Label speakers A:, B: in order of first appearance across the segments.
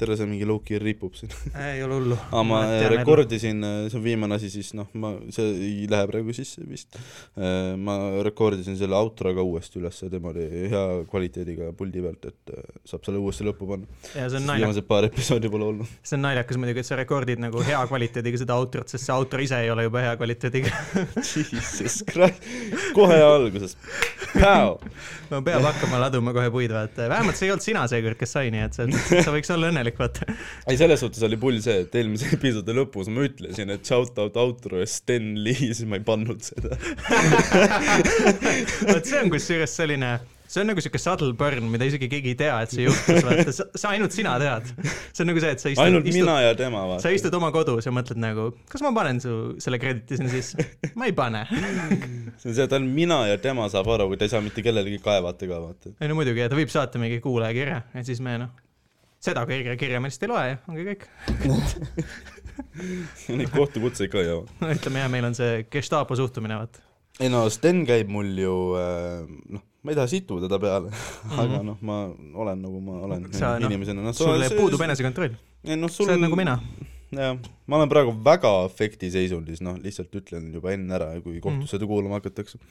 A: tere , see mingi low-key ripub siin .
B: Äh, ei ole hullu .
A: aga ma rekordisin , see on viimane asi , siis noh , ma , see ei lähe praegu sisse vist . ma rekordisin selle outroga uuesti üles , tema oli hea kvaliteediga puldi pealt , et äh, saab selle uuesti lõppu panna .
B: ja see on naljakas ,
A: viimased paar episoodi pole olnud .
B: see on naljakas muidugi , et sa rekordid nagu hea kvaliteediga seda autor't , sest see autor ise ei ole juba hea kvaliteediga .
A: Jesus Christ , kohe alguses . Päo .
B: no peab hakkama laduma kohe puid , vaata . vähemalt see ei olnud sina seekord , kes sai , nii et sa , sa võiks olla õnnelik , vaata .
A: ei , selles suhtes oli pull see , et eelmise episoodi lõpus ma ütlesin , et shout out outro ja Sten Lee , siis ma ei pannud seda .
B: vot see on kusjuures selline , see on nagu siuke subtle burn , mida isegi keegi ei tea , et see juhtus , vaata . sa , sa , ainult sina tead . see on nagu see , et sa istud ,
A: ainult
B: istud ,
A: mina ja tema
B: sa
A: vaata .
B: istud oma kodus ja mõtled nagu , kas ma panen su selle krediti sinna sisse ? ma ei pane .
A: see on see , et ainult mina ja tema saab aru , kui ta ei saa mitte kellelegi kaevata ka vaata .
B: ei no muidugi , ta võib saata mingi kuulajakirja ja siis me noh , seda kirja , kirja me lihtsalt ei loe ja ongi kõik .
A: Neid kohtukutseid ka ei jõua .
B: no ütleme jah , meil on see gestaapo suhtumine , vaata .
A: ei no Sten käib mul ju äh, noh , ma ei taha situda ta peale , aga noh , ma olen nagu ma olen
B: Mhm. Sa, noh,
A: inimesena no, .
B: sul puudub . enesekontroll ,
A: ei noh ,
B: sa
A: sul
B: oled nagu mina .
A: jah , ma olen praegu väga afekti seisundis , noh , lihtsalt ütlen juba enne ära , kui
B: Mhm.
A: kohtus seda kuulama hakatakse .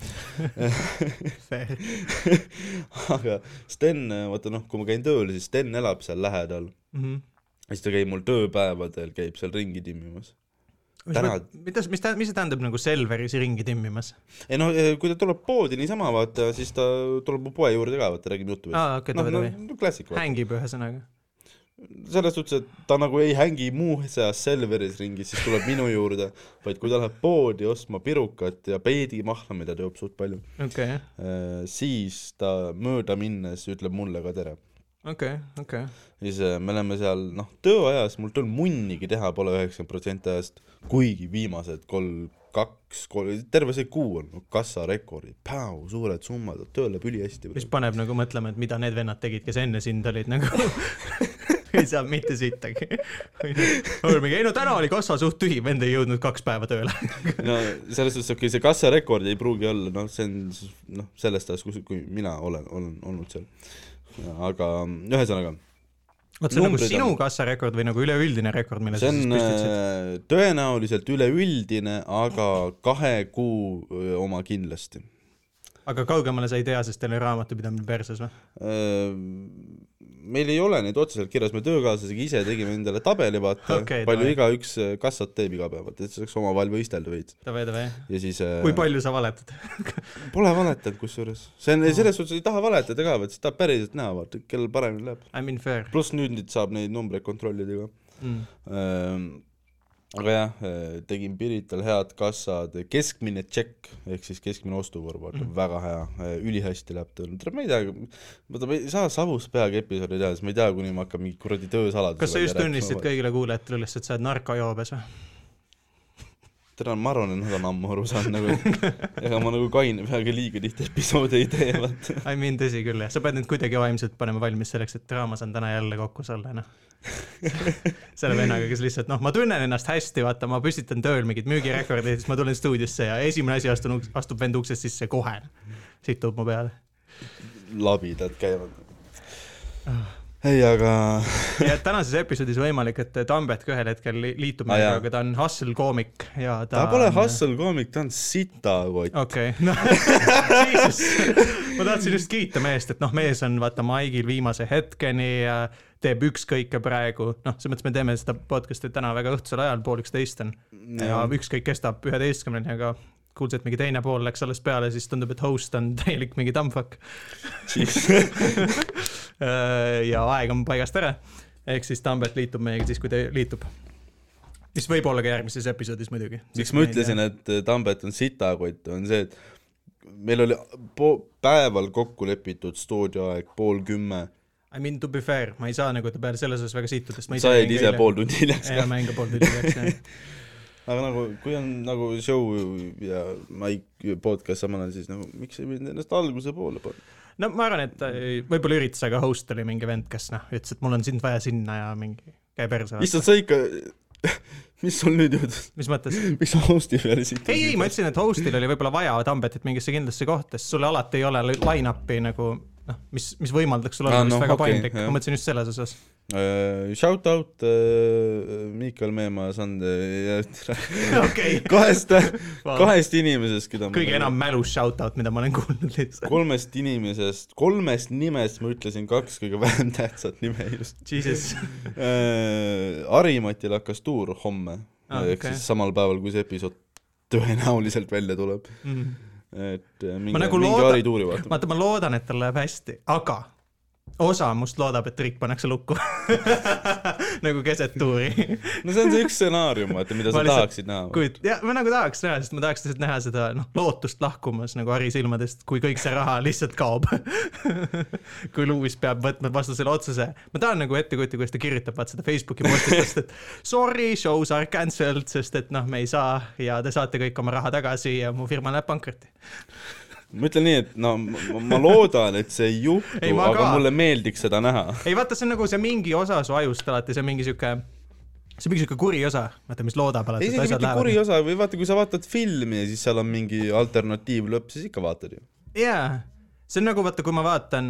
A: aga Sten , vaata noh , kui ma käin tööl , siis Sten elab seal lähedal ,
B: Mhm.
A: siis ta käib mul tööpäevadel , käib seal ringi timmimas . Täna-
B: mis , mis , mis tä- , mis see tähendab nagu Selveris ringi timmimas ?
A: ei no eh, kui ta tuleb poodi niisama vaata , siis ta tuleb mu poe juurde ka vaata , räägime juttu .
B: aa , okei ,
A: noh ,
B: davai ,
A: no,
B: davai .
A: no klassik vaata ,
B: hängib ühesõnaga .
A: selles suhtes , et ta nagu ei hängi muuseas Selveris ringi , siis tuleb minu juurde , vaid kui ta läheb poodi ostma pirukat ja peedimahla , mida ta joob suht palju ,
B: okei ,
A: siis ta mööda minnes ütleb mulle ka tere .
B: okei , okei .
A: siis äh, me oleme seal noh , tööajas mul tööl munnigi teha pole üheksakümmend protsenti ajast , kuigi viimased kolm , kaks , kolm , terve see kuu on no, kassarekordid , päev , suured summad , töö läheb ülihästi .
B: mis paneb nagu mõtlema , et mida need vennad tegid , kes enne sind olid nagu . ei saa mitte sittagi . ei no täna oli kassa suht tühi , vend ei jõudnud kaks päeva tööle .
A: no selles suhtes , okei , see kassarekord ei pruugi olla , noh , see on siis, noh , sellest ajast , kus , kui mina olen , olen olnud seal . aga ühesõnaga ,
B: vot see on nagu
A: Numbrid
B: sinu
A: on-
B: kassarekord või nagu üleüldine rekord , mille sa
A: see
B: siis
A: on
B: püstitasid ?
A: äh, tõenäoliselt üleüldine , aga kahe kuu öö, oma kindlasti . äh,
B: aga kaugemale sa ei tea , sest teil oli raamatupidamine perses või ?
A: meil ei ole neid otseselt kirjas , me töökaaslasega ise tegime endale tabeli , vaata
B: Okei,
A: okay, , palju
B: davai.
A: igaüks äh, kassat teeb iga päev , et saaks omavahel võistelda veits .
B: davai , davai .
A: ja siis äh,
B: kui palju sa valetad ?
A: pole valetanud kusjuures , see
B: Ah.
A: on , selles suhtes ei taha valetada ka , vaid sa tahad päriselt näha , vaata , kellel paremini läheb .
B: I m in fair
A: pluss nüüd nüüd saab neid numbreid kontrollida ka .
B: mm. .
A: aga jah , tegin Pirital head kassad , keskmine tšekk ehk siis keskmine ostukorv , vaata
B: Mhm.
A: mm. väga hea , ülihästi läheb tööle , tuleb , ma ei tea , vaata ma ei saa savus peaga episoodi teha , sest ma ei tea , kuni ma hakkan mingi kuradi töösaladuse
B: kas sa just tunnistasid ? kõigile kuulajatele üles , et sa oled narkojoobes või ?
A: täna ma arvan , et nad on ammu aru saanud nagu , ega ma nagu kaine peaga liiga tihti episoode ei tee , vaata .
B: I mean tõsi küll jah , sa pead nüüd kuidagi vaimselt panema valmis selleks , et draamas on täna jälle kokkus olla , noh . selle vennaga , kes lihtsalt noh , ma tunnen ennast hästi , vaata , ma püstitan tööl mingeid müügirekordeid , siis ma tulen stuudiosse ja esimene asi astun , astub vend uksest sisse kohe . situb mu peale .
A: labidad käivad .
B: Ah.
A: ei , aga
B: ja tänases episoodis võimalik , et Tambet ka ühel hetkel li- liitub
A: Ah, jaa.
B: meiega , aga ta on hustle-koomik ja ta
A: ta pole
B: on-
A: hustle-koomik , ta on sitakott .
B: okei , noh , Jesus , ma tahtsin just kiita meest , et noh , mees on vaata maigil viimase hetkeni ja teeb ükskõike praegu , noh , selles mõttes me teeme seda podcast'i täna väga õhtusel ajal , pool üksteist on ja ükskõik kestab üheteistkümneni , aga kuulsin , et mingi teine pool läks alles peale , siis tundub , et host on täielik mingi tampfak Äh, ja aeg on paigast ära . ehk siis Tambet liitub meiega siis , kui ta liitub . mis võib olla ka järgmises episoodis muidugi .
A: miks ma ütlesin ,? et Tambet on sitakott , on see , et meil oli po- , päeval kokku lepitud stuudioaeg pool kümme ,
B: I mean to be fair , ma ei saa nagu ta peale selles osas väga siituda , sest ma
A: sa jäid ise pool tundi hiljaks
B: ja
A: ka .
B: ma jäin ka pool tundi hiljaks jah .
A: aga nagu , kui on nagu show ja Mike podcast samal ajal , siis nagu miks ei pidanud ennast alguse poole panna ?
B: no ma arvan , et ta ei- võib-olla üritas , aga host oli mingi vend , kes noh , ütles , et mul on sind vaja sinna ja mingi käi perse .
A: issand , sa ikka , mis sul nüüd juhtus ?
B: mis mõttes ?
A: miks sa host'i peale siit
B: ei , ei , ma ütlesin , et host'il oli võib-olla vaja Tambetit mingisse kindlasse kohta , sest sul alati ei ole li- line-up'i nagu noh , mis , mis võimaldaks sul olla
A: Aa,
B: vist
A: noh,
B: väga
A: okei,
B: paindlik ,
A: jah.
B: ma mõtlesin just selles osas .
A: Shout out äh, Miikal Meemaa sand- ja
B: okei ,
A: kahest ,
B: Vau.
A: kahest inimesest , keda ma
B: kõige enam mälus shout-out , mida ma olen kuulnud lihtsalt .
A: kolmest inimesest , kolmest nimest ma ütlesin kaks kõige vähem tähtsat nime just .
B: Jesus ,
A: Arimatil hakkas tuur homme
B: Ah,
A: ah, , ehk
B: okei.
A: okay. siis samal päeval , kui see episood tõenäoliselt välja tuleb . et eh, minge ,
B: nagu
A: minge
B: loodan-
A: Ari tuuri vaatama .
B: vaata , ma loodan , et tal läheb hästi , aga osa must loodab , et Rick pannakse lukku nagu keset tuuri .
A: no see on see üks stsenaarium , vaata , mida
B: Ma
A: sa
B: lihtsalt
A: tahaksid näha .
B: kuid jah , ma nagu tahaks näha , sest ma tahaks lihtsalt näha seda noh , lootust lahkumas nagu Harri silmadest , kui kõik see raha lihtsalt kaob . kui Lewis peab võtma vastu selle otsuse , ma tahan nagu ette kujutada , kuidas ta kirjutab vaat seda Facebooki postitust , et sorry , shows are cancelled , sest et noh , me ei saa ja te saate kõik oma raha tagasi ja mu firma läheb pankrotti .
A: ma ütlen nii , et no ma, ma loodan , et see ei juhtu ,
B: Ei, ma
A: aga
B: ka.
A: mulle meeldiks seda näha .
B: ei vaata , see on nagu see mingi osa su ajust alati , see on mingi sihuke , see on mingi sihuke kuri osa , vaata , mis loodab alati , et
A: isegi
B: asjad
A: mitte kuri
B: lähevad .
A: osa või vaata , kui sa vaatad filmi ja siis seal on mingi alternatiivlõpp , siis ikka vaatad ju .
B: jaa , see on nagu vaata , kui ma vaatan ,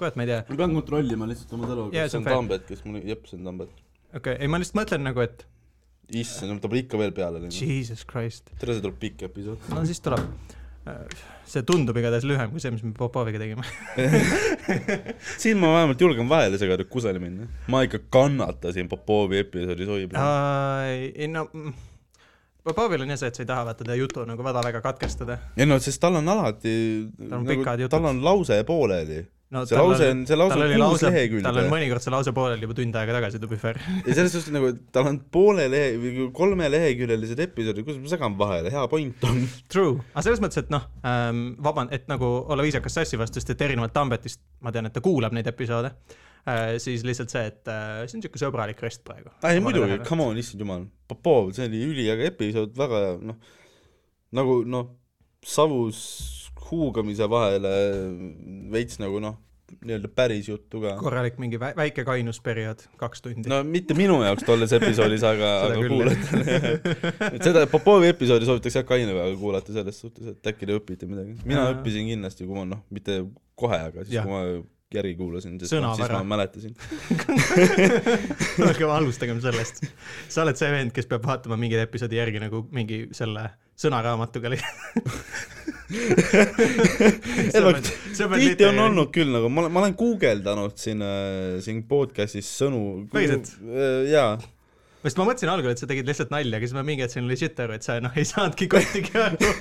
B: kurat , ma ei tea
A: ma pean kontrollima lihtsalt oma talu ,
B: Jaa,
A: kas
B: see
A: see
B: on
A: on
B: fair.
A: Tambet , kes mul , jep , see on Tambet .
B: okei okay, , ei ma lihtsalt mõtlen nagu , et
A: issand , ta pole ikka veel peale läinud .
B: jesus christ ,
A: tere , see tuleb pikk episood .
B: no siis tuleb . see tundub igatahes lühem kui see , mis me Popoviga tegime .
A: siin ma vähemalt julgen vahele segada , kusagile minna . ma ikka kannatasin Popovi episoodis , oi .
B: ei no , Popovil on jah see , et sa ei taha vaata teda jutu nagu väga väga katkestada .
A: ei no , sest tal on alati ,
B: Tal on pikad jutud.
A: tal on lause pooleli .
B: No,
A: see
B: tal
A: lause
B: oli-
A: on , see lause
B: tal oli
A: on kuus
B: lause , tal on
A: lehekülge .
B: mõnikord see lause pooleli juba tund aega tagasi , to be fair .
A: ja selles suhtes nagu , tal on poole lehe või kolmeleheküljelised episoodid , kus ma segan vahele , hea point on .
B: True , aga selles mõttes , et noh ähm, , vaban- , et nagu olla viisakas sassi vastu , sest et erinevalt Tambetist ma tean , et ta kuulab neid episoode äh, , siis lihtsalt see , et äh, see on sihuke sõbralik rest praegu .
A: ei muidugi , come on , issand jumal . Popov , see oli üliäge episood , väga noh , nagu noh , savus huugamise vahele veits nagu noh , nii-öelda päris juttu ka .
B: korralik mingi vä- väike kainusperiood , kaks tundi .
A: no mitte minu jaoks tolles episoodis , aga ,
B: Seda
A: aga
B: küll,
A: kuulajatele . et seda Popovi episoodi soovitakse jah kainega kuulata selles suhtes , et äkki te õpite midagi . mina
B: Jaa.
A: õppisin kindlasti , kui ma noh , mitte kohe , aga siis
B: Jah.
A: kui ma järgi kuulasin , siis
B: Sõna
A: siis
B: vara.
A: ma mäletasin .
B: hakkame alustagem sellest . sa oled see vend , kes peab vaatama mingeid episoodi järgi nagu mingi selle sõnaraamatuga .
A: tihti on . olnud küll nagu , ma olen , ma olen guugeldanud siin , siin podcast'is sõnu .
B: Päriselt? ?
A: jaa .
B: sest ma mõtlesin algul , et sa tegid lihtsalt nalja , aga siis ma mingi hetk sain legit aru , et sa noh , ei saanudki kottigi aru .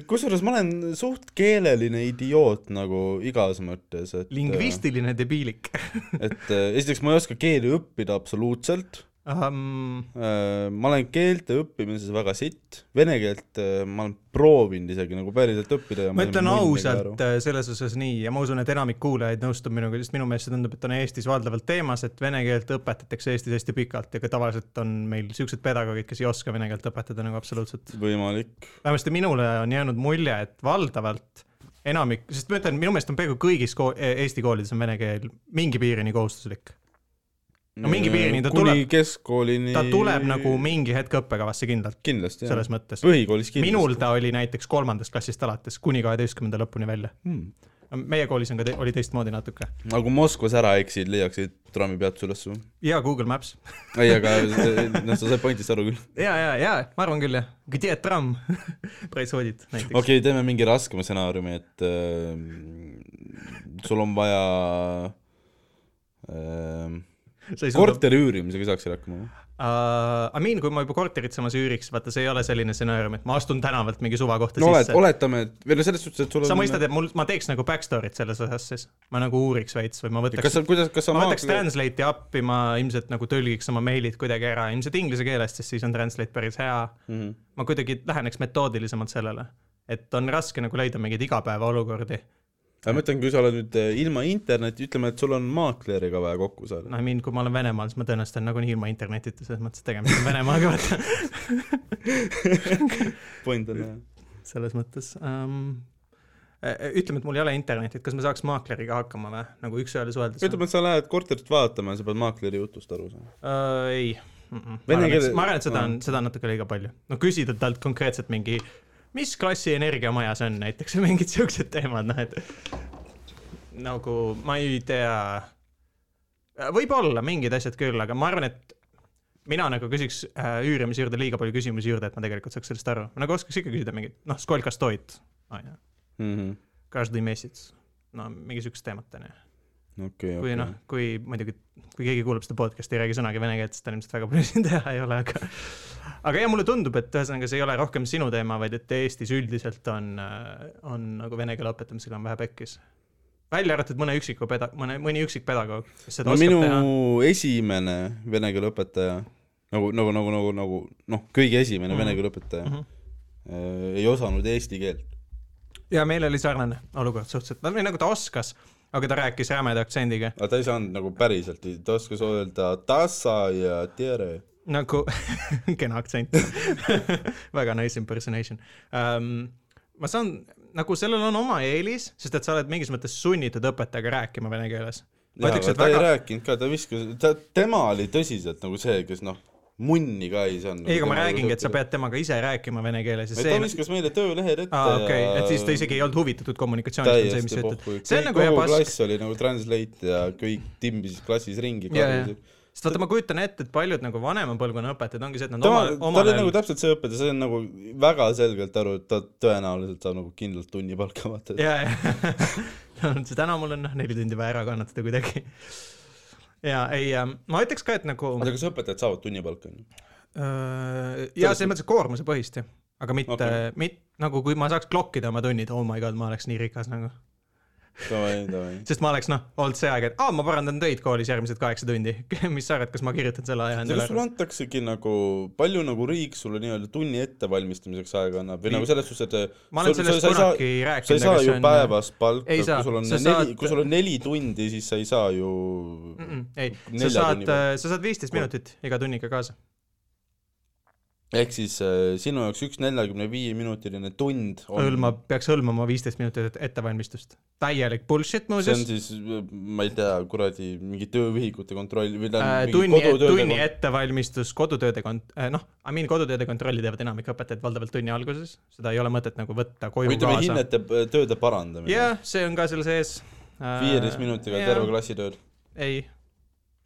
A: kusjuures ma olen suht keeleline idioot nagu igas mõttes , et .
B: lingvistiline debiilik
A: et äh, esiteks ma ei oska keeli õppida absoluutselt
B: um, .
A: Äh, ma olen keelte õppimises väga sitt , vene keelt äh, ma olen proovinud isegi nagu päriselt õppida ja
B: ma ütlen ausalt . äh, selles osas nii ja ma usun , et enamik kuulajaid nõustub minuga , sest minu meelest see tundub , et on Eestis valdavalt teemas , et vene keelt õpetatakse Eestis hästi pikalt ja ka tavaliselt on meil siuksed pedagoogid , kes ei oska vene keelt õpetada nagu absoluutselt .
A: võimalik ,
B: vähemasti minule on jäänud mulje , et valdavalt enamik , sest ma ütlen , minu meelest on peaaegu kõigis kool, Eesti koolides on vene keel mingi piirini kohustuslik . No mingi piirini ta
A: Äh, kuni
B: tuleb-
A: keskkoolini .
B: ta tuleb nagu mingi hetk õppekavasse kindlalt ,
A: kindlasti jah ,
B: selles mõttes .
A: põhikoolis kindlasti .
B: minul ta oli näiteks kolmandast klassist alates kuni kaheteistkümnenda lõpuni välja .
A: hmm. .
B: meie koolis on ka , oli teistmoodi natuke
A: aga kui Moskvas ära eksid , leiaksid trammipeatuse ülessu .
B: ja Google Maps .
A: ei , aga noh , sa said pointist aru küll .
B: ja , ja , ja ma arvan küll jah , Где tram , происходит näiteks
A: okei
B: okay. .
A: okay, , teeme mingi raskema stsenaariumi , et äh, sul on vaja äh,
B: sa ei suuda ,
A: korteri üürimisega saaksid hakkama või ?
B: I mean , kui ma juba korterit samas üüriks , vaata see ei ole selline stsenaarium , et ma astun tänavalt mingi suva kohta
A: no
B: no,
A: olet- ,
B: sisse .
A: oletame , et või no selles suhtes , et sul on
B: sa mõistad , et mul , ma teeks nagu backstory't selles osas siis , ma nagu uuriks veits või ma
A: Ja kas
B: võtaks
A: sa , kuidas , kas sa
B: ma võtaks
A: maakler ,
B: Translate'i appi , ma ilmselt nagu tõlgiks oma meilid kuidagi ära , ilmselt inglise keelest , sest siis on Translate päris hea mm .
A: Mhm.
B: -hmm. ma kuidagi läheneks metoodilisemalt sellele , et on raske nagu leida mingeid igapäevaolukordi .
A: ma mõtlen , kui sa oled nüüd eh, ilma interneti , ütleme , et sul on maakleriga vaja kokku saada .
B: noh , I mean , kui ma olen Venemaal , siis ma tõenäoliselt olen nagunii ilma internetita , selles mõttes et tegemist on Venemaaga , vaata ,
A: point on jah .
B: selles mõttes um, . ütleme , et mul ei ole internetit , kas ma saaks maakleriga hakkama või , nagu üks-ühele suheldes ?
A: ütleme , et sa lähed korterit vaatama ja sa pead maakleri jutust aru saama .
B: uh, . ei mm . -mm. ma
A: Vene
B: arvan, et-
A: keele- Mm.
B: ma arvan , et seda on , seda on natuke liiga palju . no küsida talt konkreetselt mingi , mis klassi energiamaja see on näiteks või mingid siuksed teemad , noh et nagu ma ei tea võib-olla mingid asjad küll , aga ma arvan , et mina nagu küsiks äh, üürimise juurde liiga palju küsimusi juurde , et ma tegelikult saaks sellest aru , nagu oskaks ikka küsida mingit , noh , skolka stoit , onju ,
A: mm .
B: каждый месяц , no mingi siukest teemat onju .
A: okei ,
B: kui
A: okei
B: noh ., kui muidugi , kui keegi kuulab seda podcast'i , ei räägi sõnagi vene keelt , siis tal ilmselt väga palju siin teha ei ole , aga . aga jah , mulle tundub , et ühesõnaga see ei ole rohkem sinu teema , vaid et Eestis üldiselt on , on nagu vene keele õpetamisega on vähe pekkis . välja arvatud mõne üksiku peda- , mõne , mõni üksik pedagoog , kes seda
A: no
B: no, oskab
A: minu
B: minu... teha .
A: esimene vene keele õpetaja nagu , nagu , nagu , nagu , nagu noh , kõige esimene
B: Mhm.
A: mm. vene keele õpetaja mm -hmm. ei osanud eesti keelt .
B: ja meil oli sarnane olukord suhteliselt , no või nagu ta oskas , aga ta rääkis rämeda aktsendiga
A: aga ta ei saanud nagu päriselt , ta oskas öelda tasa ja tere .
B: nagu kena aktsent , väga nice impersonation um, . ma saan , nagu sellel on oma eelis , sest et sa oled mingis mõttes sunnitud õpetajaga rääkima vene keeles . ma
A: jaa ,
B: ütleks ,
A: aga
B: et
A: ta väga... ei
B: väga ,
A: rääkinud ka , ta viskas , ta , tema oli tõsiselt nagu see , kes noh , munni ka ei saanud . nagu
B: ei , aga ma räägingi , et sa . pead temaga ise rääkima vene keeles ja
A: ta
B: see ,
A: viskas meile töölehed ette
B: aa okei , et siis ta isegi ei olnud huvitatud kommunikatsioonist , on see , mis
A: täiesti
B: sa
A: pohhu
B: ütled ., see
A: kõik
B: on nagu hea
A: kogu
B: pask ,
A: klass oli nagu translate ja kõik timbisid klassis ringi .
B: Jaa, jaa. sest vaata , ma kujutan ette , et paljud nagu vanema põlvkonna õpetajad ongi see , et nad
A: tema ,
B: omal ,
A: ta
B: omal
A: oli nagu
B: ajal
A: täpselt see õpetaja , see on nagu väga selgelt aru , et ta tõenäoliselt saab nagu kindlalt tunni palka vaata .
B: ja , ja , täna mul on noh , neli tundi vaja ära kannatada kuidagi . ja ei , ma ütleks ka , et nagu .
A: oota , kas õpetajad saavad noh? tunni palka ?
B: ja selles mõttes et koormuse põhist jah , aga mitte okay.
A: Okei. ,
B: mitte nagu kui ma saaks klokkida oma tunnid , oh my god , ma oleks nii rikas nagu .
A: davai , davai .
B: sest ma oleks noh , olnud see aeg , et aa , ma parandan töid koolis järgmised kaheksa tundi . mis sa arvad , kas ma kirjutan selle aja
A: ja
B: endale
A: kas sulle
B: ära ?
A: antaksegi nagu , palju nagu riik sulle nii-öelda tunni ettevalmistamiseks aega annab või nagu selles suhtes , et
B: ma olen
A: sul-
B: sellest
A: sa ei saa- sa
B: kunagi
A: ei
B: rääkinud ,
A: saa
B: aga
A: ju
B: see on .
A: päevas palka ,
B: Ei
A: kui
B: saa,
A: sul on
B: sa
A: neli
B: saad-
A: saad... , kui sul on neli tundi , siis sa ei saa ju mm -mm.
B: ei , sa
A: nelja
B: saad äh,
A: tunni , pealt.
B: sa saad viisteist minutit iga tunniga kaasa .
A: ehk siis äh, sinu jaoks üks neljakümne viie minutiline tund on
B: hõlmab , peaks hõlmama viisteist minutit ettevalmistust . täielik bullshit
A: see on
B: muuseas .
A: siis , ma ei tea , kuradi mingi töövihikute kontroll või
B: Äh,
A: tähendab
B: tunni
A: mingi , kodutööde
B: tunni ettevalmistus , kodutööde kont- , noh , I mean kodutööde kontrolli teevad enamik õpetajad valdavalt tunni alguses , seda ei ole mõtet nagu võtta
A: või
B: koju
A: ütleme
B: kaasa .
A: hinnete , tööde parandamine
B: jah , see on ka seal sees .
A: viieteist minutiga yeah. terve . klassi tööd .
B: ei ,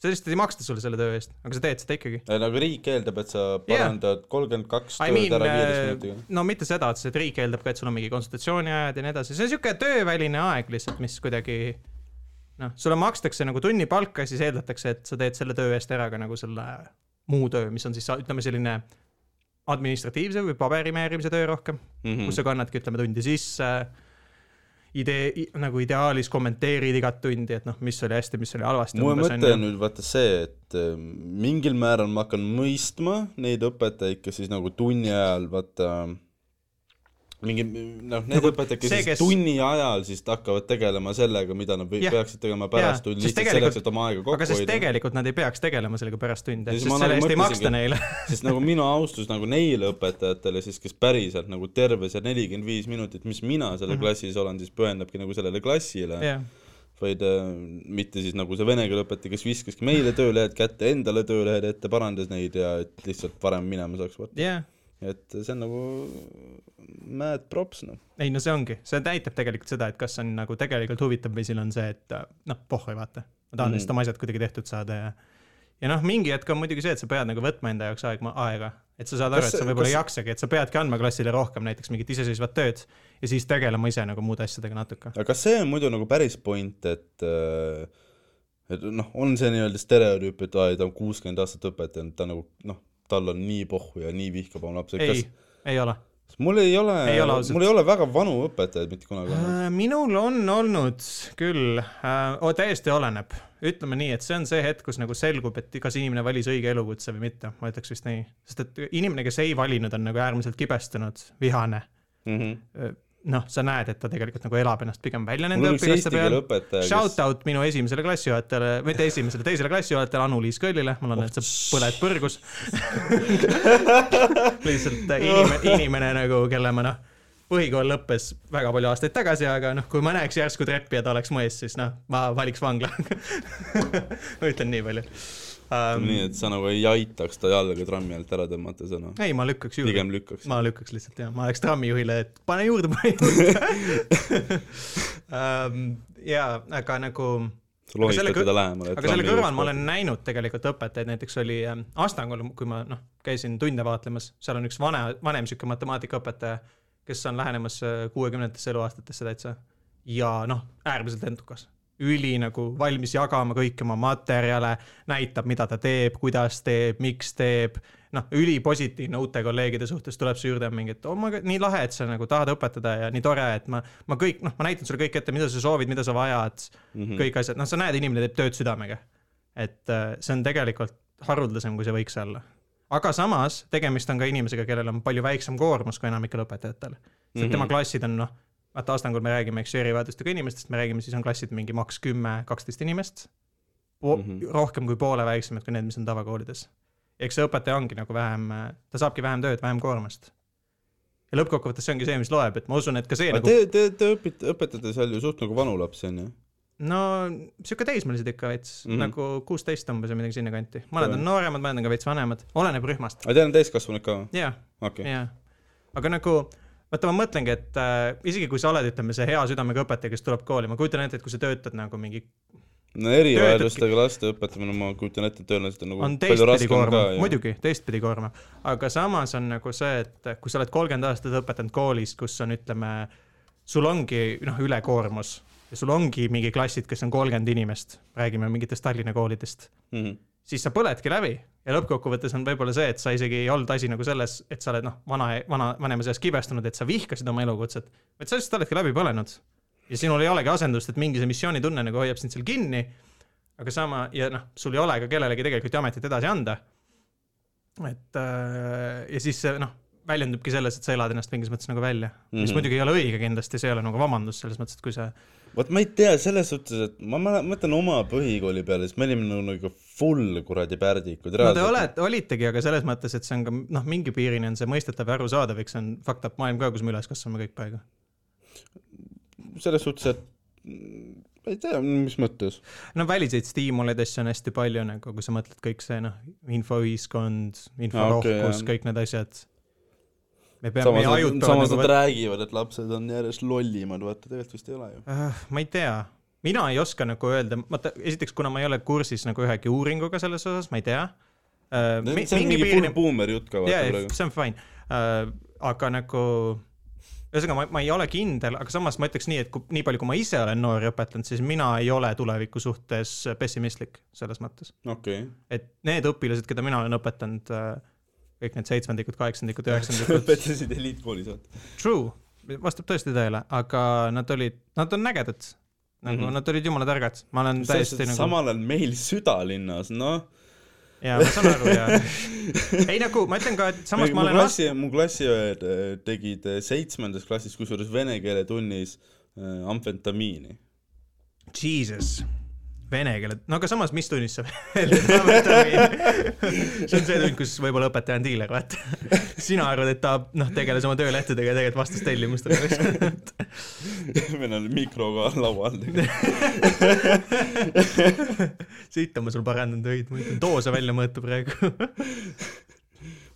B: sellist ei maksta sulle selle töö eest , aga sa teed seda ikkagi .
A: nagu riik eeldab , et sa parandad kolmkümmend kaks
B: I
A: tööd
B: mean äh,
A: ära viieteist , minutiga .
B: no mitte seda , et see et riik eeldab ka , et sul on mingi konsultatsiooniajad ja nii edasi , see on siuke tööväline aeg lihtsalt , mis kuidagi noh , sulle makstakse nagu tunni palka , siis eeldatakse , et sa teed selle töö eest ära ka nagu selle muu töö , mis on siis ütleme selline administratiivse või paberimeerimise töö rohkem mm. ,
A: Mhm.
B: kus sa kannadki , ütleme , tundi sisse . idee , nagu ideaalis kommenteerid igat tundi , et noh , mis oli hästi , mis oli halvasti .
A: mu mõte on nüüd vaata see , et äh, mingil määral ma hakkan mõistma neid õpetajaid , kes siis nagu tunni ajal vaata mingi noh , need
B: Nagu
A: õpetajad , kes
B: see,
A: siis
B: kes-
A: tunni ajal siis hakkavad tegelema sellega , mida nad või-
B: Jah.
A: peaksid tegema pärast
B: Jah,
A: tundi ,
B: sest
A: lihtsalt
B: tegelikult-
A: selleks , et oma aega
B: aga
A: kokku
B: sest
A: hoida .
B: tegelikult nad ei peaks tegelema sellega pärast tunde ,
A: Ja siis
B: sest
A: ma
B: selle
A: nagu
B: eest ei
A: mõtlesingi,
B: maksta neile .
A: sest nagu minu austus nagu neile õpetajatele siis , kes päriselt nagu terve see nelikümmend viis minutit , mis mina selle mm -hmm. klassis olen , siis pühendabki nagu sellele klassile yeah. ,
B: Mhm. jah
A: vaid äh, mitte siis nagu see vene keele õpetaja , kes viskaski meile töölehed kätte , endale töölehed ette , parandas neid ja et lihtsalt varem minema saaks , vot .
B: jah ,
A: et see on nagu mad props noh .
B: ei no see ongi , see näitab tegelikult seda , et kas on nagu tegelikult huvitav või siin on see , et äh, noh , pohhoi vaata , ma tahan
A: Mhm.
B: lihtsalt oma asjad kuidagi tehtud saada ja ja noh , mingi hetk on muidugi see , et sa pead nagu võtma enda jaoks aeg , aega , et sa saad aru ,
A: Kas
B: et sa
A: see-
B: võib-olla ei
A: kas-
B: jaksagi , et sa peadki andma klassile rohkem näiteks mingit iseseisvat tööd ja siis tegelema ise nagu muude asjadega natuke .
A: aga kas see on muidu nagu päris point , et äh, et noh , on see nii-öelda stereotüüp , et aa , ei ta on kuuskümmend aastat õpetaja , ta nagu noh , tal on nii pohhu ja nii vihkab oma lapsi , kas
B: ei , ei ole .
A: mul ei ole,
B: Ei
A: ei
B: ole
A: ole
B: ausalt.
A: mul ei ole väga vanu õpetajaid mitte kunagi olnud .
B: Äh, minul on olnud küll , täiesti oleneb , ütleme nii , et see on see hetk , kus nagu selgub , et kas inimene valis õige elukutse või mitte , ma ütleks vist nii , sest et inimene , kes ei valinud , on nagu äärmiselt kibestunud , vihane .
A: Mm
B: Mhm.
A: -hmm.
B: noh , sa näed , et ta tegelikult nagu elab ennast pigem välja
A: mul
B: nende
A: oli üks eesti
B: õpilaste
A: keele
B: peal .
A: õpetaja ,
B: Shout out minu esimesele klassijuhatajale , mitte esimesele , teisele klassijuhatajale Anu-Liis Kõllile , ma loodan , et sa põled põrgus . lihtsalt inimene , inimene nagu , kelle ma noh , põhikool lõppes väga palju aastaid tagasi , aga noh , kui ma näeks järsku treppi ja ta oleks mu ees , siis noh , ma valiks vangla . ma ütlen nii palju
A: kes
B: um, .
A: nii et sa nagu ei aitaks ta jalga trammi alt ära tõmmata , sa noh ,
B: ei , ma lükkaks juurde ,
A: pigem lükkaks .
B: ma lükkaks lihtsalt jah , ma oleks trammijuhile , et pane juurde , pane juurde um, . ja , aga nagu
A: sa lohistad
B: selle kõ-
A: teda lähemale .
B: aga selle kõrval ma olen näinud tegelikult õpetajaid , näiteks oli ähm, Astangul , kui ma noh , käisin tunde vaatlemas , seal on üks vana , vanem sihuke matemaatikaõpetaja , kes on lähenemas kuuekümnendatesse eluaastatesse täitsa ja noh , äärmiselt endukas üli nagu valmis jagama kõiki oma materjale , näitab , mida ta teeb , kuidas teeb , miks teeb . noh , ülipositiivne uute kolleegide suhtes tuleb su juurde mingi , et oh my god , nii lahe , et sa nagu tahad õpetada ja nii tore , et ma , ma kõik , noh , ma näitan sulle kõik ette , mida sa soovid , mida sa vajad mm ,
A: Mhm.
B: -hmm. kõik asjad , noh , sa näed , inimene teeb tööd südamega . et äh, see on tegelikult haruldasem , kui see võiks olla . aga samas tegemist on ka inimesega , kellel on palju väiksem koormus kui enamikel õpetajatel . sest mm -hmm. tema klassid on noh , vaata Astangul me räägime , eks ju , erivajadustega inimestest me räägime , siis on klassid mingi maks kümme , kaksteist inimest po . Mm -hmm. rohkem kui poole väiksemad kui need , mis on tavakoolides . eks see õpetaja ongi nagu vähem , ta saabki vähem tööd , vähem koormust . ja lõppkokkuvõttes see ongi see , mis loeb , et ma usun , et ka see
A: aga
B: nagu
A: te , te , te õpite , õpetate seal ju suht nagu vanu lapsi onju .
B: no sihuke teismelised ikka veits mm ,
A: Mhm.
B: -hmm. nagu kuusteist umbes või midagi sinnakanti , mõned
A: Jah.
B: on nooremad , mõned on ka veits vanemad , oleneb rühmast .
A: aga teil on täiskasvanud ka või ?
B: ja ,
A: okei .
B: ja , aga nagu vaata , ma mõtlengi , et äh, isegi kui sa oled , ütleme , see hea südamega õpetaja , kes tuleb kooli , ma kujutan ette , et kui sa töötad nagu mingi ,
A: no erivajadustega laste õpetamine , ma kujutan ette , et tõenäoliselt on nagu
B: on
A: palju
B: teistpidi
A: raskem ka
B: koormav ,. muidugi teistpidi koormav , aga samas on nagu see , et kui sa oled kolmkümmend aastat õpetanud koolis , kus on , ütleme , sul ongi noh , ülekoormus ja sul ongi mingi klassid , kes on kolmkümmend inimest , räägime mingitest Tallinna koolidest
A: Mhm.
B: siis sa põledki läbi ja lõppkokkuvõttes on võib-olla see , et sa isegi ei olnud asi nagu selles , et sa oled noh , vana , vana , vanema seas kibestunud , et sa vihkasid oma elukutset , vaid sa lihtsalt oledki läbi põlenud . ja sinul ei olegi asendust , et mingi see missioonitunne nagu hoiab sind seal kinni . aga sama ja noh , sul ei ole ka kellelegi tegelikult ju ametit edasi anda . et äh, ja siis see noh , väljendubki selles , et sa elad ennast mingis mõttes nagu välja mm , -hmm. mis
A: Mhm.
B: muidugi ei ole õige kindlasti , see ei ole nagu vabandus selles mõttes , et kui sa
A: vot ma ei tea , selles suhtes , et ma mäle- mõtlen oma põhikooli peale , siis me olime nagu, nagu full kuradi pärdikud .
B: no te olete , olitegi , aga selles mõttes , et see on ka noh , mingi piirini on see mõistetav ja arusaadav , eks see on fucked up maailm ka , kus me üles kasvame kõik praegu .
A: selles suhtes , et mm, ma ei tea , mis mõttes .
B: no väliseid stiimuleid , asju on hästi palju nagu , kui sa mõtled kõik see noh , infoühiskond , inforohkus
A: Okei, jah. ,
B: kõik need asjad . me peame , meie
A: samas
B: ajud
A: nad ,
B: peavad
A: samas
B: nagu
A: nad , räägivad , et lapsed on järjest lollimad , vaata tegelikult vist ei ole ju .
B: Ah, ma ei tea , mina ei oska nagu öelda , vaata esiteks , kuna ma ei ole kursis nagu ühegi uuringuga selles osas , ma ei tea . Äh,
A: see on mingi full boomer jutt ka vaata
B: jaa ,
A: praegu .
B: see on fine uh, , aga nagu ühesõnaga , ma , ma ei ole kindel , aga samas ma ütleks nii , et kui nii palju , kui ma ise olen noori õpetanud , siis mina ei ole tuleviku suhtes pessimistlik selles mõttes ,
A: okei .
B: et need õpilased , keda mina olen õpetanud uh, , kõik need seitsmendikud , kaheksandikud , üheksandikud ,
A: õpetasid eliitkoolis , vaata .
B: true , vastab tõesti tõele , aga nad olid , nad on ägedad , nagu
A: Mhm.
B: mm -hmm. nad olid jumala targad , ma olen täiesti nagu .
A: samal ajal meil südalinnas , noh .
B: jaa , ma saan aru ja ei nagu ma ütlen ka , et samas
A: mu
B: ma olen
A: klassi , mu klassiõed äh, tegid äh, seitsmendas klassis , kusjuures vene keele tunnis äh, amfetamiini .
B: Jesus , vene keele , no aga samas , mis tunnis sa veel see on see tund , kus võib-olla õpetaja on diiler , vaata . sina arvad , et ta noh , tegeles oma töölehtedega ja tegelikult vastas tellimustele lihtsalt .
A: meil on mikroga laua all .
B: siit on ma sul parandanud öid , ma ütlen too sa välja mõõtu praegu .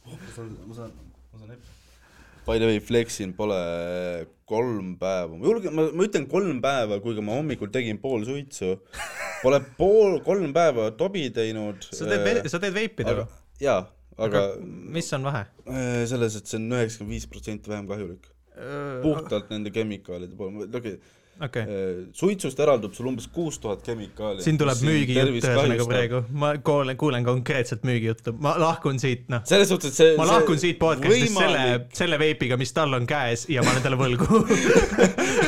A: ma saan , ma saan , ma saan ette . By the way , Flexin pole kolm päeva , ma julgen , ma , ma ütlen kolm päeva , kuigi ma hommikul tegin pool suitsu . Pole pool , kolm päeva tobi teinud .
B: sa teed , sa teed veipi
A: aga
B: too ?,
A: jaa , aga
B: mis on vahe ?
A: äh, selles , et see on üheksakümmend viis protsenti vähem kahjulik . puhtalt nende kemikaalide poole , okei
B: okei ,
A: okay. , äh, suitsust eraldub sul umbes kuus tuhat kemikaali .
B: siin tuleb müügijutt ühesõnaga . praegu , ma kuulen , kuulen konkreetselt müügijuttu , ma lahkun siit , noh .
A: selles suhtes , et see
B: ma lahkun siit podcast'ist selle
A: võimalik ,
B: selle veipiga , mis tal on käes ja ma olen talle võlgu .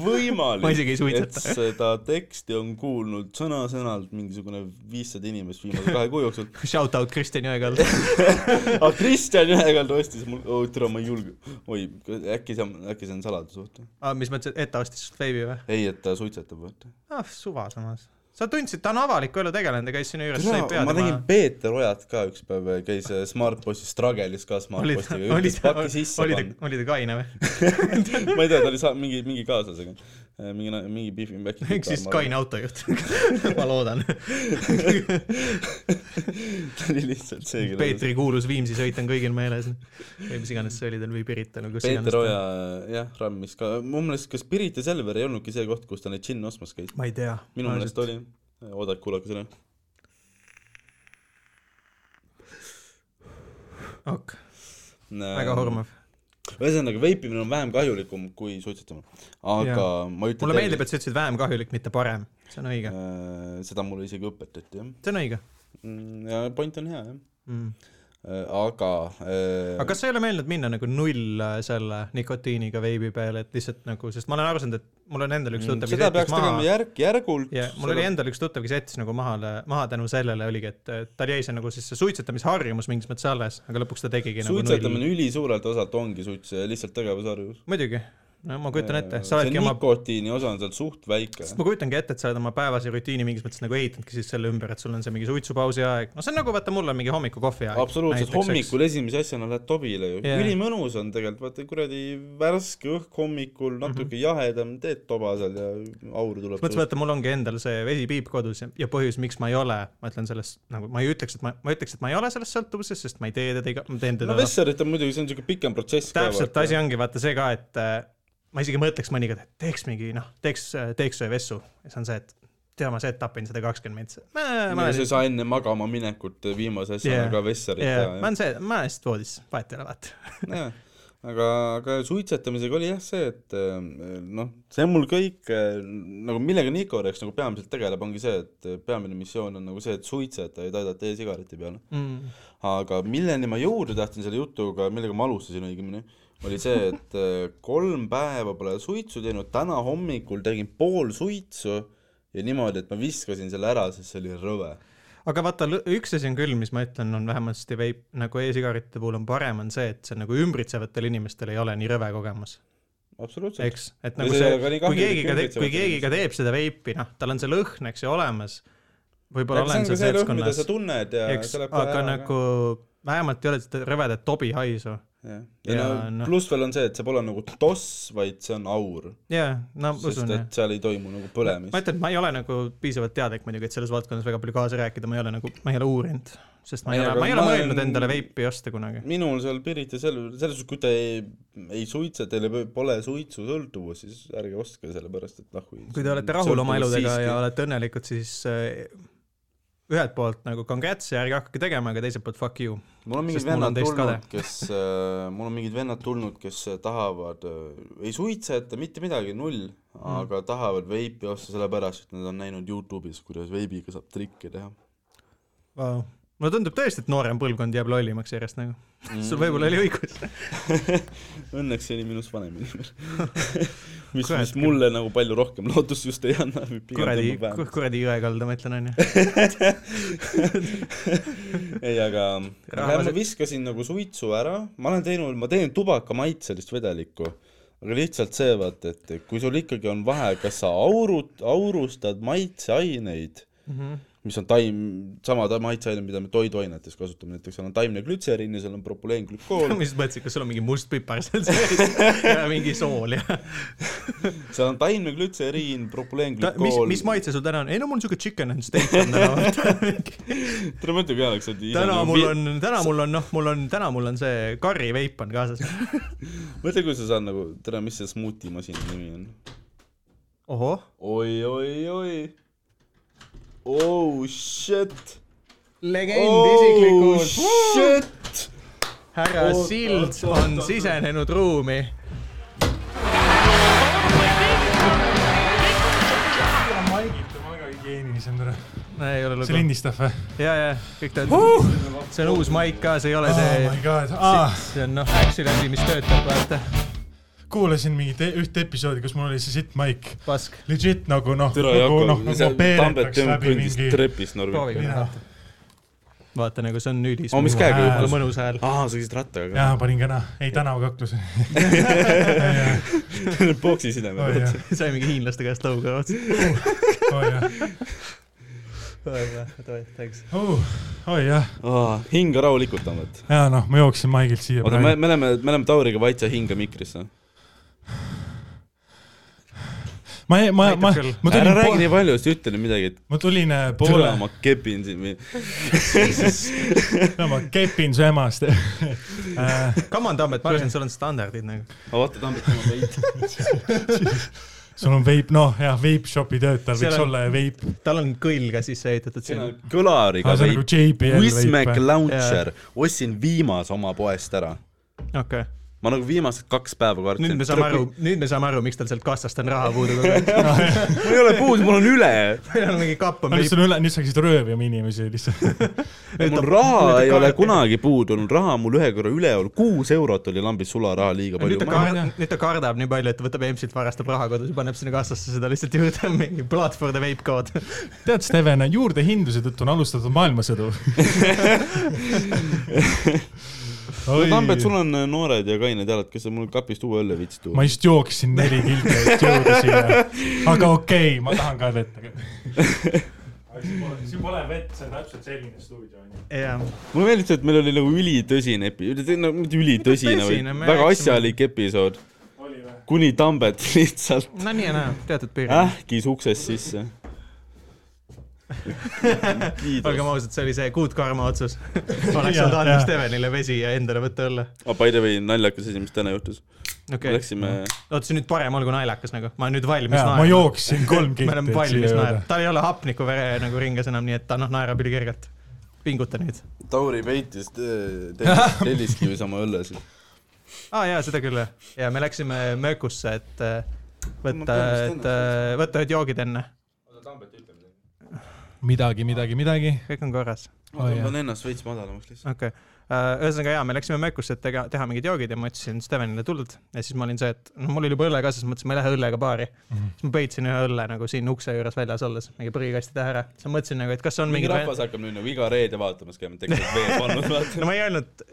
A: võimalik ,
B: Ma isegi ei suitseta.
A: et seda teksti on kuulnud sõna-sõnalt mingisugune viissada inimest viimase kahe kuu jooksul .
B: Shout out Kristjan Jõekald .
A: aga Kristjan Jõekald ostis mul , oi türa , ma ei julge , oi , äkki see on , äkki see on saladus , oota .
B: Ah, mis mõttes , et ta ostis sult veibi või ?
A: ei , et ta suitsetab , vaata .
B: ah , suva samas . sa tundsid , ta on avaliku elu tegelane , ta käis sinu juures , sa ei pea
A: ma nägin Peeter Ojat ka üks päev , käis Smartbossi Struggle'is ka
B: oli ta ,
A: Smartbossiga ,
B: oli
A: ütles
B: ta ,
A: paki sisse
B: oli ta , oli ta kaine või ?
A: ma ei tea , ta oli sa- , mingi , mingi kaaslasega . mingi , mingi beefi , äkki .
B: ehk siis kaine autojuht , ma loodan .
A: ta oli lihtsalt see ,
B: Peetri kuulus Viimsi sõit on kõigil meeles . või mis iganes see oli tal või Pirital või kus iganes
A: Peeter . Oja jah , rammis ka , mu meelest kas Pirita Selver ei olnudki see koht , kus ta neid džinne ostmas käis ?
B: ma ei tea .
A: minu meelest . oli , Äh, oodake , kuulake seda .
B: ok , väga . hurmav .
A: Äh, ühesõnaga , veipimine on vähem kahjulikum kui suitsetamine , aga ja.
B: Jaa.
A: ma ütlen
B: mulle meeldib , et sa ütlesid vähem kahjulik , mitte parem . see on õige ,
A: et äh, seda mulle isegi õpetati jah ,
B: see on õige
A: ja point on hea jah ,
B: mm. .
A: aga äh,
B: aga kas sa ei ole meeldinud minna nagu null äh, selle nikotiiniga veibi peale , et lihtsalt nagu , sest ma olen aru saanud , et mul on endal üks tuttav , kes
A: Mm, seda
B: jättis
A: peaks tegema
B: maha
A: järk-järgult
B: ja mul oli endal üks tuttav , kes jättis nagu maha , maha tänu sellele oligi , et äh, tal jäi see nagu siis see suitsetamisharjumus mingis mõttes alles , aga lõpuks ta tegigi nagu null .
A: suitsetamine ülisuurelt osalt ongi suits , lihtsalt tegevusharjus .
B: muidugi , no ma kujutan ette , sa
A: see
B: oledki oma ,
A: nikotiini osa on seal suht väike .
B: ma kujutangi ette , et sa oled oma päevase rutiini mingis mõttes nagu ehitanudki siis selle ümber , et sul on see mingi suitsupausi aeg , no see on nagu vaata , mul on mingi hommikukohvi aeg .
A: absoluutselt , hommikul esimese asjana lähed tobile ju
B: Jaa.
A: yeah. , ülimõnus on tegelikult , vaata kuradi värske õhk hommikul ,
B: Mhm.
A: natuke mm -hmm. jahedam , teed toba seal ja auru tuleb .
B: mõtlesin , vaata , mul ongi endal see vesi piip kodus ja, ja põhjus , miks ma ei ole , ma ütlen sellest nagu ma ei ütleks , et ma , ma ütleks , et ma ei ole selles sõltuvuses , sest ma ei tee teda iga , ma teen teda
A: no
B: no, .
A: Vesserit on muidugi , see on niisugune pikem protsess
B: täpselt , asi ongi vaata see ka , et äh, ma isegi mõtleks mõnikord , et teeks mingi noh , teeks , teeks ühe vessu ja see on see , et tea ma see , et tapin seda kakskümmend mintsi . ma ma
A: ma ei
B: olen ,
A: saa enne magama minekut viimase asjana
B: Jaa.
A: yeah. ka Vesserit
B: jaa,
A: yeah.
B: ma olen see , ma olen lihtsalt voodis , vahet ei ole , vaata .
A: teha jah aga , aga suitsetamisega oli jah see , et äh, noh , see on mul kõik äh, nagu millega Niko Reks nagu peamiselt tegeleb , ongi see , et eh, peamine missioon on nagu see , et suitsetajaid aidata e-sigareti peale .
B: Mm.
A: aga milleni ma jõuda tahtsin selle jutuga , millega ma alustasin õigemini , oli see , et äh, kolm päeva pole suitsu teinud , täna hommikul tegin pool suitsu ja niimoodi , et ma viskasin selle ära , sest see oli rõve .
B: aga vaata , üks asi on küll , mis ma ütlen , on vähemasti veip nagu e-sigaretide puhul on parem , on see , et see nagu ümbritsevatel inimestel ei ole nii rõve kogemus .
A: absoluutselt .
B: eks , et
A: Ja
B: nagu
A: see ei
B: see
A: ole ka nii ,
B: kui
A: kahjulik
B: keegi ka teeb , kui
A: ümbritsevatele
B: keegi ka teeb seda veipi , noh , tal on see lõhn , eks ju , olemas . võib-olla
A: aga see on ka
B: olen seal
A: see lõhn , mida
B: seltskonnas
A: sa , tunned ja
B: eks ,
A: see läheb kohe
B: aga
A: ära
B: nagu vähemalt ei ole seda rõvedat tobihaisu .
A: ka . jah. ja, ja
B: ja
A: no,
B: noh-
A: no. pluss veel on see , et see pole nagu toss , vaid see on aur ,
B: jaa , no ma
A: sest
B: usun jah
A: et seal ei toimu nagu põlemist
B: ma . ütlen , et ma ei ole nagu piisavalt teadlik muidugi , et selles valdkonnas väga palju kaasa rääkida , ma ei ole nagu , ma ei ole uurinud , sest ma ei
A: Ei,
B: ole ,
A: aga
B: ma ei ole
A: ma olen-
B: mõelnud endale veipi osta kunagi .
A: minul seal Pirita sel- , selles suhtes , kui te ei, ei suitse , teil ei- pole suitsusõltuvust , siis ärge ostke , sellepärast et noh , kui
B: kui te olete rahul oma eludega ja olete õnnelikud , siis äh, ühelt poolt nagu congrats ja ärge hakake tegema , aga teiselt poolt fuck you .
A: mul on mingid
B: sest mul on
A: vennad
B: teist
A: tulnud , kes äh, , mul on mingid vennad tulnud , kes tahavad äh, , ei suitseta mitte midagi , null mm. , aga tahavad veipi osta sellepärast , et nad on näinud Youtube'is , kuidas veibiga saab trikke teha .
B: Vau. mulle tundub tõesti , et noorem põlvkond jääb lollimaks järjest nagu .
A: Mm.
B: sul võib-olla oli õigus .
A: Õnneks see oli minust vanem inimene . mis ,
B: Kurat,
A: mis mulle nagu palju rohkem lootust just ei anna .
B: kuradi , kuradi jõekalda , ma ütlen onju .
A: ei , aga aga jah, ma
B: Rahvased-
A: viskasin nagu suitsu ära , ma olen teinud , ma teen tubakamaitselist vedelikku , aga lihtsalt see vaata , et kui sul ikkagi on vahe , kas sa aurud , aurustad maitseaineid ,
B: Mhm.
A: mis on taim , sama ta- maitseaine , mida me toiduainetes kasutame , näiteks seal on taimne glütseriin ja seal on propoleenglükool
B: ma , just mõtlesin , kas sul on mingi must pipar seal sees ja mingi sool ja .
A: seal on taimne glütseriin ,
B: mis ,
A: propoleenglükool .
B: mis maitse sul täna on ? ei no mul on siuke chicken and steak on täna .
A: tule mõtle peale , eks sa oled ise
B: täna
A: nagu
B: mul
A: vi-
B: on , täna mul on , noh , mul on , täna mul on see karriveip on kaasas .
A: mõtle , kui sa saad nagu , tere , mis see smuuti masina nimi on ?
B: ohoh ,
A: oi , oi , oi . Oh shit
B: legend
A: oh,
B: isiklikult .
A: shit!
B: härra
A: Oot, oot,
B: Sild
A: oot,
B: on
A: oot.
B: sisenenud ruumi .
C: maigib , tema väga hügieenilisem täna .
B: ei ole
C: see
B: lugu .
C: lindistab või ?
B: ja , ja kõik töötab . see on uus maik ka , see ei ole
C: Oh
B: see
C: my , god ah, ,
B: see on noh , Axeli asi , mis töötab , vaata ,
C: kuulasin mingit e- ühte episoodi , kus mul oli see sitt maik .
B: pask .
C: Legit nagu noh ,
A: tere ,
C: nagu
A: Jakob ,
C: noh , nagu
A: sa
C: ma peeretaks
A: Tambet
C: läbi
A: kõndis
C: mingi .
A: trepist Norra .
B: proovime
C: Mina.
B: vaata . vaata nagu see on ülis .
A: Oh, mis käega
C: juhtus?
B: mõnus hääl .
A: aa , sa käisid rattaga
C: jaa , panin täna , ei tänava kakluse .
A: ka ? boksi sideme
C: oi
A: peal .
C: jah ,
B: sai mingi hiinlaste käest lõuga otsa .
C: oi jah , oi jah .
A: hinga rahulikult , Tambet .
C: jaa noh , ma jooksin maigilt siia
A: oota , me ,
C: praegu .
A: me oleme , me oleme Tauriga vait , sa hinga mikrisse .
C: ma , ma , ma
B: Aitab küll. ,
C: ma
A: ära
C: tulin
A: räägi , nii
C: po-
A: palju , siis ütle nüüd midagi , et
C: ma tulin äh,
A: türa
C: poole ,
A: ma kepin siin või
C: no ma kepin su emast .
B: Come on , Tambet , ma arvasin , sul on standardid nagu .
A: aga vaata Tambet , tema peit .
C: sul on veip , noh jah , veipshopi töötajal
B: Seal
C: võiks
B: on-
C: olla veip ,
B: tal on kõll ka sisse ehitatud
A: siin on
B: sinna .
A: kõlariga
C: aga see on nagu
A: veip ,
C: JBL
A: Wismac
C: veip .
A: launcher , ostsin viimase oma poest ära .
B: okei ,
A: ma nagu viimased kaks päeva kartsin .
B: nüüd me saame aru , nüüd me saame aru , miks tal sealt kassast on raha puudu kogu aeg .
A: mul ei ole puudu , mul on üle .
B: meil on mingi kapp on
C: aga . nüüd sul üle , nüüd sa hakkasid röövima inimesi lihtsalt .
A: mul raha ei ole kunagi puudu olnud , raha on mul ühe korra üle olnud , kuus eurot oli lambis sularaha liiga palju
B: nüüd ta . kardab , nüüd ta kardab nii palju , et ta võtab EMS-ilt , varastab raha kodus ja paneb sinna kassasse seda lihtsalt juurde , mingi blood for the vape code .
C: tead , Steven , juurdehindluse tõttu on alustatud maailmasõdu
A: no Tambet , sul on äh, noored ja kained jalad , kas sa mul kapist uue õlle viitsid
C: ma
A: tuua ?
C: just jooksin neli kilti ja just jõudsin siia . aga okei okay, , ma tahan ka vett , aga . siin pole vett , see on täpselt selline stuudio onju .
B: jah ,
A: mulle meeldis see , et meil oli nagu ülitõsine epi- , no nagu mitte ülitõsine , vaid
B: Tõsine, me
A: väga
B: rääkisime-
A: asjalik episood ,
C: oli või ?
A: kuni Tambet lihtsalt
B: no nii ja naa , teatud piirid .
A: ähkis Ah, uksest sisse .
B: olgem
A: kiidus .
B: ausad , see oli see kuutkarma otsus . oleks
C: Jah,
B: saanud anda
C: jah.
B: Stevenile vesi ja endale võtta õlle .
A: Ah, By the way , naljakas asi , mis täna juhtus .
B: okei okay. ,
A: Läksime ,
B: oota see nüüd parem olgu naljakas nagu , ma olen nüüd valmis
C: jaa , ma
B: naerma .
C: jooksin kolm
B: me oleme
C: kilti
B: valmis naerma , tal ei ole hapnikuvere nagu ringes enam , nii et ta noh , naerab ülikirgelt . pinguta nüüd .
A: Tauri peitis te- te- telliskivis oma õlle siis .
B: aa ah, jaa , seda küll jah . ja me läksime möökusse , et äh,
A: Ma
B: võtta ,
A: pean vist
B: et äh, võtta need joogid enne ,
C: midagi , midagi , midagi .
B: kõik on korras .
A: ma
C: Oi,
A: tõmban ennast veits madalamaks lihtsalt .
B: okei okay. , ühesõnaga jaa , me läksime Mäkkusse , et tega, teha mingid joogid ja ma ütlesin Stevenile tuld ja siis ma olin see , et noh , mul oli juba õlle ka , siis mõtlesin , ma ei lähe õllega baari mm .
A: Mhm.
B: -hmm. siis ma peitsin ühe õlle nagu siin ukse juures väljas olles , mingi prügikasti tähe ära , siis ma mõtlesin nagu , et kas
A: mingi
B: on mingi, mingi
A: rahvas hakkab nüüd nagu iga reede vaatamas käima , tegelikult vee pannud vaata .
B: no ma ei öelnud ,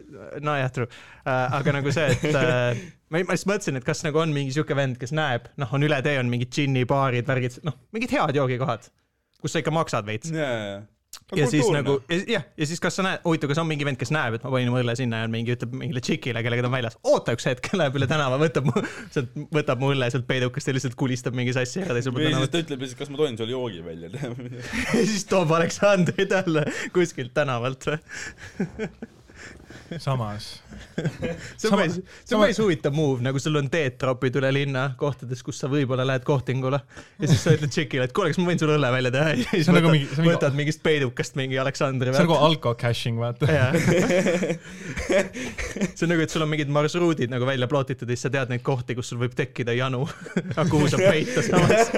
B: nojah , true , aga nagu see , et äh, ma ei- ma lihtsalt mõtlesin , et kas nagu on mingi siuke vend , kes näeb , noh , on üle tee on mingid džinni baarid , värgid , noh , mingid head joogikohad , kus sa ikka maksad veits . ja siis nagu ja- jah , ja siis kas sa näed , huvitav , kas on mingi vend , kes näeb , et ma panin oma õlle sinna ja mingi ütleb mingile tšikile , kellega ta on väljas , oota üks hetk , läheb üle tänava , võtab mu sealt , võtab mu õlle sealt peidukast ja lihtsalt kulistab mingi sassi ära teisel pool
A: või siis
B: tänavat
A: ta ütleb lihtsalt , kas ma tohin sulle joogi välja teha .
B: ja siis toob Aleksandrit jälle kuskilt tänavalt või .
C: samas .
B: see on
C: Sama-
B: päris , see on
C: sama-
B: päris huvitav move , nagu sul on teed tropid üle linna kohtades , kus sa võib-olla lähed kohtingule ja siis sa ütled tšikile , et kuule , kas ma võin sulle õlle välja teha ja siis
C: See on nagu
B: võtad,
C: mingi- see on mingi-
B: võtad mingist peidukast mingi Aleksandri
C: see on nagu alko-cashing , vaata .
B: Jaa. see on nagu , et sul on mingid marsruudid nagu välja plootitud ja siis sa tead neid kohti , kus sul võib tekkida janu , aga kuhu saab peita samas .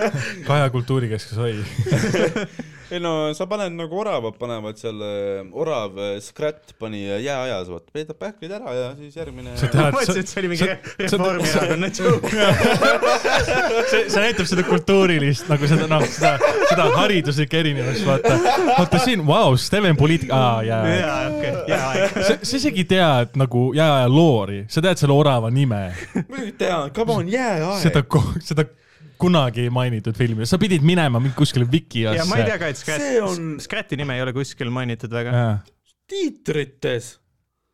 C: Kaja kultuurikeskus , oi .
A: ei no sa paned nagu oravad panevad seal , orav äh, Scrat pani jääajas , vaata , peidab pähkleid ära ja siis järgmine .
C: sa
B: ma
C: tead ,
B: mõtlesin ,
C: see ,
B: et see oli mingi Reformierakonna joke .
C: see näitab seda kultuurilist nagu seda , noh , seda , seda hariduslikku erinevust , vaata . vaata siin , vau , Steven poliitik , aa , jaa .
B: jaa , okei , jaa , jaa .
C: sa , sa isegi tead nagu jääaja loori , sa tead selle orava nime ,
A: muidugi tean , come on , jääaeg
C: seda ., seda kunagi ei mainitud filmi , sa pidid minema mingi kuskile
B: ja ma ei tea
C: Vikiasse .
B: ka , et
A: see on
B: Scrat , Scrati nime ei ole kuskil mainitud väga .
C: ma
A: tiitrites .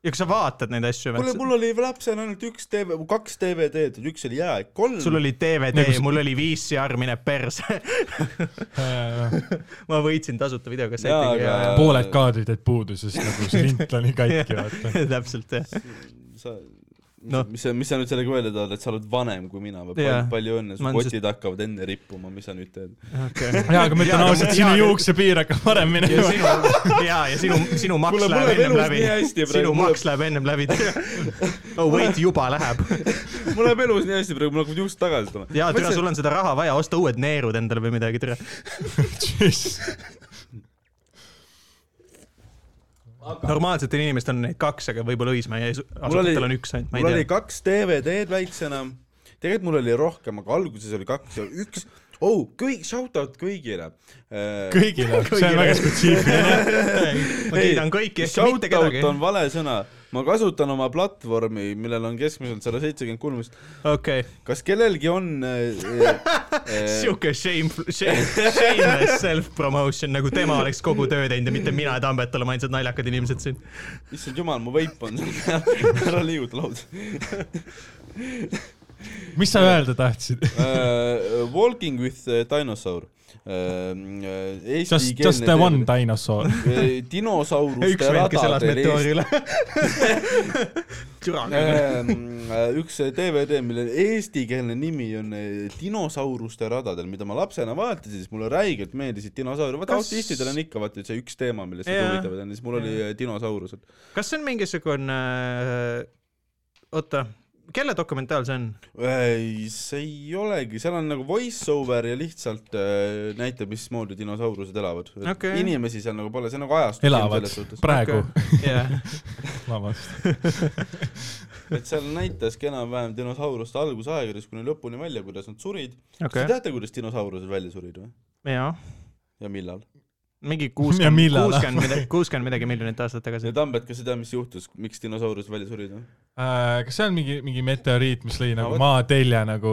B: ja kui sa vaatad neid asju ,
A: kuule , mul oli lapsena ainult üks TV , kaks DVD-d , üks oli jääaeg , kolm .
B: sul oli DVD
C: Nagu s- ,
B: mul oli VCR , mine perse . ma võitsin tasuta
A: Jaa,
B: videokassetiga
A: aga-
B: ja ,
C: pooled kaadrid jäid puudu , sest nagu see lint oli katki , vaata .
B: ja täpselt jah .
A: sa ,
B: Noh.
A: mis sa , mis sa nüüd sellega öelda tahad , et sa oled vanem kui mina või palju
B: Jaa. ,
A: palju õnne , su
B: Ma olen
A: kotid hakkavad enne rippuma , mis sa nüüd teed ?
C: jaa , aga ma ütlen ausalt , sinu juuksepiir hakkab varem
B: ja
C: minema .
B: sinu , ja , ja sinu , sinu maks
A: Kuule,
B: Kule,
A: mul läheb
B: läheb ennem
A: elus
B: läbi
A: nii hästi . praegu,
B: sinu
A: mul
B: maks läheb ennem läbi . oh wait , juba läheb .
A: mul läheb elus nii hästi praegu , mul hakkavad juuksed tagasi tulema .
B: ja türa , sul on seda raha vaja , osta uued neerud endale või midagi , türa . normaalsetel inimestel on neid kaks , aga võib-olla Õismäe ja
A: oli-
B: asutajatel on üks ainult , ma
A: mul oli
B: ei tea .
A: kaks DVD-d väiksena , tegelikult mul oli rohkem , aga alguses oli kaks ja üks , oh , kõik , shout out kõigile . Äh,
C: kõigile , see on väga spetsiifiline .
B: ma kiidan kõiki , ehkki mitte kedagi .
A: on vale sõna , ma kasutan oma platvormi , millel on keskmiselt sada seitsekümmend kolm ,
B: okei ,
A: kas kellelgi on äh, äh,
B: siuke shame , shameless self-promotion , nagu tema oleks kogu töö teinud ja mitte mina ja Tambet oleme ainsad naljakad inimesed siin .
A: issand jumal , mu veip on , ära liiguta lauda .
C: mis sa öelda tahtsid ?
B: Äh,
A: uh, Walking with a Dinosaur uh, .
C: Just , just the one . dinosaur .
A: Eh, dinosauruste
B: üks vend , kes elas
A: radadel Eestis
B: meteoori üle Türa-
A: Ähm, üks DVD , mille eestikeelne nimi on äh, Dinosauruste radadel , mida ma lapsena vaatasin , siis mulle räigelt meeldisid dinosaurid , vaata
B: Kas-
A: autistidel on ikka vaata see üks teema , millest nad
B: Jaa.
A: huvitavad on , siis mul oli äh, dinosaurused .
B: kas see on mingisugune , oota , kelle dokumentaal see on ?
A: see ei olegi , seal on nagu voice over ja lihtsalt äh, näitab , mismoodi dinosaurused elavad
B: Okei. .
A: inimesi seal nagu pole , see on nagu ajastus .
C: elavad praegu ,
B: jah ,
C: vabandust .
A: et seal näitaski enam-vähem dinosauruste algusaegadest kuni lõpuni välja , kuidas nad surid okay. . kas
B: okei
A: te , teate , kuidas dinosaurused välja surid või ?
B: jaa .
A: ja millal ?
B: mingi
C: Ja
B: kuuskümmend ,
C: millal?
B: kuuskümmend midagi , kuuskümmend midagi miljonit aastat tagasi
A: ja . Tambet , kas sa tead , mis juhtus , miks dinosaurused välja noh? surid või ?
C: Äh, kas see on mingi , mingi meteoriit , mis lõi
A: No
C: nagu
A: vot.
C: maatelja nagu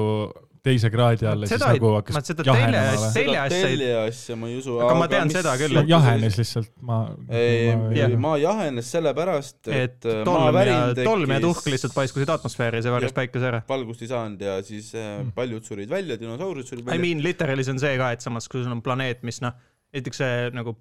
C: teise kraadi alla , siis
B: Seda ei-
C: nagu
B: ma
C: hakkas
B: seda
C: jahenema
B: telje-
C: või ?
B: Telje
A: seda
B: asja ei-
A: telje asja ma ei usu .
B: Aga ma tean seda küll, et-
C: jahenes lihtsalt ma .
A: ei ,
B: jah.
A: maa jahenes sellepärast ,
B: et
A: et äh,
B: tolm ja
A: maavärin ,
B: tolm ja tuhk
A: tekkis ,
B: lihtsalt paiskusid atmosfääri ja see varjas
A: Jah.
B: päikese ära .
A: valgust ei saanud ja siis äh, paljud surid välja , dinosaurused surid
B: I
A: välja .
B: mean literally see on see ka , et samas kui sul on planeet , mis noh , näiteks see nagu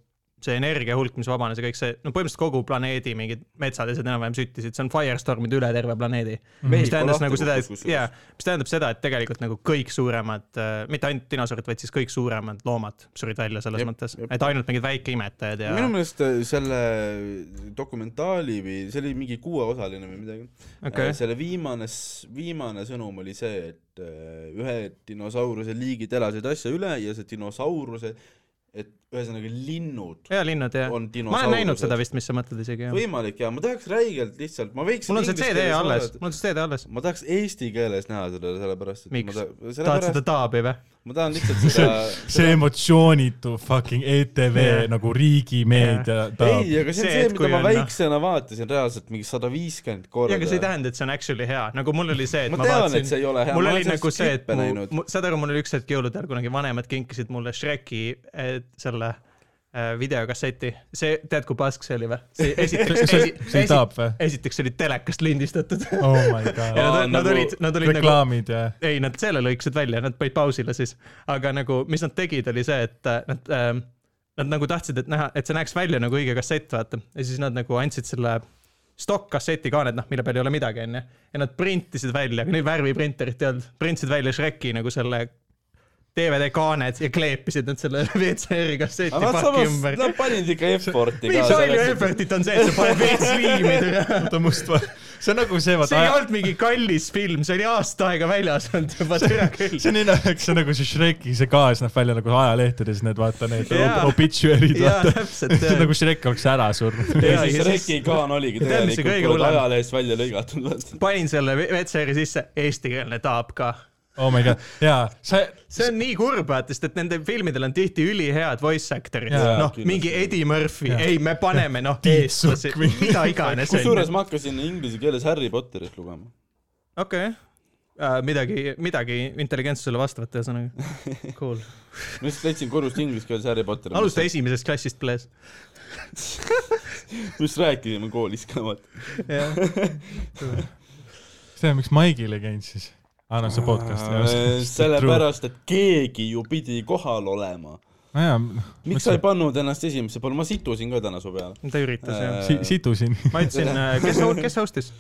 B: see energia hulk , mis vabanes ja kõik see , no põhimõtteliselt kogu planeedi mingid metsad ja asjad enam-vähem süttisid , see on firestormide üle terve planeedi . mis
A: Mehhiko
B: tähendas
A: Mhm. lahti
B: nagu seda ,
A: kukkus
B: et
A: kusjuures.
B: jaa , mis tähendab seda , et tegelikult nagu kõik suuremad , mitte ainult dinosaurid , vaid siis kõik suuremad loomad surid välja selles
A: Jep,
B: mõttes ,
A: jep.
B: et ainult mingid väikeimetajad ja
A: minu meelest äh, selle dokumentaali või see oli mingi kuueosaline või midagi
B: Okei.
A: Äh, selle viimane , viimane sõnum oli see , et äh, ühe dinosauruse liigid elasid asja üle ja see dinosauruse , et ühesõnaga linnud
B: ja linnud ja .
A: on
B: ma olen näinud
A: dinosaurused
B: seda . vist , mis sa mõtled isegi jah .
A: võimalik ja ma tahaks räigelt lihtsalt , ma võiksin
B: mul on see
A: inglise
B: CD
A: keeles
B: alles ,
A: vaadata.
B: mul on see CD alles .
A: ma tahaks eesti keeles näha seda sellepärast , et ma
B: Miks?
A: ta- ,
B: tahad seda
A: sellepärast ,
B: taabi või ?
A: ma tahan lihtsalt seda
C: see emotsioonitu fucking ETV
B: Jah.
C: nagu riigimeedia tahab
A: ei , aga see on
B: See,
A: see
B: et , kui
A: mida ma
B: on, noh.
A: väiksena vaatasin reaalselt mingi sada viiskümmend korda .
B: ja , aga see ei tähenda , et see on actually hea , nagu mul oli see , et
A: Ma
B: ma,
A: tean,
B: vaatasin .
A: et see ei ole hea.
B: mul
A: Ma
B: oli
A: olen sellest
B: nagu see , et
A: klippe
B: mu
A: näinud. ,
B: saad aru , mul oli üks hetk jõulude ajal kunagi vanemad kinkisid mulle Shreki eh, selle eh, videokasseti , see , tead , kui pask see oli või ? see esiteks ,
C: see-
B: esi,
C: see ei taab või?
B: esiteks see oli telekast lindistatud .
C: oh my god
B: ja
A: Aa,
B: nad, nad
A: nagu
B: olid , nad olid nagu
C: reklaamid ja
B: ei , nad selle lõikasid välja , nad panid pausile siis , aga nagu , mis nad tegid , oli see , et äh, nad ähm, , nad nagu tahtsid , et näha , et see näeks välja nagu õige kassett , vaata . ja siis nad nagu andsid selle stokk-kasseti ka , need noh , mille peal ei ole midagi , onju . ja nad printisid välja , neil värviprinterit ei olnud , printisid välja Shreki nagu selle DVD kaaned ja kleepisid nad selle VCR-i kasseti
A: aga nad
B: paki
A: samas ,
B: ümber .
A: nad panid ikka effort'i
B: nii
A: ka
B: palju . effort'it on see , et sa paned veits liimi türa .
C: oota mustval- see on nagu see
B: see ei
C: vaata
B: olnud mingi kallis film , see oli aasta aega väljas olnud juba , türa küll .
C: see on nii nagu see on nagu see Shreki see gaas näeb välja nagu ajalehtedes need vaata need
B: Jaa.
C: ob- obituary'd
B: jaa ,
C: vaata
B: täpselt
C: see on nagu Shrek oleks ära surnud
A: ja
B: Jaa,
A: siis
B: ja siis-
A: Reki Kaan oligi
B: Tead, mis see
A: tegelikult , kui
B: kõige
A: nad
B: hullem-
A: ajalehest välja lõigatud .
B: panin selle VCR-i sisse , eestikeelne taab ka .
C: oh my god jaa see
B: see on nii kurb , vaata , sest et nendel filmidel on tihti ülihead voice actor'id ,
C: Jaa,
B: noh ,
A: kindlasti.
B: mingi Eddie Murphy
C: Jaa. ,
B: ei , me paneme noh ,
C: Tiit
B: eestlasi
C: Sukk või- ,
B: mida iganes .
A: kusjuures ma hakkasin inglise keeles Harry Potterit lugema .
B: okei , midagi , midagi intelligentsusele vastavat , ühesõnaga . Cool .
A: ma lihtsalt leidsin kodust inglise keeles Harry Potteri .
B: alusta esimesest klassist , please .
A: mis rääkisime koolis ka , vaata .
C: see on miks Maigil ei käinud siis aa no see podcast ei ole
A: Äh, sellepärast , et keegi ju pidi kohal olema .
C: nojah noh,
A: miks sa ei pannud ennast esimesse poole , ma situsin ka täna su peale .
B: ta üritas jah .
C: si- situsin
B: ma ütlesin , kes , kes host'is ?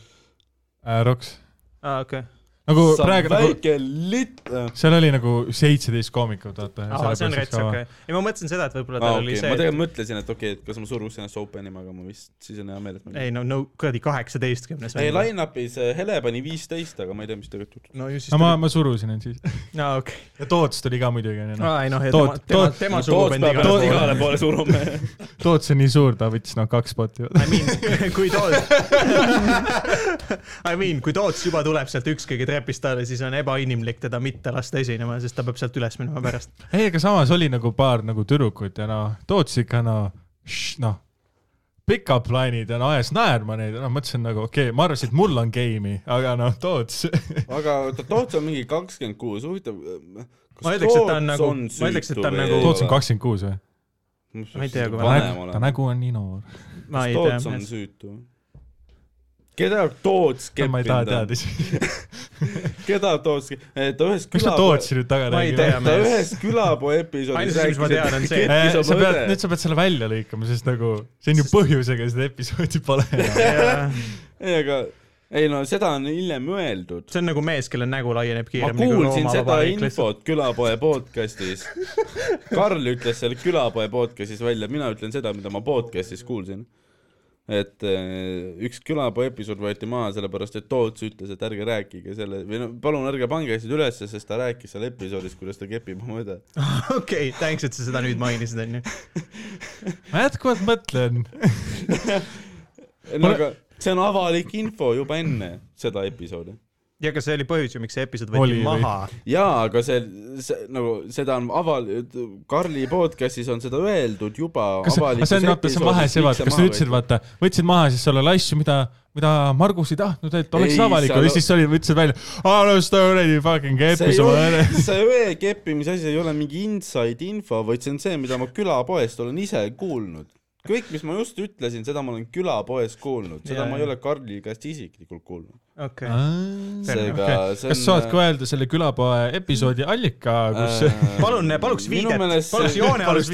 C: Äh, Roks
B: aa , okei .
C: nagu
A: sa
C: praegu nagu
A: väike äh, litt . aa ,
C: seal oli nagu seitseteist koomikut , vaata .
B: see on rets , okei . ei , ma mõtlesin seda , et võib-olla tal
A: okei
B: oli ,
A: ma
B: see ,
A: tegelikult mõtlesin , et okei , et kas ma suruks ennast open'ima , aga ma vist , siis on hea meel , et ma
B: ei no , no kuradi kaheksateistkümnes .
A: ei , line-up'is äh, Hele pani viisteist , aga ma ei tea , mis tegelikult juhtus .
B: no ju siis
C: no ma , ma surusin end siis .
B: aa , okei .
C: ja Toots tuli ka muidugi , onju .
B: aa , ei noh , tema
C: Toot- ,
B: tema
C: toot- ,
A: Toots
B: tema surub end
A: peab ennast
B: igale poole .
A: igale poole suruma .
C: Toots on nii suur , ta võttis noh kaks poti .
B: I mean , kui Toots , I mean , kui Toots juba tuleb sealt ükskõik trepist alla , siis on ebainimlik teda mitte lasta esinema , sest ta peab sealt üles minema pärast .
C: ei , aga samas oli nagu paar nagu tüdrukut ja noh , Toots ikka noh , noh , pickup line'id ja noh ajas naerma neid ja noh , mõtlesin nagu okei okay, , ma arvasin , et mul on game'i , aga noh , Toots .
A: aga oota , Toots on mingi kakskümmend kuus , huvitav .
B: Ma ütleks, et ta on nagu- ma ütleks, et ta on nagu-
C: Toots on kakskümmend kuus või ?
A: kakskümmend .
B: Ma ei tea, kui
C: ta
A: vanem
C: nägu , ta
A: olen .
C: nägu on nii noor .
B: ma ei
A: Toots on
B: tea ,
A: süütu . keda Toots
C: ma ei
A: keppinud
C: taha
A: on ?
C: teada isegi .
A: keda Toots , ta ühes
C: miks sa Tootsi nüüd taga
B: Ma ei
C: räägid
B: tea, ?
A: ta ühes külapoo episoodis
B: Ainus asi, mis ma tean, on see-
A: keppis
C: Äh, sa
A: oma
C: pead ,
A: õde.
C: nüüd sa pead selle välja lõikama , sest nagu see on ju põhjusega seda episoodi pole enam .
A: ei , aga ei no seda on hiljem öeldud .
B: see on nagu mees , kelle nägu laieneb
A: ma
B: kiiremini kui
A: kuulsin
B: Rooma
A: seda
B: nagu Vabariik lihtsalt .
A: infot külapoe podcastis . Karl ütles selle külapoe podcastis välja , mina ütlen seda , mida ma podcastis kuulsin . et eh, üks külapoe episood võeti maha sellepärast , et Toots ütles , et ärge rääkige selle või no palun ärge pange asjad ülesse , sest ta rääkis seal episoodis , kuidas ta kepib oma õde .
B: okei , thanks , et sa seda nüüd mainisid , onju .
C: ma jätkuvalt mõtlen ,
A: no aga see on avalik info juba enne seda episoodi .
B: ja kas see oli põhjus ju , miks see episood
C: Oli
B: võeti
C: või?
B: maha ?
A: jaa , aga see, see nagu seda on aval- , Karli podcast'is on seda öeldud juba .
C: kas aga see on , vaata see on vahe see , vaata , kas sa ütlesid , vaata , võtsid maha siis seal oli asju , mida , mida Margus ei tahtnud , et oleks
A: Ei,
C: avalik
A: sa-
C: või siis sa olid , võtsid välja , aa no seda kuradi
A: see
C: fucking kepis
A: ei
C: oma
A: ole
C: õde .,
A: see öe keppimise asi ei ole mingi inside info , vaid see on see , mida ma külapoest olen ise kuulnud . kõik , mis ma just ütlesin , seda ma olen külapoes kuulnud , seda
B: Jaa,
A: ja, ma
B: jaa.
A: ei ole Karli käest isiklikult kuulnud .
B: okei .
C: Ah. kas
A: seega
C: Okei.
A: see on . äh,
C: sa oledki öelda selle külapoe episoodi allika , kus äh,
B: palun , paluks viidet , paluks joonealust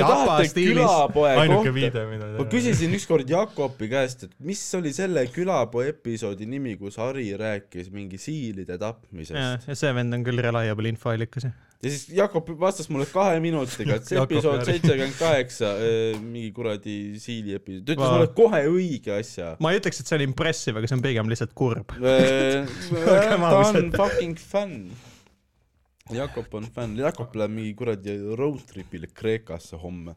A: kui te
B: APA
A: tahate
B: stiilis .
A: külapoe
C: ainuke
A: kohta ,
C: viide , mida
A: ma . küsisin ükskord Jakobi käest , et mis oli selle külapoo episoodi nimi , kus Hari rääkis mingi siilide tapmisest
B: ja see vend on küll reliable infoallikas .
A: ja siis Jakob vastas mulle kahe minutiga , et see
C: Jakob
A: episood
C: Jari.
A: seitsekümmend kaheksa , mingi kuradi siili episood , ta ütles
B: Vau.
A: mulle kohe õige asja .
B: ma ei ütleks , et see on impressive , aga see on pigem lihtsalt kurb .
A: Äh, ta on
B: ausalt.
A: fucking fänn . Jakob on fänn , Jakob läheb mingi kuradi road trip'ile Kreekasse homme .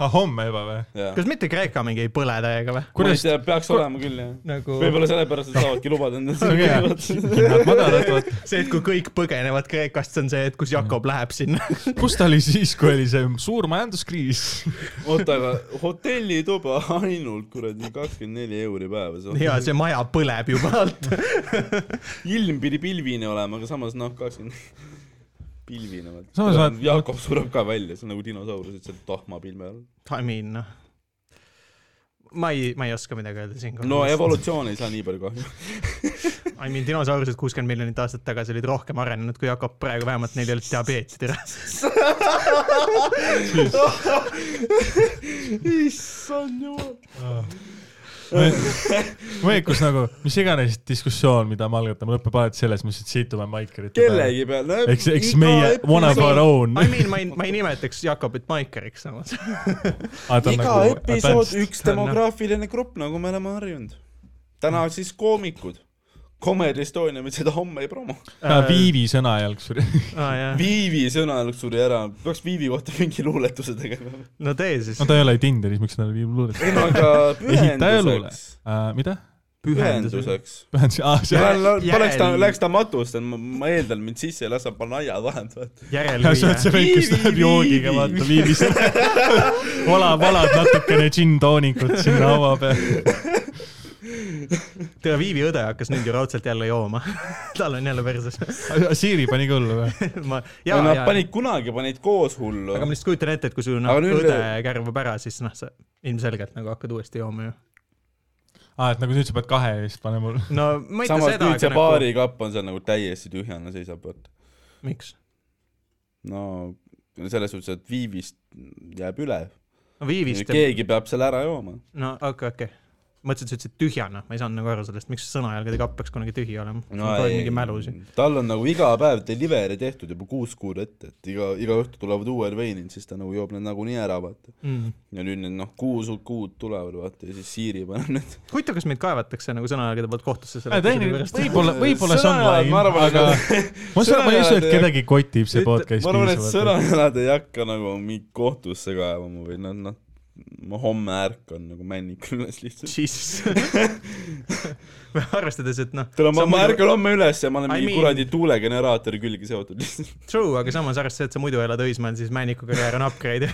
C: ah homme juba või ?
A: ma
B: kas mitte Kreeka mingi ei põle täiega või ?
A: ei
C: kuidas ,
A: tea , peaks olema küll jah .
B: nagu
A: võib-olla sellepärast nad saavadki lubada endale
C: see on hea , madalad , vaata .
B: see , et kui kõik põgenevad Kreekast , see on see , et kus Jakob
C: Mm.
B: läheb sinna .
C: kus ta oli siis , kui oli see suur majanduskriis ?
A: oota , aga hotellituba ainult kuradi kakskümmend neli euri päevas .
B: ja see maja põleb juba alt .
A: ilm pidi pilvine olema , aga samas noh , kakskümmend pilvine
C: Samas
A: vaata .
C: vaat-
A: Jakob sureb ka välja , see on nagu dinosaurus , et see tahma pilve all .
B: I mean , noh . ma ei , ma ei oska midagi öelda siinkohal .
A: no . evolutsioon ei saa nii palju kahju .
B: I mean , dinosaurused kuuskümmend miljonit aastat tagasi olid rohkem arenenud kui Jakob praegu , vähemalt neil ei olnud diabeeti tere .
A: issand jumal .
C: Ah. või kus nagu , mis iganes diskussioon , mida me algatame , lõpeb alati selles mõttes , et siit tuleb Maikerit .
A: kellegi peal .
C: eks , eks meie one of our own .
B: I mean , ma ei , ma ei nimetaks Jakobit Maikeriks samas .
C: Ah,
A: iga
C: nagu-
A: episood üks demograafiline grupp , nagu me oleme harjunud . täna siis koomikud . Comedy Estonia , me seda homme ei promo .
C: Viivi sõnajalg suri .
B: aa jah ,
A: Viivi sõnajalg suri ära , peaks Viivi kohta mingi luuletuse tegema .
B: no tee siis
C: no . ta ei ole Tinderis , miks ta oli Viivi luules ?
A: ei no aga
C: ehitaja luule
A: pühenduseks ..
C: mida ?
A: pühenduseks .
C: pühendus , aa see .
A: ja no
B: järel-
A: paneks ta , läks ta matust , ma , ma eeldan , mind sisse ei lase panna aia vahelt , vaata .
C: sa oled see
B: järelviie .
C: vend , kes läheb
A: Viivi,
C: joogiga ,
A: Viivi.
C: vaata Viivi sõnajalg . vala , valad natukene džinntoonikut sinna haua peale .
B: tere , Viivi õde hakkas nüüd ju raudselt jälle jooma . tal on jälle perses .
C: Siiri pani ka hullu või ?
B: ma ,
A: ja
B: jaa ,
A: nad
B: jaa .
A: panid kunagi , panid koos hullu
B: aga ma . lihtsalt kujutan ette , et kui sul noh
A: Aga nüüd-
B: õde kärvab ära , siis noh , sa ilmselgelt nagu hakkad uuesti jooma ju .
C: aa , et nagu nüüd sa pead kahe eest panema hullu .
B: no ma ei ütle
A: samas
B: seda ,
A: nüüd see
B: aga nagu ,
A: baarikapp on seal nagu täiesti tühjana seisab , vaata .
B: miks ?
A: no selles suhtes , et viivist jääb üle .
B: no Viivist ,
A: keegi peab selle ära jooma .
B: no okei , okei . mõtlesin , et sa ütlesid tühjana , ma ei saanud nagu aru sellest , miks sõnajalgade kapp peaks kunagi tühi olema no, . mingi mälus ju .
A: tal on nagu iga päev delivery tehtud juba kuus kuud ette , et iga , iga õhtu tulevad uued veinid , siis ta nagu joob need nagunii ära , vaata .
B: mm. .
A: ja nüüd need noh , kuus uut kuud tulevad , vaata , ja siis Siiri paneb need
B: huvitav , kas meid kaevatakse nagu sõnajalgade poolt kohtusse selle
C: Ah, teine , võib-olla , võib-olla see on
A: Sõnajalad, ma
C: laim ,
A: arvan,
C: aga ma saan , ma ei usu , et
A: sõnajalad-
C: kedagi kotib see
A: Ütle-
C: podcast
A: ma arvan , et
C: piisavalt .
A: sõnajalad ei hakka nagu mingi kohtusse kaevama või nad noh , ma homme ärkan nagu männikul üles lihtsalt .
B: Jesus . arvestades , et noh .
A: tule , ma , ma . ärkan homme üles ja ma olen
B: I
A: mingi
B: mean-
A: kuradi tuulegeneraatori külge seotud lihtsalt .
B: True , aga samas arvestades , et sa muidu elad Õismäel , siis Männiku karjäär on upgrade .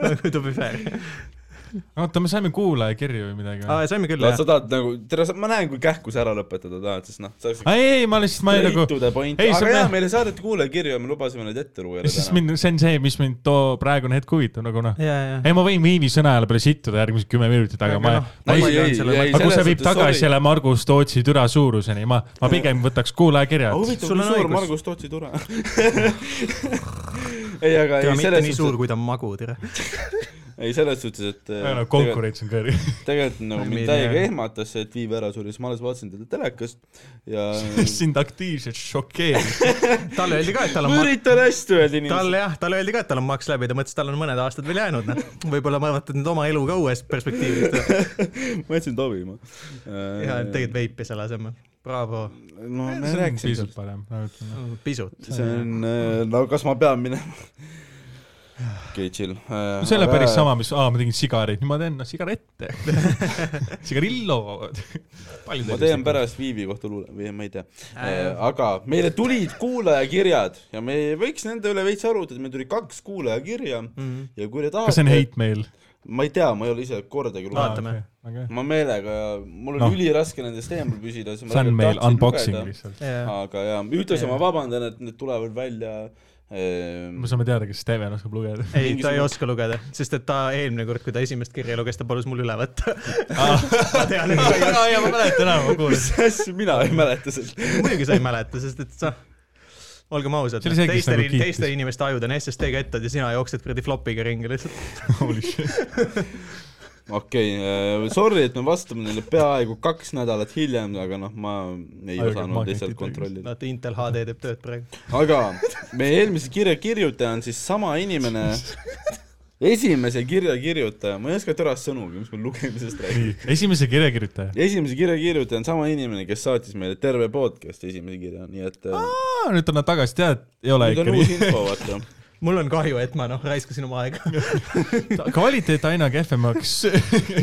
B: nagu to be fair .
C: oota , me saime kuulajakirju või midagi või ?
B: aa , saime küll
A: no
B: jah
A: sa . tahad nagu , tere , ma näen , kui kähku sa ära lõpetada tahad , sest noh , sa
C: ei , ei , ma lihtsalt , ma ei nagu ,
A: to the point ,
C: ei, see
A: aga
C: on
A: jaa
C: jah- ,
A: meile saadeti kuulajakirju ja me lubasime need ette lugeda
C: siis . mind , see on see , mis mind too praegune hetk huvitab nagu noh .
B: ja , ja .
C: ei , ma võin Viivi sõna jälle peale sittuda järgmised kümme minutit , aga
B: Aga
C: ma
B: noh, ,
C: ma
B: ei-
C: ei , aga kui see viib tagasi selle Margus Tootsi türa suuruseni , ma , ma pigem võtaks kuulajakirjad .
A: huvitav ,
B: Sul
A: kui
B: on
A: suur
B: õigus.
A: Margus Tootsi tule . ei , aga
B: ega
A: ei
B: mitte
A: selles
B: nii suur ,
A: suhtes ,
B: kui ta on magu , tere .
A: ei selles suhtes , et äh, tegelikult-
C: konkurents on kõrge .
A: tegelikult nagu
B: Meil
A: mind
B: ei-
A: täiega ehmatas see , et Viiv ära suri , siis ma alles vaatasin teda telekast ja
C: sind aktiivselt šokeeris .
B: talle öeldi ka , et tal
A: ma
B: on ma-
A: üritan hästi öelda inimesele .
B: talle jah , talle öeldi ka , et tal on maks läbi , ta mõtles , et tal on mõned aastad veel jäänud , noh . võib-olla vaatad nüüd oma elu ka uuest perspektiivist .
A: ma jätsin tobima .
B: ja tegid veipi selle asemel . Bravo ,
A: no me rääkisime
C: pisut
A: sellest .
C: parem .
B: pisut .
A: see on , no kas ma pean minema ? okei , chill . Äh,
C: no selle päris . sama , mis , aa , ma tegin sigareid , nüüd ma teen no, sigarette . sigarillo .
A: ma teen . pärast Viivi kohta luule või ma ei tea . aga meile tulid kuulajakirjad ja me võiks nende üle veits arutada , meil tuli kaks kuulajakirja ja kui te
C: kas see on
A: tahate ,
C: hate mail ?
A: ma ei tea , ma ei ole ise kordagi lugenud
B: Vaatame.
A: ma meelega , mul on
C: Noh.
A: üliraske nendest eemal püsida , siis ma
C: see on meil
A: tahtsin
C: unboxing
A: lugeda.
C: lihtsalt .
A: aga jaa , ühtlasi
B: Jaa.
A: ma vabandan , et need tulevad välja ehm,
C: me saame teada , kas Steven oskab lugeda .
B: ei , ta ei oska lugeda , sest et ta eelmine kord , kui ta esimest kirja luges , ta palus mul üle võtta . ma tean , et sa ei oska .
C: ma mäletan ära , ma
A: mis asja , mina ei mäleta seda .
B: muidugi sa ei mäleta , sest et sa , olgem ausad ,
C: See oli see, kes
B: teiste
C: nagu , kiitis.
B: teiste inimeste ajud on SSD-ga ettad ja sina jooksed kuradi flopiga ringi lihtsalt .
C: kuulen .
A: okei , sorry , et me vastame neile peaaegu kaks nädalat hiljem , aga noh , ma ei
C: Ajakirjad
A: osanud
C: magnetid
A: lihtsalt
C: tegid.
A: kontrollida .
B: vaata , Intel HD teeb tööd praegu .
A: aga meie eelmise kirja kirjutaja on siis sama inimene , esimese kirja kirjutaja , ma ei oska tõrast sõnugi , mis me lugemisest räägime .
C: esimese kirjakirjutaja .
A: esimese kirja kirjutaja on sama inimene , kes saatis meile terve podcast'i esimese kirja , nii et äh,
C: nüüd on nad tagasi , tead , ei ole
A: nüüd on uus
C: ikkagi .
A: info , vaata .
B: mul on kahju , et ma noh , raiskasin oma aega .
C: kvaliteet aina kehvemaks .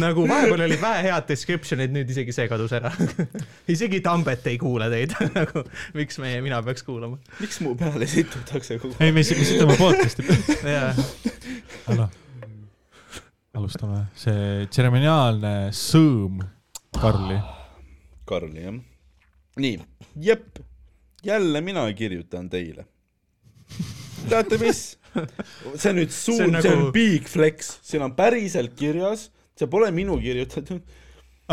B: nagu vahepeal olid vähe head description'id , nüüd isegi see kadus ära . isegi Tambet ei kuula teid , nagu miks meie , mina peaks kuulama .
A: miks mu peale situtakse kogu
C: ei , me isegi sõidame podcast'i .
B: jaa ,
C: alustame , see tseremoniaalne sõõm Karli .
A: aeg ? Karli , jah . nii , jep , jälle mina kirjutan teile . teate , mis ? see on nüüd suur , see on,
B: nagu-
A: nagu... big flex , siin on päriselt kirjas , see pole minu kirjutatud .
C: no ,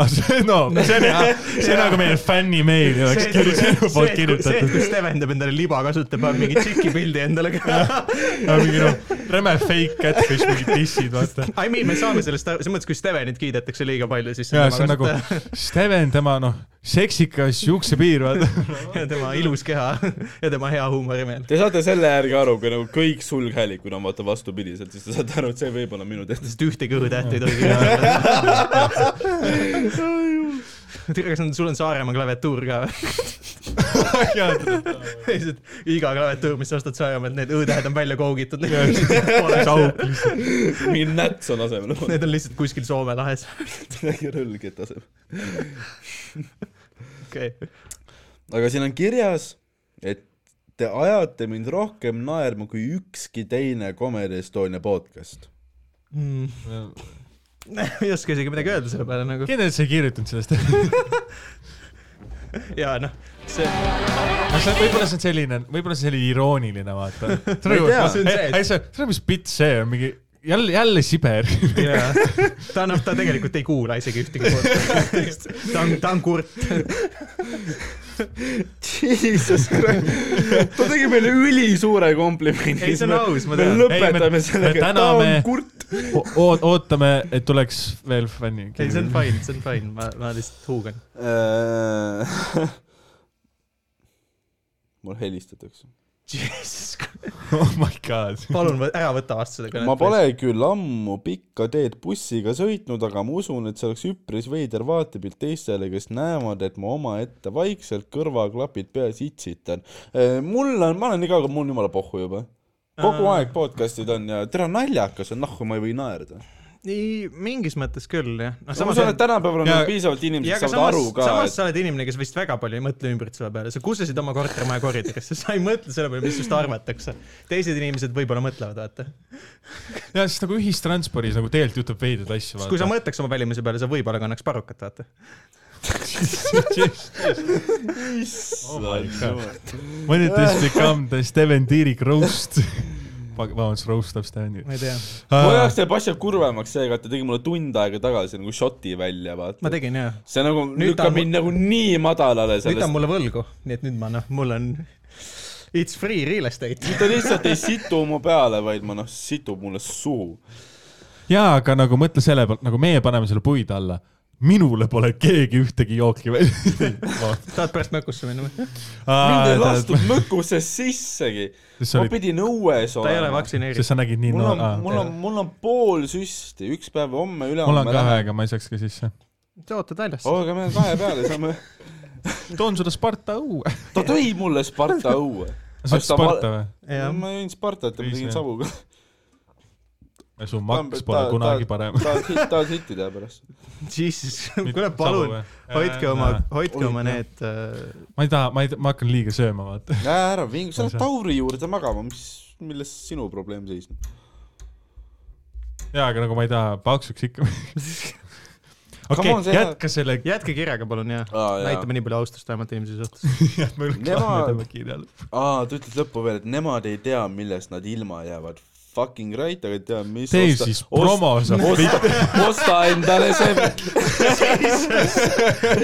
C: Ah, see on , see on nagu meie fännimeil
B: see ,
C: oleks kirju- sinu
B: see ,
C: poolt
B: see ,
C: kirjutatud .
B: kus Steven teeb endale liba , kasutab ainult mingi tšiki pildi endale ka .
C: aga mingi noh , räme fake catfish , mingid dissid , vaata .
B: I mean , me saame sellest aru , selles mõttes , kui Stevenit kiidetakse liiga palju , siis
C: jaa , see on nagu Steven , tema noh , seksikas juuksepiir , vaata .
B: ja tema ilus keha ja tema hea huumorimeel .
A: Te saate selle järgi aru , kui nagu kõik sulghäälikud on vaata vastupidiselt , siis te saate aru , et see võib olla minu tehtud .
B: sest ühte kõõtähte ei tohi kirjutada . tere , kas on , sul on Saaremaa klaviatuur ka või ? lihtsalt iga klaviatuur , mis sa ostad Saaremaalt , need õ-tähed on välja kougitud . Pole
C: auk
B: sauk .
A: mingi näts on asemel ,
B: Need on lihtsalt kuskil Soome lahes .
A: midagi rõlget asemel .
B: okei ,
A: aga siin on kirjas , et te ajate mind rohkem naerma kui ükski teine Comedy Estonia podcast .
B: ei oska isegi midagi öelda selle peale nagu
C: kindlalt sa ei kirjutanud sellest .
B: ja noh , see
C: no see võib-olla see on selline , võib-olla see oli irooniline , vaata .
A: Ma ei tea.
C: ei , nagu, ei see , see on nagu mis bitt see on , mingi jälle , jälle Siber .
B: jaa , ta noh , ta tegelikult ei kuula isegi ühtegi podcast'i . ta on , ta on kurt .
A: Jesus Christ , ta tegi meile ülisuure komplimendi .
B: Ei, see on aus, ma tean.
A: me lõpetame
C: me- me
A: sellega , et ta
C: täname-
A: on kurt .
C: ootame , et tuleks veel fänni .
B: ei , see on fine , see on fine , ma , ma lihtsalt huugan .
A: Äh, mul helistatakse .
C: oh my god .
B: palun võ- ära võta vastu seda kõnet .
A: ma pole . küll ammu pikka teed bussiga sõitnud , aga ma usun , et see oleks üpris veider vaatepilt teistele , kes näevad , et ma omaette vaikselt kõrvaklapid peas itsitan . mul on , ma olen iga kord , mul on jumala pohhu juba . kogu
B: Aa.
A: aeg podcast'id on ja tere naljakas on , nahku ma ei või naerda .
B: ei , mingis mõttes küll jah . no
A: ma usun , et tänapäeval on
C: Ja-
A: nagu piisavalt inimesi ,
B: ja
A: kes
B: aga
A: saavad
B: samas
A: aru , ka ,
B: samas sa oled inimene , kes vist väga palju ei mõtle ümbritseva peale , sa kusesid oma kortermaja koridorisse , sa ei mõtle selle peale , mis sinust arvatakse . teised inimesed võib-olla mõtlevad , vaata .
C: ja siis nagu ühistranspordis nagu tegelikult juhtub veidraid asju .
B: kui sa mõtleks oma välimuse peale , sa võib-olla kannaks parukat , vaata . Oh
A: et .
C: When it has become the Steven Tiirik roast . vabandust , roastab Steven
B: ma
C: Tiirik .
B: ei tea ,
A: mu jaoks teeb asja kurvemaks see , et ta tegi mulle tund aega tagasi nagu šoti välja , vaata
B: ma . tegin jah .
A: see nagu
B: Nüüd ta
A: lükkab
B: on mu-
A: mind nagu nii madalale
B: nüüd ta on
A: sellest .
B: mulle võlgu , nii et nüüd ma noh , mul on it's free real estate .
A: ta lihtsalt ei situ mu peale , vaid ma noh , situb mulle suhu .
C: jaa , aga nagu mõtle selle pealt , nagu meie paneme selle puid alla . minule pole keegi ühtegi jooki välja .
B: tahad pärast mökusse minna või ?
A: mind ei lastud mõkuse sissegi .
C: Sa
A: ma
C: olid-
A: pidin õues
B: ta ei ole
A: olema .
C: sest
B: vaktsineeritud .
C: sa nägid nii
A: mul on
C: noor , aa ,
A: mul on , mul on pool süsti , üks päev homme ,
C: mul on
A: ülehomme
C: kahe ,
A: lähen .
C: aga ma ei saaks ka sisse .
B: sa ootad väljas .
A: oo , aga meil on kahe peale , saame .
C: toon sulle Sparta õue .
A: ta tõi mulle Sparta õue .
C: sa oled
A: Kas ta val-
C: Sparta või ?
B: jah ,
A: ma jõin Spartat ja ma
C: Viis,
A: tegin
C: jah.
A: savuga .
C: su maks pole kunagi parem .
A: tahad hitt , tahad hitti teha pärast ?
B: jesus , kuule palun ,. hoidke oma , hoidke
A: Oi,
B: oma
A: jah.
B: need äh,
C: ma ei taha , ma ei , ma hakkan liiga sööma , vaata .
A: ära ära vingu , sa lähed Tauri juurde magama , mis , milles sinu probleem seisneb ?
C: jaa , aga nagu ma ei taha paksuks ikka . okei
A: on, , see-
C: jätka selle .
B: jätke kirjaga palun ja
A: Aa, jaa.
B: näitame nii palju austust vähemalt inimese suhtes .
A: Nemad-
C: aga
A: aa , ta ütles lõppu veel , et nemad ei tea , millest nad ilma jäävad . Fucking right , aga ei tea , mis .
C: Tee siis promo saab
A: osta , osta endale see ,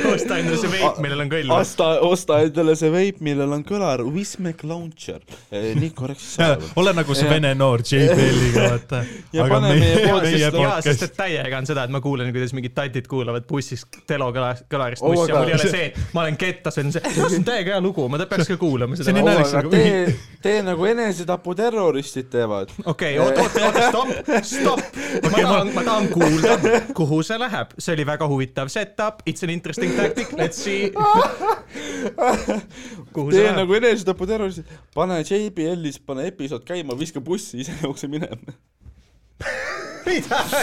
B: osta endale see veip , millel on kõll .
A: osta , osta endale see veip , millel on kõlar , Wismac Launcher . nii korraks siis .
C: ole nagu see
A: Jah.
C: vene noor JBL-iga , vaata .
A: Ja pane meie poodi
C: meie
A: sisse-
B: jaa , sest
C: podcast
B: et . täiega on seda , et ma kuulen , kuidas mingid tatid kuulavad bussis Telo kõla- kõlarist
A: Oo,
B: bussi ja
A: aga-
B: mul ei ole see , et ma olen kettas , on see , see on täiega hea lugu , ma ta- peaks ka kuulama
C: See on
B: seda
C: nii . naljakas,
A: aga
C: aga-
A: tee , tee nagu enesetaputerroristid teevad .
B: okei , oota , oota , oota , stopp , stopp . ma tahan , ma tahan kuulda , kuhu see läheb , see oli väga huvitav setup , it's an interesting tactic , let's see . kuhu see
A: tee
B: läheb ?
A: nagu enesetaputerroristid , pane JBL-is , pane episood käima , viska bussi , ise jookse minema .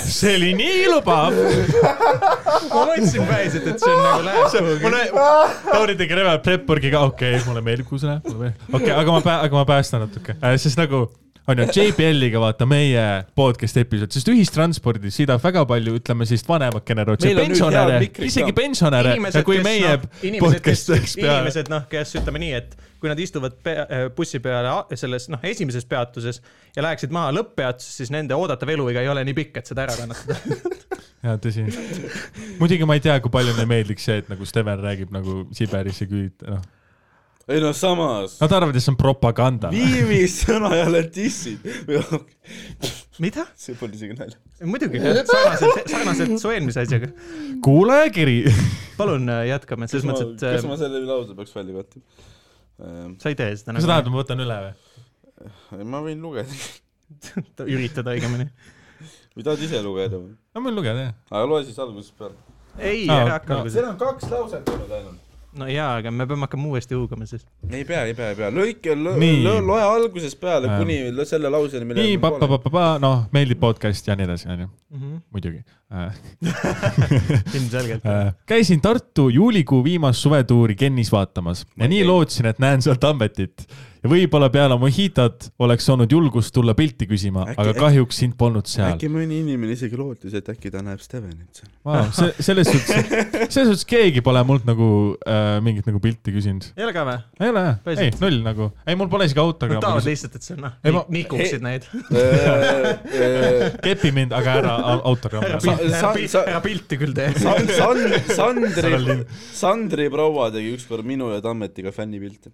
C: see oli nii lubav .
B: ma mõtlesin päriselt , et see on nagu läheb kuhugi .
C: Lauri tegi Revel Prepburgiga , okei okay, , mulle meeldib , kuhu see läheb , mulle meeldib . okei okay, , aga ma , aga ma päästan natuke äh, , sest nagu on ju , JBL-iga vaata meie podcast episood , sest ühistranspordis sõidab väga palju , ütleme siis vanemat generatsiooni ,
A: Meil on nüüd
C: pensionäre
A: head , mikrid
C: isegi
A: ka.
C: pensionäre ,
B: inimesed ,
C: kui
B: kes
C: meie
B: noh, inimesed , kes
C: podcast , läks peale .
B: inimesed , noh , kes ütleme nii , et kui nad istuvad pea, äh, bussi peale a- selles noh , esimeses peatuses ja läheksid maha lõpppeatuses , siis nende oodatav eluiga ei ole nii pikk , et seda ära kannatada .
C: jaa , tõsi . muidugi ma ei tea , kui palju neile meeldiks see , et nagu Steven räägib nagu Siberisse küüd , noh .
A: ei no samas .
C: Nad arvavad , et see on propaganda .
A: Viivi sõna jälle dissid .
B: mida ?
A: see polnud isegi nalja .
B: muidugi , sarnaselt , sarnaselt su eelmise asjaga .
C: kuulajakiri .
B: palun äh, jätkame , selles mõttes , et
A: kas
B: äh,
A: ma
C: ähm,
A: selle lause peaks välja kattima ?
B: sa ei tee seda
C: mis sa tahad ,
B: nagu ,
C: ma võtan üle või ?
A: ma võin lugeda .
B: üritada õigemini .
A: või tahad ise lugeda või ?
C: ma võin lugeda , jah .
A: aga loe siis algusest peale .
B: ei ,
C: Aa,
B: ära hakka
C: no.
B: alguses .
A: seal on kaks lauset olnud ainult .
B: no jaa , aga me peame hakkama uuesti huugama siis .
A: ei pea , ei pea , ei pea , lõike ,
C: Nii.
A: loe algusest peale
C: Aa.
A: kuni lõ- selle lauseni ,
C: nii ,
A: millele me oleme .
C: pa-pa-pa-pa , noh , meeldib podcast ja nii edasi , onju , muidugi äh, .
B: ilmselgelt .
C: Äh, käisin Tartu juulikuu viimast suvetuuri Kennis vaatamas ja nii lootsin , et näen seal Tammetit ja võib-olla peale Mojitat oleks olnud julgust tulla pilti küsima ,
A: Äkki-
C: aga
A: äkki-
C: kahjuks sind polnud seal .
A: äkki mõni inimene isegi lootis , et äkki ta näeb Stevenit seal .
C: Wow, see , selles suhtes , selles suhtes keegi pole mult nagu äh, mingit nagu pilti küsinud .
B: ei ole ka või ?
C: ei ole jah , ei
B: Päriselt?
C: null nagu , ei mul pole isegi
B: Nad tahavad
C: autogrammi ,
B: lihtsalt , et sa noh
C: Ei, ma- ,
B: nikuksid neid .
A: Äh,
C: kepi mind , aga ära au-
B: ära
C: autogrammi .
B: pilti , ära
A: sa-
B: pilti ,
A: sa-
B: ära pilti küll tee .
A: San- , San- , Sandri
C: Saralin. ,
A: Sandri proua tegi ükskord minu ja Tammetiga fännipilte .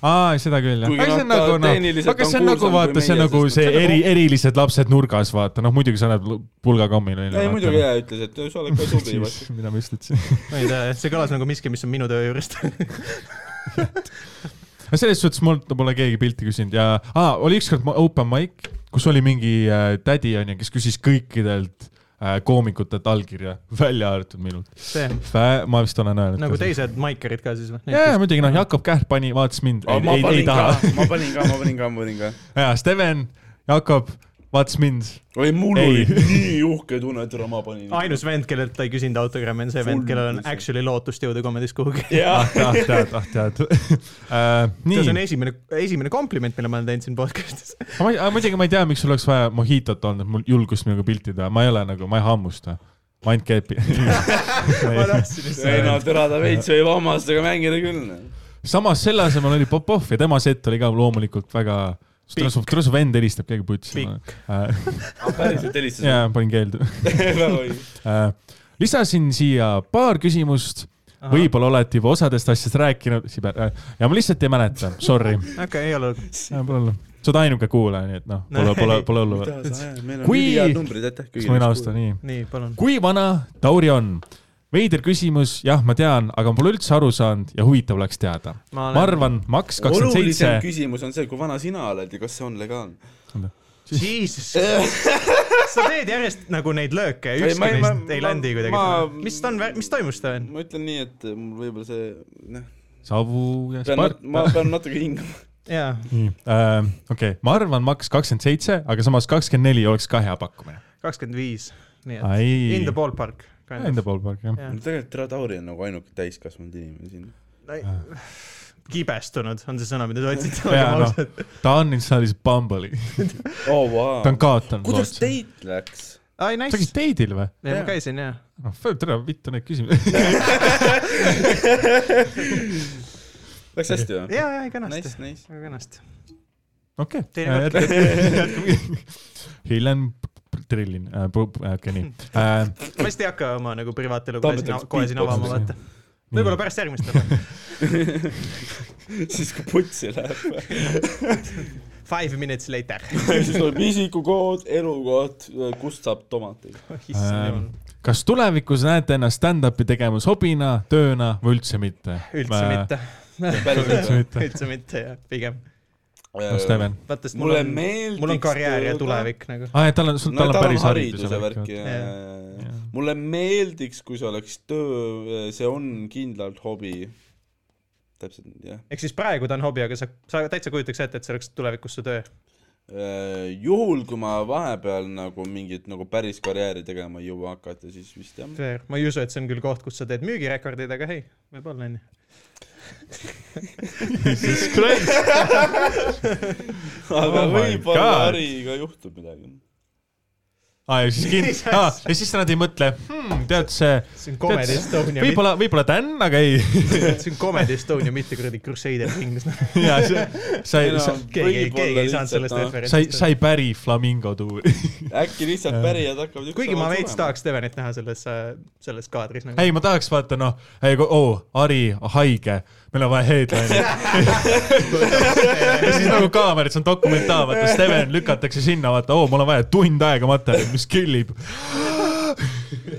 C: aa , seda küll jah .
A: Kuigi
C: aga see on
A: noh, ta
C: nagu noh ,
A: tehniliselt
C: aga
A: on
C: see on nagu
A: kuulsam
C: vaata ,
A: kui
C: see on
A: meie,
C: nagu
A: sest
C: see
A: ta-
C: eri , erilised lapsed nurgas , vaata , noh muidugi sa oled lu- pulgakommil on ju .
A: ei muidugi jaa , ütles , et sa oled ka tubli , vaata .
C: mida ma just ütlesin .
B: ma ei tea , see kõlas nagu miski , mis on minu töö juurest .
C: no selles suhtes mul pole keegi pilti küsinud ja ah, oli ükskord ma- open mic , kus oli mingi äh, tädi onju , kes küsis kõikidelt äh, koomikutelt allkirja , välja arvatud minult .
B: see ,
C: ma vist olen öelnud .
B: nagu . teised maikerid ka siis või ?
C: jaa , muidugi noh , Jakob Kähk pani , vaatas mind , ei , ei, ei taha .
A: ma panin ka , ma panin ka , ma panin ka .
C: ja Steven , Jakob What's mind ?
A: oi , mul
C: Ei.
A: oli nii uhke tunne , et ma panin .
B: ainus vend , kellelt ta ei küsinud autogrammi , on see vend , kellel on
A: Full-
B: actually lootust jõuda komedis kuhugi .
A: jaa
C: ah , tead , ah tead uh, .
B: see on
C: nii ,
B: esimene , esimene kompliment , mille ma olen teinud siin podcast'is .
C: muidugi ma ei tea , miks sul oleks vaja mojitot olnud , mul julgust nagu piltida , ma ei ole nagu , ma ei hammusta . ma ainult keepi
B: ma . tahtsin
A: ei no
B: lihtsalt .
A: tere , ta veits võib hammastega mängida küll . noh.
C: samas selle asemel oli Popov ja tema set oli ka loomulikult väga , tule su , tule su vend helistab , keegi putsi .
A: päriselt helistas
C: jaa , panin keeldu
A: väga õige .
C: Äh, lisasin siia paar küsimust , võib-olla olete juba osadest asjast rääkinud , Siber , ja ma lihtsalt ei mäleta , sorry .
B: okei , ei ole .
C: Pole hullu , sa oled ainuke kuulaja , nii et noh , pole , pole , pole hullu .
A: meil on
C: Kui-
A: ülihead numbrid , aitäh
C: kas ma võin austada , nii .
B: nii , palun .
C: kui vana Tauri on ? veider küsimus , jah , ma tean , aga ma pole üldse aru saanud ja huvitav oleks teada .
B: Ma
C: ma
B: olen-
C: arvan , maks kakskümmend
A: olulisem
C: seitse .
A: küsimus on see , kui vana sina oled ja kas see on legaalne ?
B: Jesus sa teed järjest nagu neid lööke ,
A: Ei, ma
B: ükski
A: ei-
B: neist
A: ma-
B: ei
A: ma-
B: landi kuidagi
A: ma-
B: täna . mis on , mis toimus täna ?
A: ma ütlen nii , et mul võib-olla see , noh ,
C: savu ja
A: pean ,
C: spark .
A: ma pean natuke hingama .
B: jaa ,
C: Äh, okei , ma arvan , maks kakskümmend seitse , aga samas kakskümmend neli oleks ka hea pakkumine .
B: kakskümmend viis , nii et in the
C: Enda
B: ballpark .
C: ballpark , jah .
A: tegelikult Tere Tauri on nagu ainuke täiskasvanud inimene siin .
B: kibestunud on see sõna , mida sa otsid .
C: Jaa, noh. ta on installis Bumble'i ,
A: oo ,
C: ta on
A: Oh, vau .
C: kaotanud .
A: kuidas ? teid läks ?
B: ai ,
C: sa
B: nice
C: käisid . teidil või ?
B: ei , ma
A: Jaa.
B: käisin jaa .
C: noh , tere , vittu neid küsimusi .
A: Läks hästi või ?
B: jaa , jaa , kenasti
A: Nice ,. nice .
B: väga kenasti .
C: okei . Äh,
B: Teine kord.
C: Helen Trillin , äh, okei nii . Äh,
B: ma vist ei hakka oma nagu privaatelu
A: Tahame
B: kohe siin
A: teha ,
B: kohe siin avama ,
C: beatboxi.
B: vaata . võib-olla pärast järgmist läbi .
A: siis kui putsi läheb .
B: Five minutes later .
A: siis tuleb isikukood , elukoht , kust saab tomateid .
B: issand jumal .
C: kas tulevikus näete ennast stand-up'i tegemas hobina , tööna või üldse mitte ?
B: üldse .
C: äh.
B: mitte .
A: päriselt või ?
C: mitte.
B: üldse mitte jah , pigem .
C: no Steven ,
B: vaata , sest mul
A: mulle
B: on ,
A: meeldiks .
B: mul on karjäär ja . tulevik nagu .
C: aa , et tal on , sul ,
A: no
C: tal on päris hariduse
A: hariduse värk ja , ja , ja . mulle meeldiks , kui see oleks töö , see on kindlalt hobi . täpselt , jah .
B: ehk siis praegu ta on hobi , aga sa , sa täitsa kujutaks ette , et see oleks tulevikus su töö .
A: Äh, juhul , kui ma vahepeal nagu mingit nagu päris karjääri tegema ei jõua hakata , siis vist jah .
B: Fair , ma ei usu , et see on küll koht , kus sa teed müügirekordid , aga hei , võib-olla onju .
A: aga
C: Oh my
A: võib-olla
C: God.
A: äriga juhtub midagi .
C: aa , Ah, ja siis kind- , aa , ja siis nad ei mõtle , tead see ,
B: see on Comedy Estonia ,
C: võib-olla , võib-olla Dan , aga ei .
B: see on Comedy Estonia , mitte kuradi Crusader Kings .
C: ja see , sa ei , sa
B: keegi , keegi ei saanud sellest
C: sa ei , sa
B: referentsi .
C: ei päri flamingo tuuri .
A: äkki lihtsalt pärijad hakkavad
B: kuigi ma veits . tahaks Stevenit näha selles , selles kaadris nagu .
C: ei , ma tahaks vaata noh , ei , oo , Ari haige , meil on vaja headline'i . ja siis nagu kaamerad , see on dokumentaal , vaata Steven lükatakse sinna , vaata , oo , mul on vaja tund aega materjali , mis killib .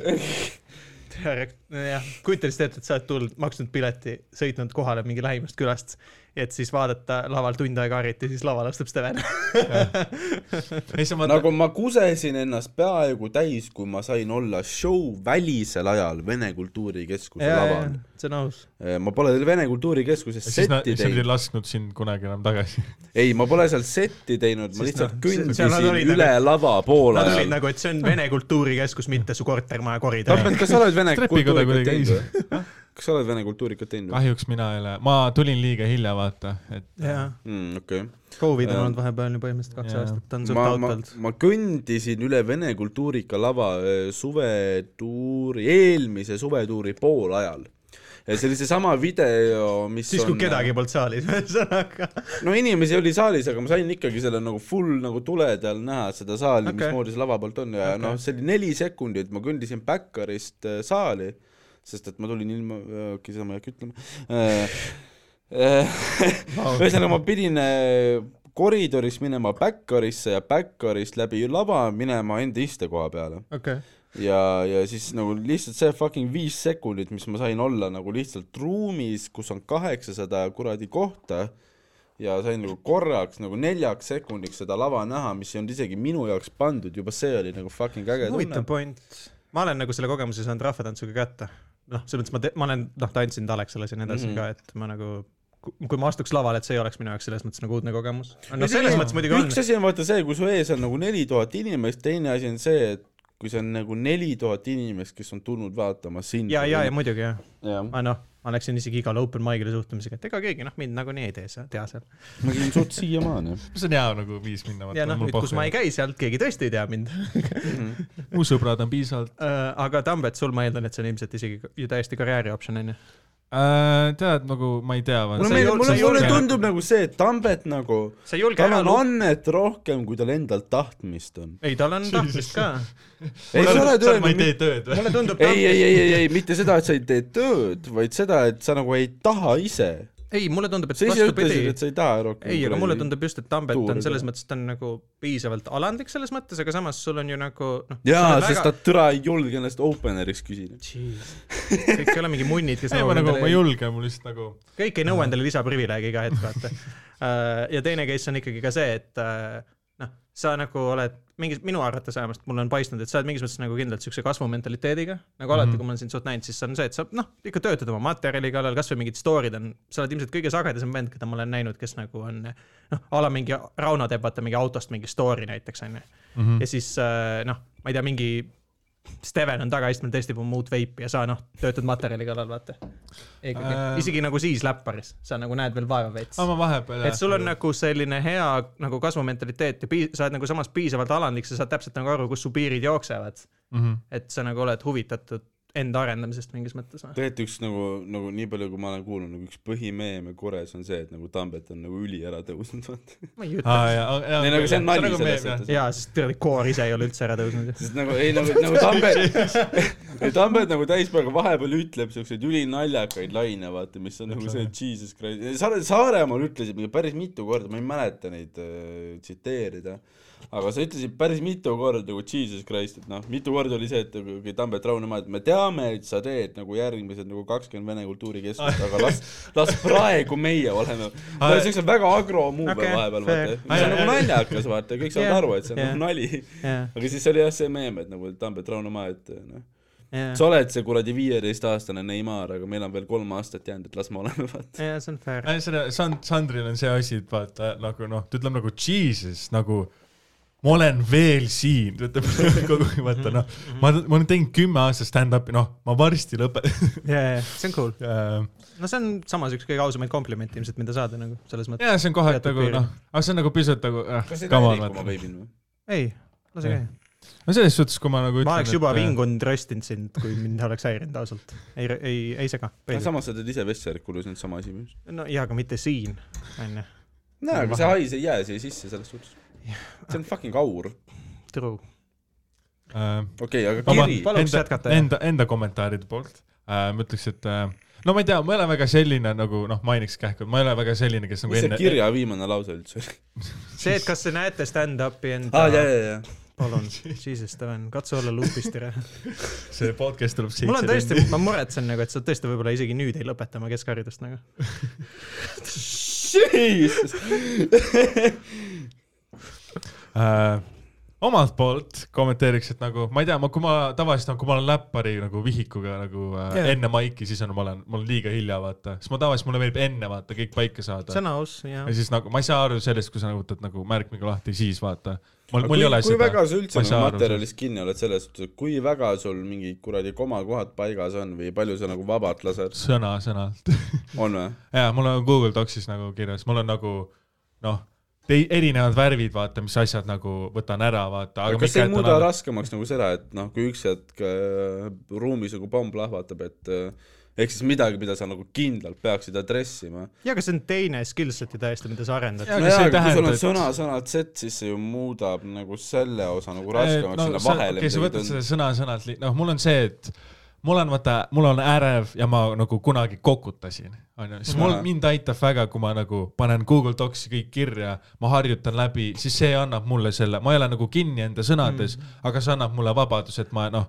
B: jah , kujuta lihtsalt ette , et sa oled tulnud , maksnud pileti , sõitnud kohale mingi lähimast külast , et siis vaadata laval tund aega Harrit ja siis laval astub Steven .
C: ja siis on vaata ,
A: nagu ma kusesin ennast peaaegu täis , kui ma sain olla show välisel ajal Vene Kultuurikeskuse laval .
B: see on aus .
A: ma pole veel Vene Kultuurikeskuses
C: siis nad ,
A: setti
C: siis nad ei
A: teinud ,
C: lasknud sind kunagi enam tagasi .
A: ei , ma pole seal setti teinud , ma
B: Siis
A: lihtsalt
B: nad- seal nad
A: kõndisin
B: olid
A: üle
B: nagu-
A: lava poole
B: Nad olid
A: ajal .
B: nagu , et see on Vene kultuurikeskus , mitte su kortermaja koridor .
A: Tampet , kas sa oled Vene
C: Trepiga ta
A: kultuurikat
C: kuidagi
A: teinud või ? kas sa oled Vene kultuurikat teinud
B: Ah.
A: või ?
C: kahjuks mina ei ole , ma tulin liiga hilja , vaata , et
B: jaa ,
A: Hmm, okei .
B: Covid on
A: Ähm,
B: olnud vahepeal ju põhimõtteliselt kaks
C: jaa.
B: aastat , ta on suht
A: ma , ma
B: autolt .,
A: ma kõndisin üle Vene kultuurika lava öö, suvetuuri , eelmise suvetuuri poolajal . see oli seesama video , mis
B: siis , kui
A: on-
B: kedagi polnud saalis , ühesõnaga .
A: no inimesi oli saalis , aga ma sain ikkagi selle nagu full nagu tulede all näha seda saali
B: Okei.
A: okay. , mismoodi see lava poolt on ja okay. noh , see oli neli sekundit , ma kõndisin Backarist äh, saali , sest et ma tulin ilma , okei , seda ma ei hakka ütlema äh, . ühesõnaga , ma pidin äh, koridoris minema Backarisse ja Backarist läbi lava minema enda istekoha peale
B: okei ,
A: ja , ja siis nagu lihtsalt see fucking viis sekundit , mis ma sain olla nagu lihtsalt ruumis , kus on kaheksasada kuradi kohta ja sain nagu korraks nagu neljaks sekundiks seda lava näha , mis ei olnud isegi minu jaoks pandud , juba see oli nagu fucking äge tunne
B: huvitav . point . ma olen nagu selle kogemuse saanud rahvatantsuga kätte . noh , selles mõttes ma , ma olen , noh , tantsin Talexalas ja nii edasi
A: Mhm.
B: ka , et ma nagu kui ma astuks lavale , et see ei oleks minu jaoks selles mõttes nagu uudne kogemus . no
A: Muidugi
B: selles
A: on.
B: mõttes muidugi on
A: üks . asi on vaata see , kui su ees on nagu neli tuhat inimest , teine asi on see , et kui see on nagu neli tuhat inimest , kes on tulnud vaatama sind .
B: ja , ja , ja muidugi jah .
A: ja. .
B: ma noh , ma läksin isegi igale open mic'ile suhtlemisega , et ega keegi noh , mind nagunii ei tee seal , tea seal .
A: ma käin suht siiamaani .
C: see on hea nagu viis minna .
B: ja noh , nüüd kus ma ei käi sealt , keegi tõesti ei tea mind .
C: mu sõbrad on piisavalt
B: aga Tambet , sul ma eeldan , et see on ilmselt isegi ju täiesti karjääri optsioon onju .
C: äh, . tead nagu ma ei tea .
A: mulle
B: sa ei
A: meeldib ,
B: ol-
A: mulle
B: sa , ei
A: mulle
B: julge-
A: tundub nagu see , et Tambet nagu ,
B: sa ei julge
A: tal
B: ära
A: on
B: loo- .
A: annet rohkem , kui tal endal tahtmist on .
B: ei , tal on tahtmist ka .
A: ei , sa oled
C: ma ei
A: öelnud
C: tee tööd või ?
B: mulle tundub .
A: ei , ei , ei , ei , ei , mitte seda , et sa ei tee tööd , vaid seda , et sa nagu ei taha ise .
B: ei , mulle tundub , et
A: sa ise ütlesid ,
B: vastupidi
A: et sa ei taha rohkem .
B: ei , aga mulle . tundub just , et Tambet
A: tuur
B: on
A: ei
B: selles
A: tule.
B: mõttes , ta on nagu piisavalt alandlik selles mõttes , aga samas sul on ju nagu noh .
A: jaa , sest ta türa ei julge ennast openeriks küsida .
B: kõik ei ole mingi munnid , kes
C: ei , ma nagu , ma ei julge , mul lihtsalt nagu
B: kõik ei nõua endale lisaprivileegi iga hetk , vaata . ja teine case on ikkagi ka see , et äh, noh , sa nagu oled mingis , minu arvates vähemalt mulle on paistnud , et sa oled mingis mõttes nagu kindlalt siukse kasvumentaliteediga . nagu alati , kui ma olen sind suht näinud , siis on see , et sa noh , ikka töötad oma materjali kallal , kasvõi mingid story'd on , sa oled ilmselt kõige sagedasem vend , keda ma olen näinud , kes nagu on noh , a la mingi Rauno teeb vaata mingi autost mingi story näiteks onju .
C: Mm.
B: ja siis äh, noh , ma ei tea , mingi Steven on tagaistmel , testib oma uut veipi ja sa noh , töötad materjali kallal , vaata .
C: Äh.
B: isegi nagu siis läpparis , sa nagu näed veel vaeva veits
C: aa , ma vahepeal
B: et sul on . nagu selline hea nagu kasvumentaliteet ja pii- , sa oled nagu samas piisavalt alandlik , sa saad täpselt nagu aru , kus su piirid jooksevad .
C: Mhm.
B: et sa nagu oled huvitatud enda arendamisest mingis mõttes noh. või ?
A: tegelikult üks nagu , nagu nii palju , kui ma olen kuulnud , nagu üks põhimeeme Kores on see , et nagu Tambet on nagu üli ära tõusnud , vaata .
B: ma ei ütle .
C: aa jaa , jaa .
A: ei , nagu see on nali selles suhtes .
B: jaa , sest tead , koor ise ei ole üldse ära tõusnud ju .
A: sest nagu ei nagu , nagu Tambet , Tambet nagu täispäevaga vahepeal ütleb siukseid ülinaljakaid laine , vaata , mis on nagu see Jesus Christ , Saare , Saaremaal ütlesid mingi päris mitu korda , ma ei mäleta neid äh, tsiteerida , aga sa ütlesid päris mitu korda nagu Jesus Christ , et noh , mitu korda oli see , et nagu kui Tambet Raunemaa , et me teame , et sa teed nagu järgmised nagu kakskümmend Vene kultuurikeskust , aga las , las praegu meie oleme , ta oli siukse väga agro muu
B: Okei,
A: peal vahepeal ,
B: fair.
A: vaata , mis on
C: Ai, ai,
A: nagu
C: ai.
A: naljakas , vaata , kõik saavad
B: Jah,
A: aru , et see on
B: jah.
A: nagu nali
B: jaa ,
A: aga siis oli jah see meem , et nagu Tambet Raunemaa , et noh , sa
B: jaa ,
A: oled see kuradi viieteistaastane Neimar , aga meil on veel kolm aastat jäänud , et las me oleme , vaata .
B: jaa , see on fair .
C: selle Sand- , Sandril on see asi , et vaata nagu noh , ta ütleb nagu jesus , nagu ma olen veel siin , ta ütleb kogu aeg , vaata noh , ma , ma olen teinud kümme aastat stand-up'i , noh , ma varsti lõpetan .
B: jaa , jaa , see on cool . no see on samas üks kõige ausamaid komplimente ilmselt , mida saada nagu selles mõttes .
C: jaa , see on kohati
B: Teatud
C: nagu
B: piirini.
C: noh , aga see on nagu pisut nagu eh,
A: kas ei
C: come
A: lähe
C: on ,
A: liikuma
C: vaata .
A: veebin või ?
B: ei , lase käia .
C: no selles suhtes , kui ma nagu ütlen .
B: ma oleks juba . vingunud , röstinud sind , kui mind oleks häirinud ausalt . ei , ei , ei sega .
A: aga samas sa teed ise Vesserikulus nüüd sama asi .
B: no jaa , aga mitte siin , onju .
A: no aga see hais ei jää siia sisse selles suhtes . see on fucking aur .
B: True .
A: okei , aga
C: äh, Oma-
A: kiri .
B: Paluks
C: enda
B: jätkata, , jah.
C: enda , enda kommentaaride poolt äh, ma ütleks , et äh, no ma ei tea , ma ei ole väga selline nagu noh , mainiks kähku , ma ei ole väga selline , kes nagu
A: mis see
C: enne .
A: kirja viimane lause üldse oli ?
B: see , et kas te näete stand-up'i enda
A: aa , Ah, jaa , jaa , jaa .
B: palun , jesus , Steven , katsu olla lupis , tere .
C: see podcast tuleb seitse .
B: mul on tõesti , ma muretsen nagu , et sa tõesti võib-olla isegi nüüd ei lõpeta oma keskharidust nagu .
A: Jesus .
C: äh, . omalt poolt kommenteeriks , et nagu ma ei tea , ma , kui ma tavaliselt , kui ma olen läppari nagu vihikuga nagu äh,
B: Jaa.
C: yeah. enne maiki , siis on , ma olen , ma olen liiga hilja , vaata , sest ma tavaliselt , mulle meeldib enne vaata kõik paika saada .
B: sõna aus ja
C: ja siis nagu ma ei saa aru sellest , kui sa nagu võtad nagu märkmiga lahti , siis vaata . mul , mul
A: kui
C: ei ole
A: kui väga sa
C: Ma
A: üldse
C: ei saa
A: nagu
C: aru
A: materjalis kinni oled selles suhtes , et kui väga sul mingid kuradi komakohad paigas on või palju sa nagu vabalt lased ,
C: sõna , sõnalt .
A: on või ?
C: jaa , mul on Google Docsis nagu kirjas , mul on nagu noh , erinevad värvid , vaata , mis asjad nagu võtan ära , vaata .
A: aga kas see ei muuda ? raskemaks nagu seda , et noh , kui üks hetk äh, ruumis nagu pomm plahvatab , et äh, ehk siis midagi , mida sa nagu kindlalt peaksid adressima .
B: ja aga see on teine skill set'i täiesti , mida sa arendad
C: Jaa, . aga see
A: nojah ,
C: ei
A: aga kui sul
C: tähenda,
A: on
C: et-
A: sõna-sõnalt set , siis see ju muudab nagu selle osa nagu raskemaks no,
C: no
A: sinna
C: sa ,
A: vahele
C: okei , sa
A: midagi
C: võtad
A: tund-
C: selle sõna-sõnalt , noh , mul on see , et mul on vaata , mul on ärev ja ma nagu kunagi kokutasin , onju , siis mul
A: Jaa. ,
C: mind aitab väga , kui ma nagu panen Google Docsi kõik kirja , ma harjutan läbi , siis see annab mulle selle , ma ei ole nagu kinni enda sõnades mm. , aga see annab mulle vabaduse , et ma noh ,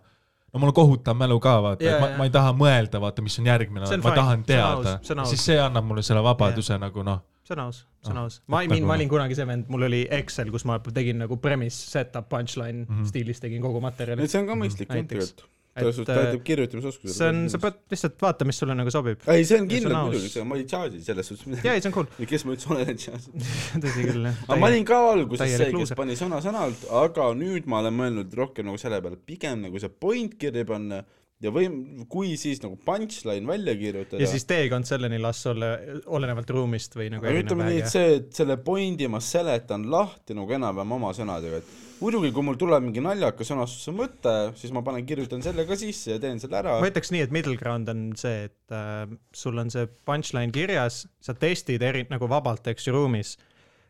C: no mul on kohutav mälu ka vaata
B: Jaa,
C: yeah, , ma,
B: jaa.
C: ma ei taha mõelda , vaata , mis on järgmine
B: See on ,
C: ma
B: fine,
C: tahan
B: see on aus,
C: teada
B: see on , aus.
C: siis see annab mulle selle vabaduse yeah. nagu noh ,
B: sõna aus , sõna aus . ma , ma olin kunagi see vend , mul oli Excel , kus ma tegin nagu premise , setup , punchline mm -hmm. stiilis tegin kogu materjali
A: et . see on ka mõistlik jah,
B: Näiteks.
A: tegelikult . selles suhtes ta ütleb kirjutamisoskusele .
B: see on , sa . pead lihtsalt vaatama , mis sulle nagu sobib .
A: ei , see on
B: see on
A: kindlalt
B: aus.
A: muidugi , see on , ma ei charge'i selles suhtes
B: jaa ,
A: midagi .
B: ei see on cool ,
A: kes ma üldse olen , et charge .
B: tõsi küll jah .
A: aga ma olin ka alguses
B: täielik
A: see , kes
B: luuser.
A: pani sõna sõnalt , aga nüüd ma olen mõelnud rohkem nagu selle peale , et pigem nagu see point kirja panna ja või kui siis nagu punchline välja kirjutada .
B: ja siis teekond selleni las olla , olenevalt ruumist või nagu
A: aga ütleme nii , et
B: erinev .
A: see , et selle pointi ma seletan lahti nagu enam-vähem oma sõnadega , et muidugi , kui mul tuleb mingi naljakas sõnastuse mõte , siis ma panen , kirjutan selle ka sisse ja teen selle ära .
B: ma ütleks nii , et middle ground on see , et äh, sul on see punchline kirjas , sa testid eri , nagu vabalt , eks ju , ruumis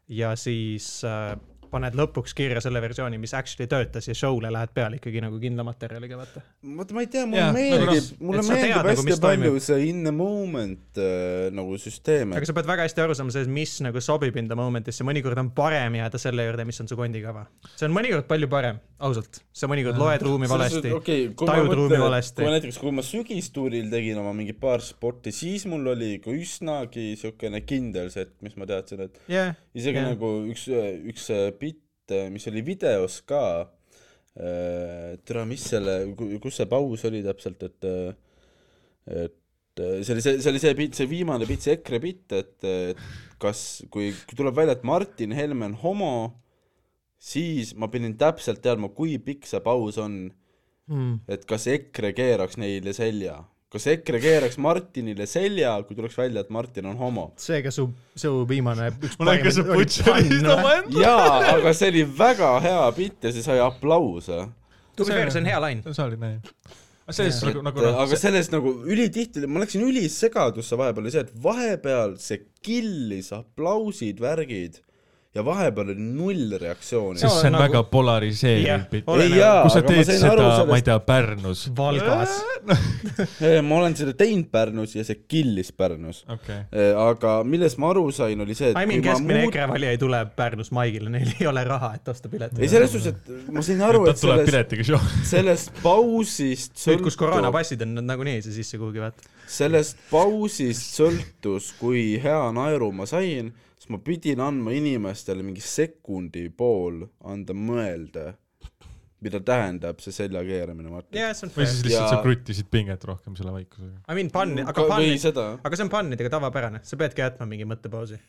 B: ja siis äh, paned lõpuks kirja selle versiooni , mis actually töötas ja show'le lähed peale ikkagi nagu kindla materjaliga , vaata .
A: vot ma ei tea , mulle
C: Jaa,
A: ja,
C: nagu
A: meeldib
C: noh, ,
A: mulle
B: et sa
A: meeldib
B: tead nagu,
A: hästi
B: mis
A: nagu, palju
B: toimib.
A: see in the moment äh, nagu süsteem ,
B: aga
A: et
B: sa pead väga hästi aru saama sellest , mis nagu sobib enda momentisse , mõnikord on parem jääda selle juurde , mis on su kondikava . see on mõnikord palju parem , ausalt . sa mõnikord loed ruumi
A: selles
B: valesti
A: suhtes- okei, kui ma
B: tajud
A: mõtlen,
B: ruumi
A: et
B: valesti.
A: kui ma näiteks , kui ma sügistuuril tegin oma mingi paar sporti , siis mul oli ikka üsnagi siukene kindel see , et mis ma teadsin , et
B: yeah, .
A: isegi yeah. nagu üks , üks äh, bitt , mis oli videos ka , türa , mis selle , kus see paus oli täpselt , et äh, et äh, see oli see , see oli see bitt , see viimane bitt , see EKRE bitt , et et kas , kui kui tuleb välja , et Martin Helme on homo , siis ma pidin täpselt teadma , kui pikk see paus on ,
B: mm. .
A: et kas EKRE keeraks neile selja , kas EKRE keeraks Martinile selja , kui tuleks välja , et Martin on homo
B: seega su , su viimane üks
C: mul hakkas see butšerist oma enda .
A: jaa , aga see oli väga hea bitt ja see sai aplause .
B: to be fair , see on hea lain .
C: see oli näi . aga selles
B: Jaa.
C: nagu , nagu noh
A: aga , sellest nagu ülitihti , ma läksin ülisegadusse vahepeal , oli see , et vahepeal see killis aplausid , värgid ja vahepeal oli null reaktsiooni
B: See .
C: sest see on
B: nagu-
C: väga polariseeriv
B: Jah.
C: bitt .
B: Ole-
A: ei jaa ,
C: kui sa
A: aga ma
C: teed
A: sain aru
C: seda , ma ei
A: sellest ,
C: tea , Pärnus .
B: Valgas .
A: ma olen seda teinud Pärnus ja see killis Pärnus .
C: okei .
A: aga millest ma aru sain , oli see , et
B: I mean ,
A: kui ma
B: keskmine
A: muut-
B: EKRE valija ei tule Pärnus maigile , neil ei ole raha , et osta
A: ei
B: piletit .
A: selles suhtes , et ma sain aru ,
C: ta
A: et
C: tuleb
A: sellest ,
C: piletiga show .
A: sellest pausist
B: nüüd , kus koroonapassid on , nad nagunii ei saa sisse kuhugi vaata .
A: sellest pausist sõltus , kui hea naeru ma sain , siis ma pidin andma inimestele mingi sekundi pool anda mõelda , mida tähendab see selja keeramine , Martin .
B: jah , see on
C: või
B: fair
C: siis .
A: Ja-
C: lihtsalt sa kruttisid pinget rohkem selle vaikusega .
B: I mean , pann , aga
A: või
B: pann ,
A: seda .
B: aga see on pannidega tavapärane , sa peadki jätma mingi mõttepausi .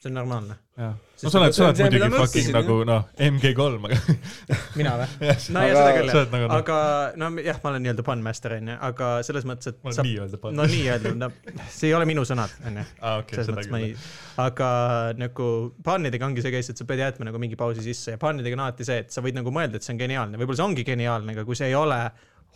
B: see on normaalne .
C: no sa oled ,
A: see
C: sa
A: on
C: oled
A: see, mida
C: muidugi
A: ma
C: fucking
A: mõtlesin,
C: nagu noh , MG3 , aga
B: mina või ? no
A: Aga-
B: ja seda küll
C: sa oled
B: jah ,
C: nagu noh ,
B: aga no jah , ma olen nii-öelda pannmaster onju , aga selles mõttes , et
C: ma
B: sa
C: olen , nii-öelda
B: no nii-öelda , no see ei ole minu sõnad onju .
C: aa okei ,
B: selles
C: seda
B: mõttes ma ei
C: küll .,
B: aga nagu pannidega ongi see case , et sa pead jätma nagu mingi pausi sisse ja pannidega on alati see , et sa võid nagu mõelda , et see on geniaalne , võib-olla see ongi geniaalne , aga kui see ei ole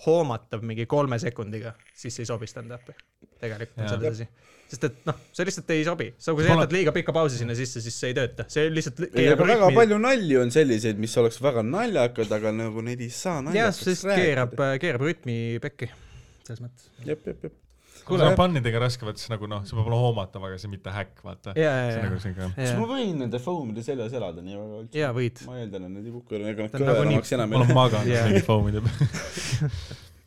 B: hoomatav mingi kolme sekundiga , siis see ei sobi stand-up'i . tegelikult on
C: Jaa.
B: selles asi . sest et noh , see lihtsalt ei sobi , sa , kui
C: Ma
B: sa
C: olen-
B: jätad liiga pika pausi sinna sisse , siis see ei tööta , see lihtsalt .
A: ei , aga väga palju nalju on selliseid , mis oleks väga naljakad , aga nagu neid ei saa
B: jah ,
A: naljakaks
B: sest keerab ., keerab rütmi pekki , selles mõttes .
A: jep , jep , jep .
C: kuule , pannidega on raske , vaata see nagu noh , see peab olema hoomatav , aga see mitte häkk , vaata .
B: ja ,
C: see on
B: ja ,
C: nagu siuke ,
A: kas ma
B: ja ,
A: võin nende foamide seljas elada nii väga üldse ?
B: ja võid .
A: ma eeldan , et need ei kuku , ega nad
B: Ta on nagunii-
A: kõvemaks enam
C: ma
A: ei
C: olen
A: lähe .
C: maganud
B: Jaa.
C: mingi foamide peal .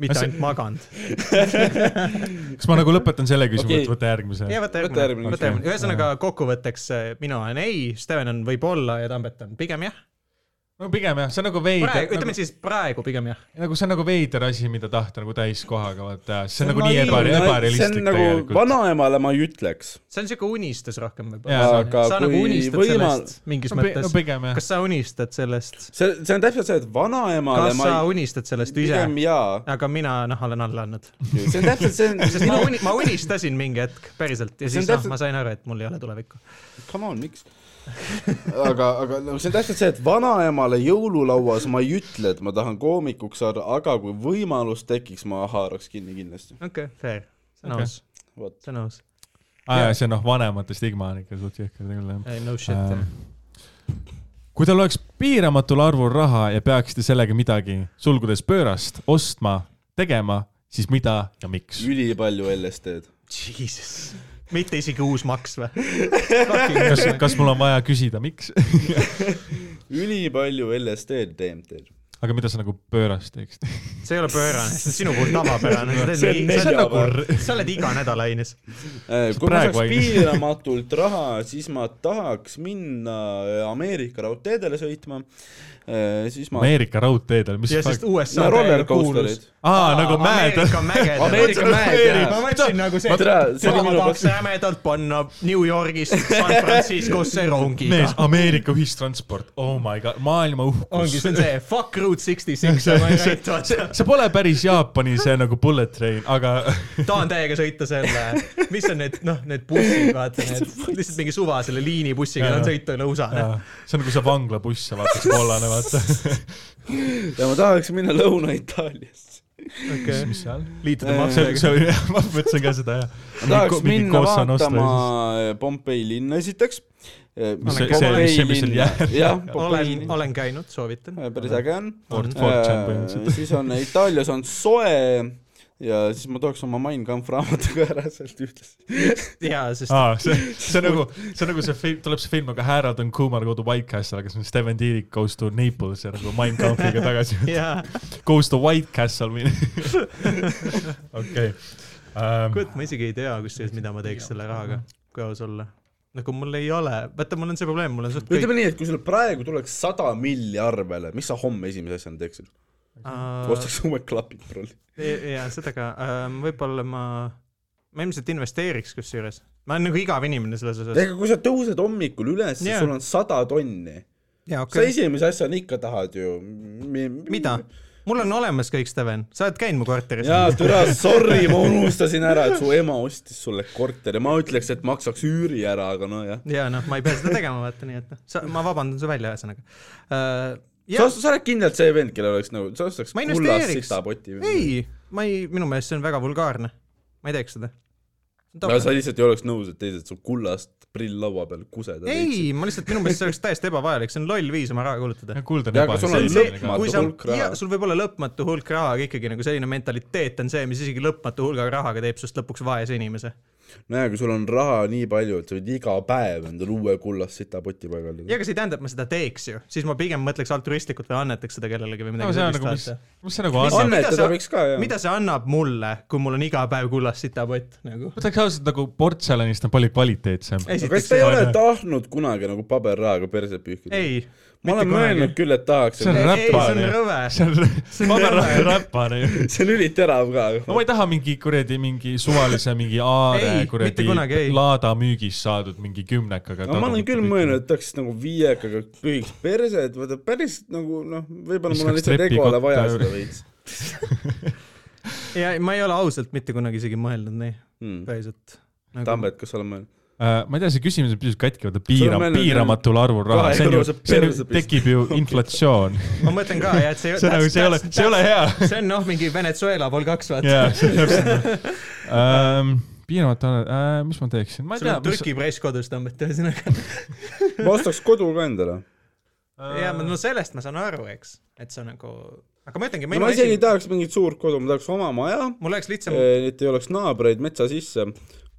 B: mitte
C: see-
B: ainult maganud .
C: kas ma nagu lõpetan selle küsimuse
A: Okei.
C: okay. , võta järgmise
B: ja . võta
A: Võta
B: järgmine ,
A: järgmine,
B: võta järgmine ,
C: okei.
B: ühesõnaga kokkuvõtteks äh, mina olen ei , Steven on võib-olla ja Tambet on pigem jah .
C: no pigem jah , see on nagu veider ,
B: praegu ,
C: nagu,
B: ütleme siis praegu pigem jah .
C: nagu see on nagu veider asi , mida tahta nagu täiskohaga vaata , see on nagu nii
A: naiivne,
C: eba- , ebarealistlik
A: see on nagu
C: tegelikult .
A: vanaemale ma ei ütleks .
B: see on siuke unistus rohkem
C: Jaa,
B: võib-olla .
A: aga
B: sa nagu
A: kui
B: unistad
A: võimal-
B: sellest mingis
C: no, pi- no
B: mõttes .
C: pigem jah .
B: kas sa unistad sellest ,
A: see , see on täpselt see , et vanaemale
B: kas
A: ma
B: sa
A: ei
B: unistad sellest ise ?
A: pigem jaa ,
B: aga mina noh , olen alla andnud ,
A: see on täpselt see on ,
B: sest ma uni- , ma unistasin mingi hetk päriselt ja
A: See on
B: siis noh ,
A: täpselt-
B: ma sain aru , et mul ei ole tulevikku .
A: come on , miks ? aga , aga no see on täpselt see , et vanaemale jõululauas ma ei ütle , et ma tahan koomikuks saada , aga kui võimalus tekiks , ma haaraks kinni kindlasti .
B: okei okay, , fair , see on
C: Okei.
B: aus ,
A: vot .
B: see on aus .
C: aa jaa , see noh , vanemate stigma on ikka suht jõhker küll jah .
B: no shit um,
C: Ähm, . kui tal oleks piiramatul arvul raha ja peaksite sellega midagi , sulgudes pöörast , ostma , tegema , siis mida ja miks ?
A: ülipalju LSD-d .
B: Jesus , mitte isegi uus maks või ?
C: kas , kas mul on vaja küsida , miks ?
A: ülipalju LSD-d DMT-d .
C: aga mida sa nagu pöörast teeksid ?
B: see ei ole pöörane , see on sinu puhul tavapärane , sa
A: See on
B: teed nii , sa
A: nelja-
B: nagu , sa oled iga nädal aines .
A: Äh, kui ma
C: praegu
A: saaks
C: ei-
A: piiramatult raha , siis ma tahaks minna äh, Ameerika raudteedele sõitma , siis ma
C: Ameerika raudteedel , mis
B: ja sest
C: fuck ,
B: USA
A: No roller
B: täiega kuulus
A: coaster'id. ,
C: aa , nagu mäed .
B: Ameerika mägedel .
A: Ameerika mäed, jah.
B: ma mõtlesin nagu see ,
A: Ma tean, see oli
B: maha
A: minu
B: tahaks rämedalt panna New Yorgist San Franciscosse rongiga
C: mees ,. Ameerika ühistransport , oh my god , maailma
B: ongi ,
C: uhkus
B: see . on see fuck route sixty six , ma ei rääita seda .
C: see pole päris Jaapani see nagu bullet train , aga
B: tahan täiega sõita selle , mis on need , noh , need bussid , vaata need , lihtsalt mingi suva selle liinibussiga
C: Jaa.
B: tahan sõita üle USA , noh .
C: jaa, see on nagu see vanglabuss , sa vaatad , kollane , vaata .
A: ja ma tahaks minna Lõuna-Itaaliasse .
C: mis seal ?
B: liituda
C: see ,
B: maksudega .
C: see oli , ma mõtlesin ka seda ,
A: ma tahaks
C: Mingi
A: minna
C: Cosa Nostra
A: vaatama äh, Pompei linna esiteks .
C: Mis see- see- mis see- mis seal jääb?
A: jah , Pompei
B: olen ,
A: linn ,
B: olen käinud , soovitan .
A: päris äge on .
C: Ford Fortune põhimõtteliselt .
A: siis on Itaalias on soe ja siis ma tooks oma Mein Kampf raamatu ka ära sealt ühtlasi .
B: jaa , sest
A: Ah.
C: aa , see , see on nagu , see on nagu see film , tuleb see film , aga Harold on Kumar go to White Castle , aga siis on Steven Tiirik goes to Naples ja nagu Mein Kampfiga tagasi
B: jaa ,
C: goes to White Castle või okei . Ähm,
B: kurat , ma isegi ei tea kusjuures , mida ma teeks selle rahaga , kui aus olla . nagu mul ei ole , vaata , mul on see probleem , mul on suht kõik
A: ütleme nii , et kui sul praegu tuleks sada milli arvele , mis sa homme esimese asjana teeksid ?
B: uh, .
A: ostaks uued klapid , broli .
B: e-, jaa , seda ka uh, , võib-olla ma , ma ilmselt investeeriks kusjuures , ma olen nagu igav inimene selles osas .
A: ega kui sa tõused hommikul üles yeah. ,
B: Jaa.
A: sul on sada tonni okay. .
B: jaa ,
A: sa
B: okei okay. ,
A: esimese asjana ikka tahad ju mi, .
B: mida ? mul on olemas kõik , Steven , sa oled käinud mu korteris .
A: jaa , türa , sorry , ma unustasin ära , et su ema ostis sulle korteri , ma ütleks , et maksaks üüri ära , aga nojah .
B: ja noh , ma ei pea seda tegema , vaata nii , et noh , sa , ma vabandan su välja , ühesõnaga uh, .
A: sa , sa oled kindlalt see vend , kellel oleks nagu , sa ostaks
B: Ma
A: kullast
B: investeeriks.
A: sitapoti .
B: ei , ma ei , minu meelest see on väga vulgaarne , ma ei teeks seda .
A: no sa lihtsalt ei oleks nõus , et teised su kullast prill laua peal kuseda
B: ei , ma lihtsalt , minu meelest see oleks täiesti ebavajalik , see on loll viis oma raha kulutada .
C: kuulda
A: Ja, aga sul on
C: nagu
A: lõpmatu
B: kui sa
A: hulk , raha.
B: ja sul võib olla lõpmatu hulk raha , aga ikkagi nagu selline mentaliteet on see , mis isegi lõpmatu hulga rahaga teeb sinust lõpuks vaese inimese .
A: nojah , kui sul on raha nii palju , et sa võid iga päev endale uue kullast sitapoti paigaldada
B: ja . aga see ei tähenda , et ma seda teeks ju , siis ma pigem mõtleks altruistlikult või annetaks seda kellelegi või
C: no
B: midagi
C: see on nagu , mis
B: vaata. ,
C: mis see nagu
B: Mis- mida
C: annab ,
A: annetada
B: sa-
A: võiks ka , jah .
B: mida see annab mulle , kui mul on iga päev kullast sitapott nagu ?
C: ma ütleks ausalt nagu portselanist on palju kvaliteetsem .
A: aga kas
B: esiteks
A: te ei ole
C: Aine.
A: tahtnud kunagi nagu paberrahaga perse pühkida ?
B: ei ,
A: ma olen
B: mitte kunagi.
A: mõelnud küll , et tahaks ,
C: see on
B: Ei, ei,
C: räpane
B: see on rõve.
C: see on ,
B: on
C: ma pean
B: rõve.
C: räpane ju .
A: see on üliterav ka .
C: no ma ei taha mingi kuradi mingi suvalise mingi aare
B: Ei, mitte
C: kuradi
B: kunagi ei.
C: laada müügist saadud mingi kümnekaga .
A: aga ma olen küll mõelnud , et tahaks nagu viiekaga pühiks perse , et vaata päris nagu noh , võib-olla mul on
C: Viskaks
A: lihtsalt egole
C: trepikotta
A: vaja
C: juurde.
A: seda veits
B: ja ma ei ole ausalt mitte kunagi isegi mõelnud nii ,
A: hmm. .
B: päriselt nagu... .
A: Tambet , kas sa oled mõelnud ?
C: Äh, ma ei tea , see küsimus on pisut katki , vaata
A: Sul on
C: piiram- ,
A: meil-
C: piiramatul arvul raha , see on ju ,
A: kahekorruse
C: see on ju
A: perse , pist-
C: tekib ju inflatsioon .
B: ma mõtlen ka jah , et see
C: see on nagu , see ei ole , see ei ole hea .
B: see on noh , mingi Venezuela pool kaks vaata yeah. .
C: jaa , see on täpselt . piiramatu arvul , mis ma teeksin , ma ei
B: sul
C: tea
B: on . Türgi press kodus tõmmata , ühesõnaga .
A: ma ostaks kodu ka endale .
B: ja
C: Äh,
B: no sellest ma saan aru , eks , et see on nagu , aga ma ütlengi ,
A: no
B: minu
A: ma isegi ei
B: esimene ,
A: tahaks mingit suurt kodu , ma tahaks oma maja ,
B: mul oleks lihtsam ,
A: et ei oleks naabreid metsa sisse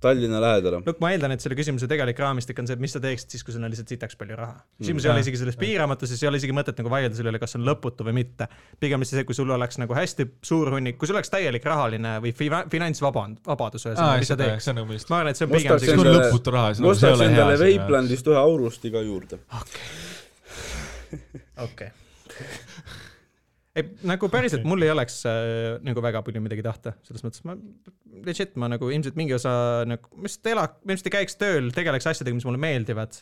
A: Tallinna lähedale .
B: no ma eeldan , et selle küsimuse tegelik raamistik on see , et mis sa teeksid siis , kui sul on lihtsalt sitaks palju raha .
C: Mm,
B: küsimus ei ole isegi selles piiramatuses , ei ole isegi mõtet nagu vaielda selle üle , kas see on lõputu või mitte . pigem lihtsalt see , kui sul oleks nagu hästi suur hunnik , kui sul oleks täielik rahaline või fi- finantsvaband , vabadus
C: aa ,
B: ühesõnaga , mis sa
C: seda ,
B: teeks
C: see ? on nagu vist .
B: ma arvan , et see on
A: Ma
B: pigem
A: ostaks
B: see
A: endale-
B: küsimus
C: sul on . lõputu raha , see
A: ma
C: nagu- see ei
A: ostaks
C: ole
A: endale
C: hea .
A: Veiplandist ühe aurusti ka juurde .
B: okei . ei , nagu päriselt mul ei oleks äh, nagu väga palju midagi tahta , selles mõttes ma , legit ma nagu ilmselt mingi osa nagu , ma lihtsalt ela- , ma ilmselt ei käiks tööl , tegeleks asjadega , mis mulle meeldivad .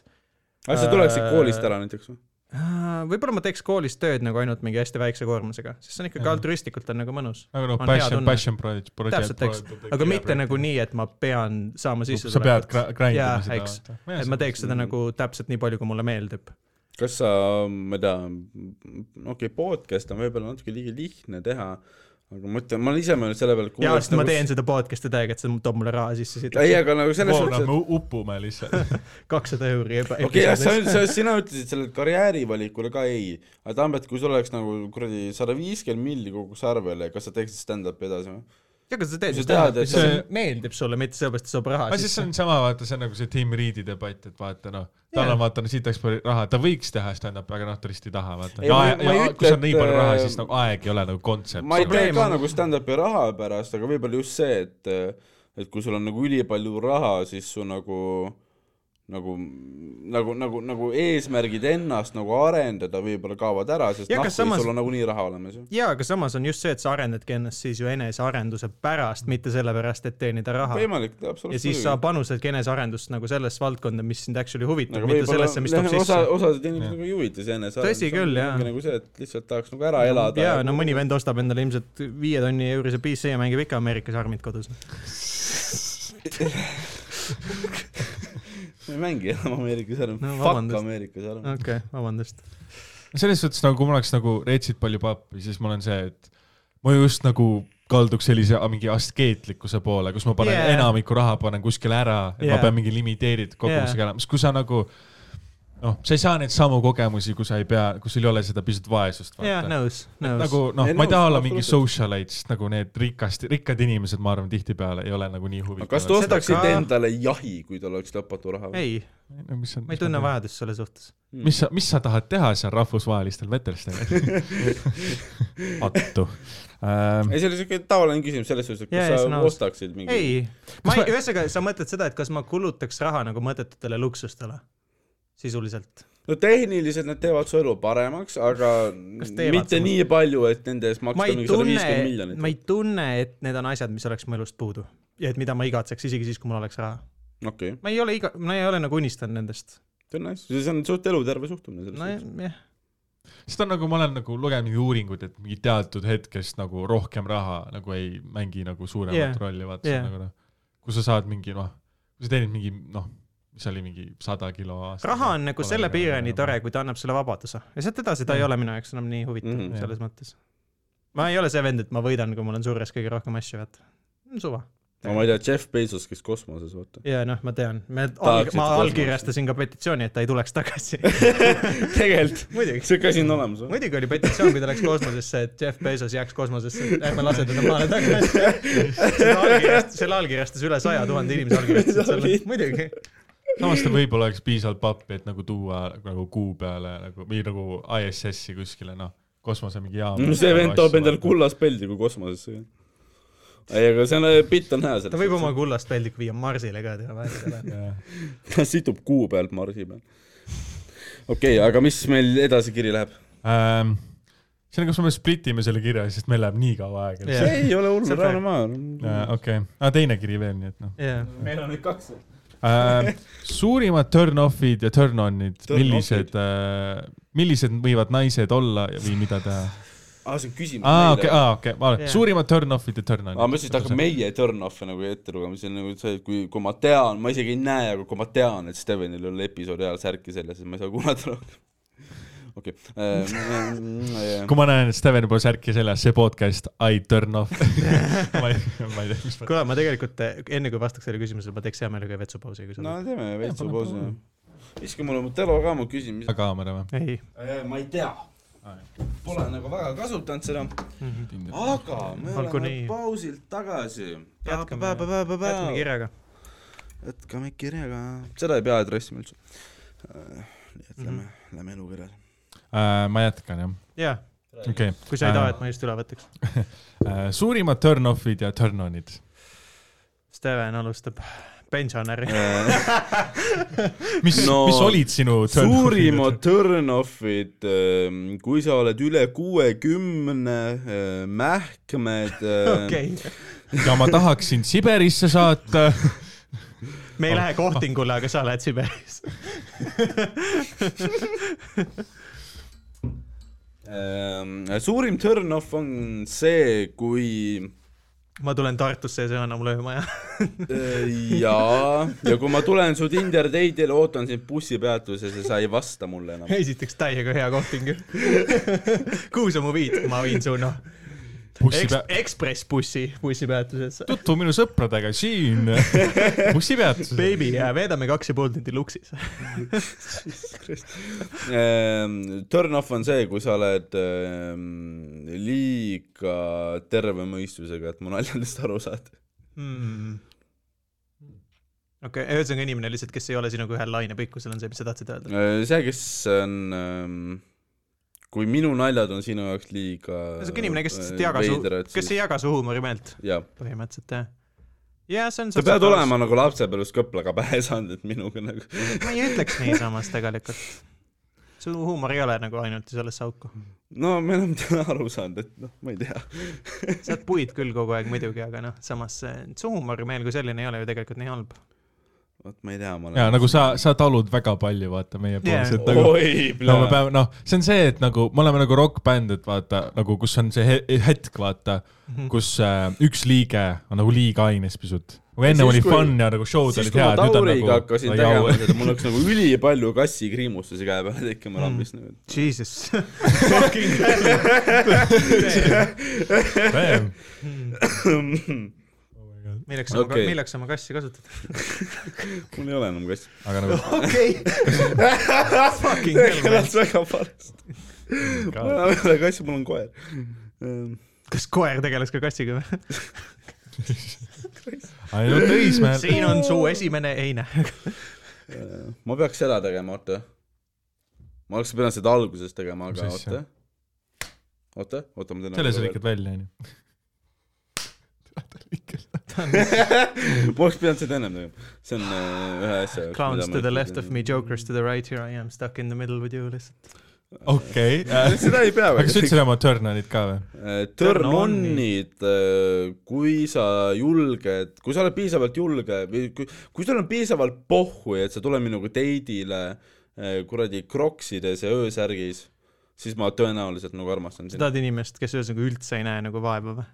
A: aga sa tuleksid koolist ära näiteks või ?
B: Äh, võib-olla ma teeks koolis tööd nagu ainult mingi hästi väikse koormusega , sest see on ikkagi
C: Jaa.
B: altruistlikult on nagu mõnus .
C: aga noh ,
B: on hea
C: passion ,
B: tunne.
C: passion project , project
B: täpselt , eks , aga mitte . nagu nii , et ma pean saama sisse .
C: sa pead gra- grind
B: Jaa,
C: ima seda
B: eks. . et ma teeks seda nagu täpselt nii palju , kui mulle meeldib .
A: kas sa , ma ei tea , okei okay, , podcast on võib-olla natuke liiga lihtne teha , aga ma ütlen , ma olen ise mõelnud selle peale , et nagu
B: ja , sest ma teen seda podcast'i täiega , et see toob mulle raha sisse , siit
A: ei , aga nagu selles
C: voona ,
A: suhtes ,
C: me upume lihtsalt .
B: läks kakssada euri .
A: et okei , jah , sa , sa , sina ütlesid sellele karjäärivalikule ka ei , aga Tambet , kui sul oleks nagu kuradi sada viiskümmend milli koguks arvele , kas sa teeksid stand-up'i edasi või ?
B: ja , aga sa teed
A: Sa
B: ju
A: tead,
B: stand-up'i ,
A: et
B: see
C: see-
B: meeldib sulle , mitte sellepärast , et saab raha
C: aga siis
B: sisse
C: see . on sama , vaata , see on nagu see Tim Reedi debatt , et vaata noh , tal
B: Jaa.
C: on vaata , siit läks palju raha , ta võiks teha stand-up'i , aga noh , ta lihtsalt ei taha , vaata .
A: Ei, ma- ma ei
C: ja
A: ütle,
C: kui sul on nii palju
A: et,
C: raha
A: äh, ,
C: siis nagu aeg ei ole nagu kontsept .
A: ma ei tee
B: Probleem
A: ka
B: on-
A: nagu stand-up'i raha pärast , aga võib-olla just see , et et kui sul on nagu ülipalju raha , siis su nagu nagu , nagu , nagu , nagu eesmärgid ennast nagu arendada võib-olla kaovad ära , sest
B: Ja
A: noh ,
B: kas
A: samas...
B: samas-
A: sul on nagunii raha olemas ju .
B: ja , aga samas on just see , et sa arendadki ennast siis ju enesearenduse pärast , mitte sellepärast , et teenida raha .
A: võimalik ,
B: ja
A: absoluutselt
B: siis sa . panustadki enesearendusse nagu sellesse valdkonda , mis sind actually huvitab ,
A: aga
B: mitte
A: võib-olla
B: sellesse , mis toob
A: noh, osa
B: sisse .,
A: osasid inimesi nagu ei huvita see enesearendus .
B: Tõsi küll, jaa.
A: nagu see , et lihtsalt tahaks nagu ära elada .
B: ja no mõni vend ostab endale ilmselt viie tonni eurise PC ja mängib ikka Ameerikas armid kodus .
A: ma ei mängi enam Ameerikas ära
B: No
A: no, , fuck
B: vabandust.
A: Ameerikas ära
B: okei
A: no. .
B: okay, , vabandust .
C: selles suhtes nagu kui mul oleks nagu reetsid palju pappi , siis mul on see , et ma just nagu kalduks sellise a- mingi askeetlikkuse poole , kus ma panen
B: Yeah.
C: yeah. enamiku raha panen kuskile ära , et yeah.
B: Yeah.
C: ma pean mingi limiteeritud kogemusega yeah. elama , sest kui sa nagu noh , sa ei saa neid samu kogemusi , kui sa ei pea , kui sul ei ole seda pisut vaesust .
B: jaa , nõus , nõus .
C: nagu noh
A: Ei, ,
C: ma ei taha
A: nõus,
C: olla mingi
A: absoluutselt.
C: socialite , sest nagu need rikast , rikkad inimesed , ma arvan , tihtipeale ei ole nagu nii
A: aga kas te
C: huvitavad
B: Seda
A: ostaksid
B: ka-
A: ka... endale jahi , kui teil oleks lõpmatu raha ?
B: ei ,
C: no, . mis on,
B: ma ei tunne vajadust selle suhtes .
C: mis sa , mis sa tahad teha seal rahvusvahelistel veterstel ? attu ähm, .
A: ei , see oli siuke tavaline küsimus selles suhtes , et
B: Jaa,
A: kas
B: jaa,
A: sa
B: see on aus.
A: ostaksid mingi .
B: ei , ma
C: ma-
B: ei , ühesõnaga , sa mõtled seda , et kas ma kulutaks raha nagu mõttetutele luksustele sisuliselt .
A: no tehniliselt nad teevad su elu paremaks , aga
B: Kas teevad
A: mitte
B: samas-
A: nii palju , et nende eest
B: ma
A: maksta
B: ei
A: mingi sada viiskümmend
B: tunne , ma
A: miljonit .
B: ei tunne , et need on asjad , mis oleks mu elust puudu ja et mida ma igatseks isegi siis , kui mul oleks raha .
A: okei okay. ,
B: ma ei ole iga , ma ei ole nagu unistanud nendest .
A: see on nice , see on suht eluterve suhtumine selles suhtes .
B: nojah ,
C: sest on nagu , ma olen nagu lugenud mingeid uuringuid , et mingi teatud hetkest nagu rohkem raha nagu ei mängi nagu suuremat yeah.
B: Yeah.
C: rolli , vaata yeah.
B: Yeah.
C: nagu noh , kui sa saad mingi noh , kui sa teenid mingi noh , mis oli mingi sada kilo aastas . noh,
B: raha on nagu selle piirani tore , kui ta annab sulle vabaduse ja sealt edasi
A: Mm.
B: ta ei ole minu jaoks enam nii huvitav mm
A: Mhm.
B: -hmm. selles mõttes . ma ei ole see vend , et ma võidan , kui mul on surres kõige rohkem asju , vaata . suva .
A: no ma ei tea , Jeff Bezos käis kosmoses , vaata .
B: ja noh , ma tean , me ,
A: Tahaksid
B: ma
A: kosmosesse.
B: allkirjastasin ka petitsiooni , et ta ei tuleks tagasi .
A: tegelikult ,
B: muidugi ,
A: siuke asi on olemas või ?
B: muidugi oli petitsioon , kui ta läks kosmosesse , et Jeff Bezos jääks kosmosesse , et ärme lase teda maale tagasi . selle allkirjastas üle saja tuhande inimese allkirjastasid selle , muidugi .
C: samas ta võib-olla oleks piisavalt pappi , et nagu tuua nagu kuu peale nagu või nagu ISS-i kuskile noh , kosmose mingi jaama .
A: no see vend toob endale . kullast peldi , kui kosmosesse . ei , aga see on , bitt on hea
B: ta
A: selles
B: võib oma kullast peldiku viia Marsile ka teha vahel .
A: ta situb kuu pealt Marsi peal . okei okay, , aga mis meil edasi kiri läheb ?
C: Ähm, see on , kas me splitime selle kirja , sest meil läheb nii kaua aega
B: Jah.
C: yeah. .
A: ei ole hullu
B: See , on
A: rahune maa .
C: okei okay. ah, , teine kiri veel , nii et noh
B: jaa .
A: meil on nüüd kaks .
C: äh, . suurimad turn-off'id ja turn-on'id ,
A: Turn-off'id.
C: millised äh, , millised võivad naised olla ja- või mida teha ?
A: aa , Ah, see on küsimus
C: aa , Ah, okei , aa , okei , ma olen ,
B: Jaa.
C: suurimad turn-off'id ja turn-on'id .
A: aa , Ah, ma lihtsalt hakkan . meie turn-off'e nagu ette lugema , see on nagu see , et kui , kui ma tean , ma isegi ei näe , aga kui ma tean , et Stevenil oli episoodi ajal särki seljas , siis ma ei saa kuulata rohkem . okei . äh,
C: kui ma näen , et Steven pole särki seljas , see podcast , I turn off . ma ei , ma ei tea , mis ma .
B: kuule , ma tegelikult eh, enne kui vastaks sellele küsimusele , ma teeks hea meelega ühe vetsupausi , kui sa
A: no
B: no.
A: teeme veitsa
C: pane
A: pausi
C: pausi. .
A: viska mulle mu telo ka , ma küsin , mis .
C: kaamera või ?
B: ei ,
A: ma ei tea
C: Aa, . Mhm,
A: Pole nagu väga kasutanud seda , aga me
B: Olgu
A: oleme
B: nii.
A: pausilt tagasi .
B: Jätkame. jätkame
A: jätkame
B: kirjaga .
A: kirjaga . seda ei pea adressima üldse . nii et lähme , lähme elukirjale .
C: Äh, ma jätkan jah ,
B: jaa ,
C: okei okay. .
B: kui sa ei taha , et ma just üle võtaks .
C: suurimad turn-off'id ja turn-on'id .
B: Steven alustab pensionäri .
A: Äh.
C: mis no,
A: No, ,
C: mis olid sinu turn-off'id ?
A: suurimad turn-off'id , ähm, kui sa oled üle kuuekümne , mähkmed . äh,
B: okei ,
C: ja ma tahaks sind Siberisse saata .
B: me ei lähe kohtingule , aga sa lähed Siberisse .
A: ähm, suurim turn-off on see , kui
B: ma tulen Tartusse ja see annab mulle maja .
A: äh, jaa , ja kui ma tulen su Tinder date'ile , ootan sind bussipeatuses ja sa ei vasta mulle enam .
B: esiteks täiega hea kohting ju . kuhu sa mu viid ? ma viin su noh , Ekspress bussi , bussipeatusesse .
C: tutvu minu sõpradega siin bussipeatuses .
B: Baby , veedame kaks ja pool tundi luksis .
A: Turn-off Ehm, on see , kui sa oled ähm, liiga terve mõistusega , et mu naljadest aru saad .
B: Hmm. okei okay, , ühesõnaga inimene lihtsalt , kes ei ole sinuga ühel lainepikkusel , on see , mis sa tahtsid öelda .
A: Äh, see , kes on ähm, , kui minu naljad on sinu jaoks liiga äh,
B: ühesõnaga inimene , kes lihtsalt ei jaga su , kes ei jaga su huumorimeelt
A: jah ,
B: põhimõtteliselt jah . ja see on .
A: sa pead olema nagu lapsepõlves kõplaga pähe saanud , et minuga nagu .
B: ma ei ütleks nii samas tegelikult . su huumor ei ole nagu ainult sellesse auku .
A: no me enam ei ole aru saanud , et noh , ma ei tea .
B: sa oled puid küll kogu aeg muidugi , aga noh , samas see- su huumorimeel kui selline ei ole ju tegelikult nii halb .
A: vot ma ei tea , ma
C: ja nagu sa , sa talud väga palju , vaata meiepoolset
A: Oh,
B: Jaa.
C: yeah. nagu .
A: oi ,
C: no me peame , noh , see on see , et nagu me oleme nagu rokkbänd , et vaata nagu , kus on see he- hetk , vaata ,
A: Mhm.
C: kus äh, üks liige on nagu liiga aines pisut . kui enne
A: siis,
C: oli
A: kui-
C: fun ja nagu show'd
A: siis
C: olid
A: kui ma
C: head , nüüd on
A: Tauriga
C: nagu
A: hakkasin
C: nagu
A: tegema
C: jau-
A: seda , mul läks nagu ülipalju kassikriimustusi käe peale tekkima lambist mm. .
B: Jesus . Fucking hell .
C: Damn.
B: milleks sa
A: Okei.
B: okay. , milleks sa oma kassi kasutad ?
A: mul ei ole enam kassi .
C: aga nagu
B: okei . Fucking hell man .
A: kõlas väga valesti . mul enam ei ole kassi , mul on koer . Ehm,
B: kas koer tegeles ka kassiga või ?
C: ainult Õismäel .
B: siin on su esimene noh. eine .
A: ma peaks seda tegema , oota . ma oleks pidanud seda alguses tegema , aga
C: Mis asja?
A: oota . oota , oota , ma teen . nagu
C: selle sa lõikad välja , onju .
A: ma oleks pidanud seda ennem tegema . see on äh, ühe asja .
B: Clowns to the left of me , jokers to the right , here I am stuck in the middle with you lihtsalt .
C: okei . äh,
A: Äh, seda ei pea .
C: aga kas sa ütlesid oma turn-on'id ka või ?
A: Turn on'id , Äh, kui sa julged , kui sa oled piisavalt julge või kui , kui sul on piisavalt pohhu , et sa tuled minuga date'ile äh, kuradi kroksides ja öösärgis , siis ma tõenäoliselt nagu armastan
B: sa
A: sind .
B: tahad inimest , kes ühesõnaga üldse ei näe nagu vaeva või ?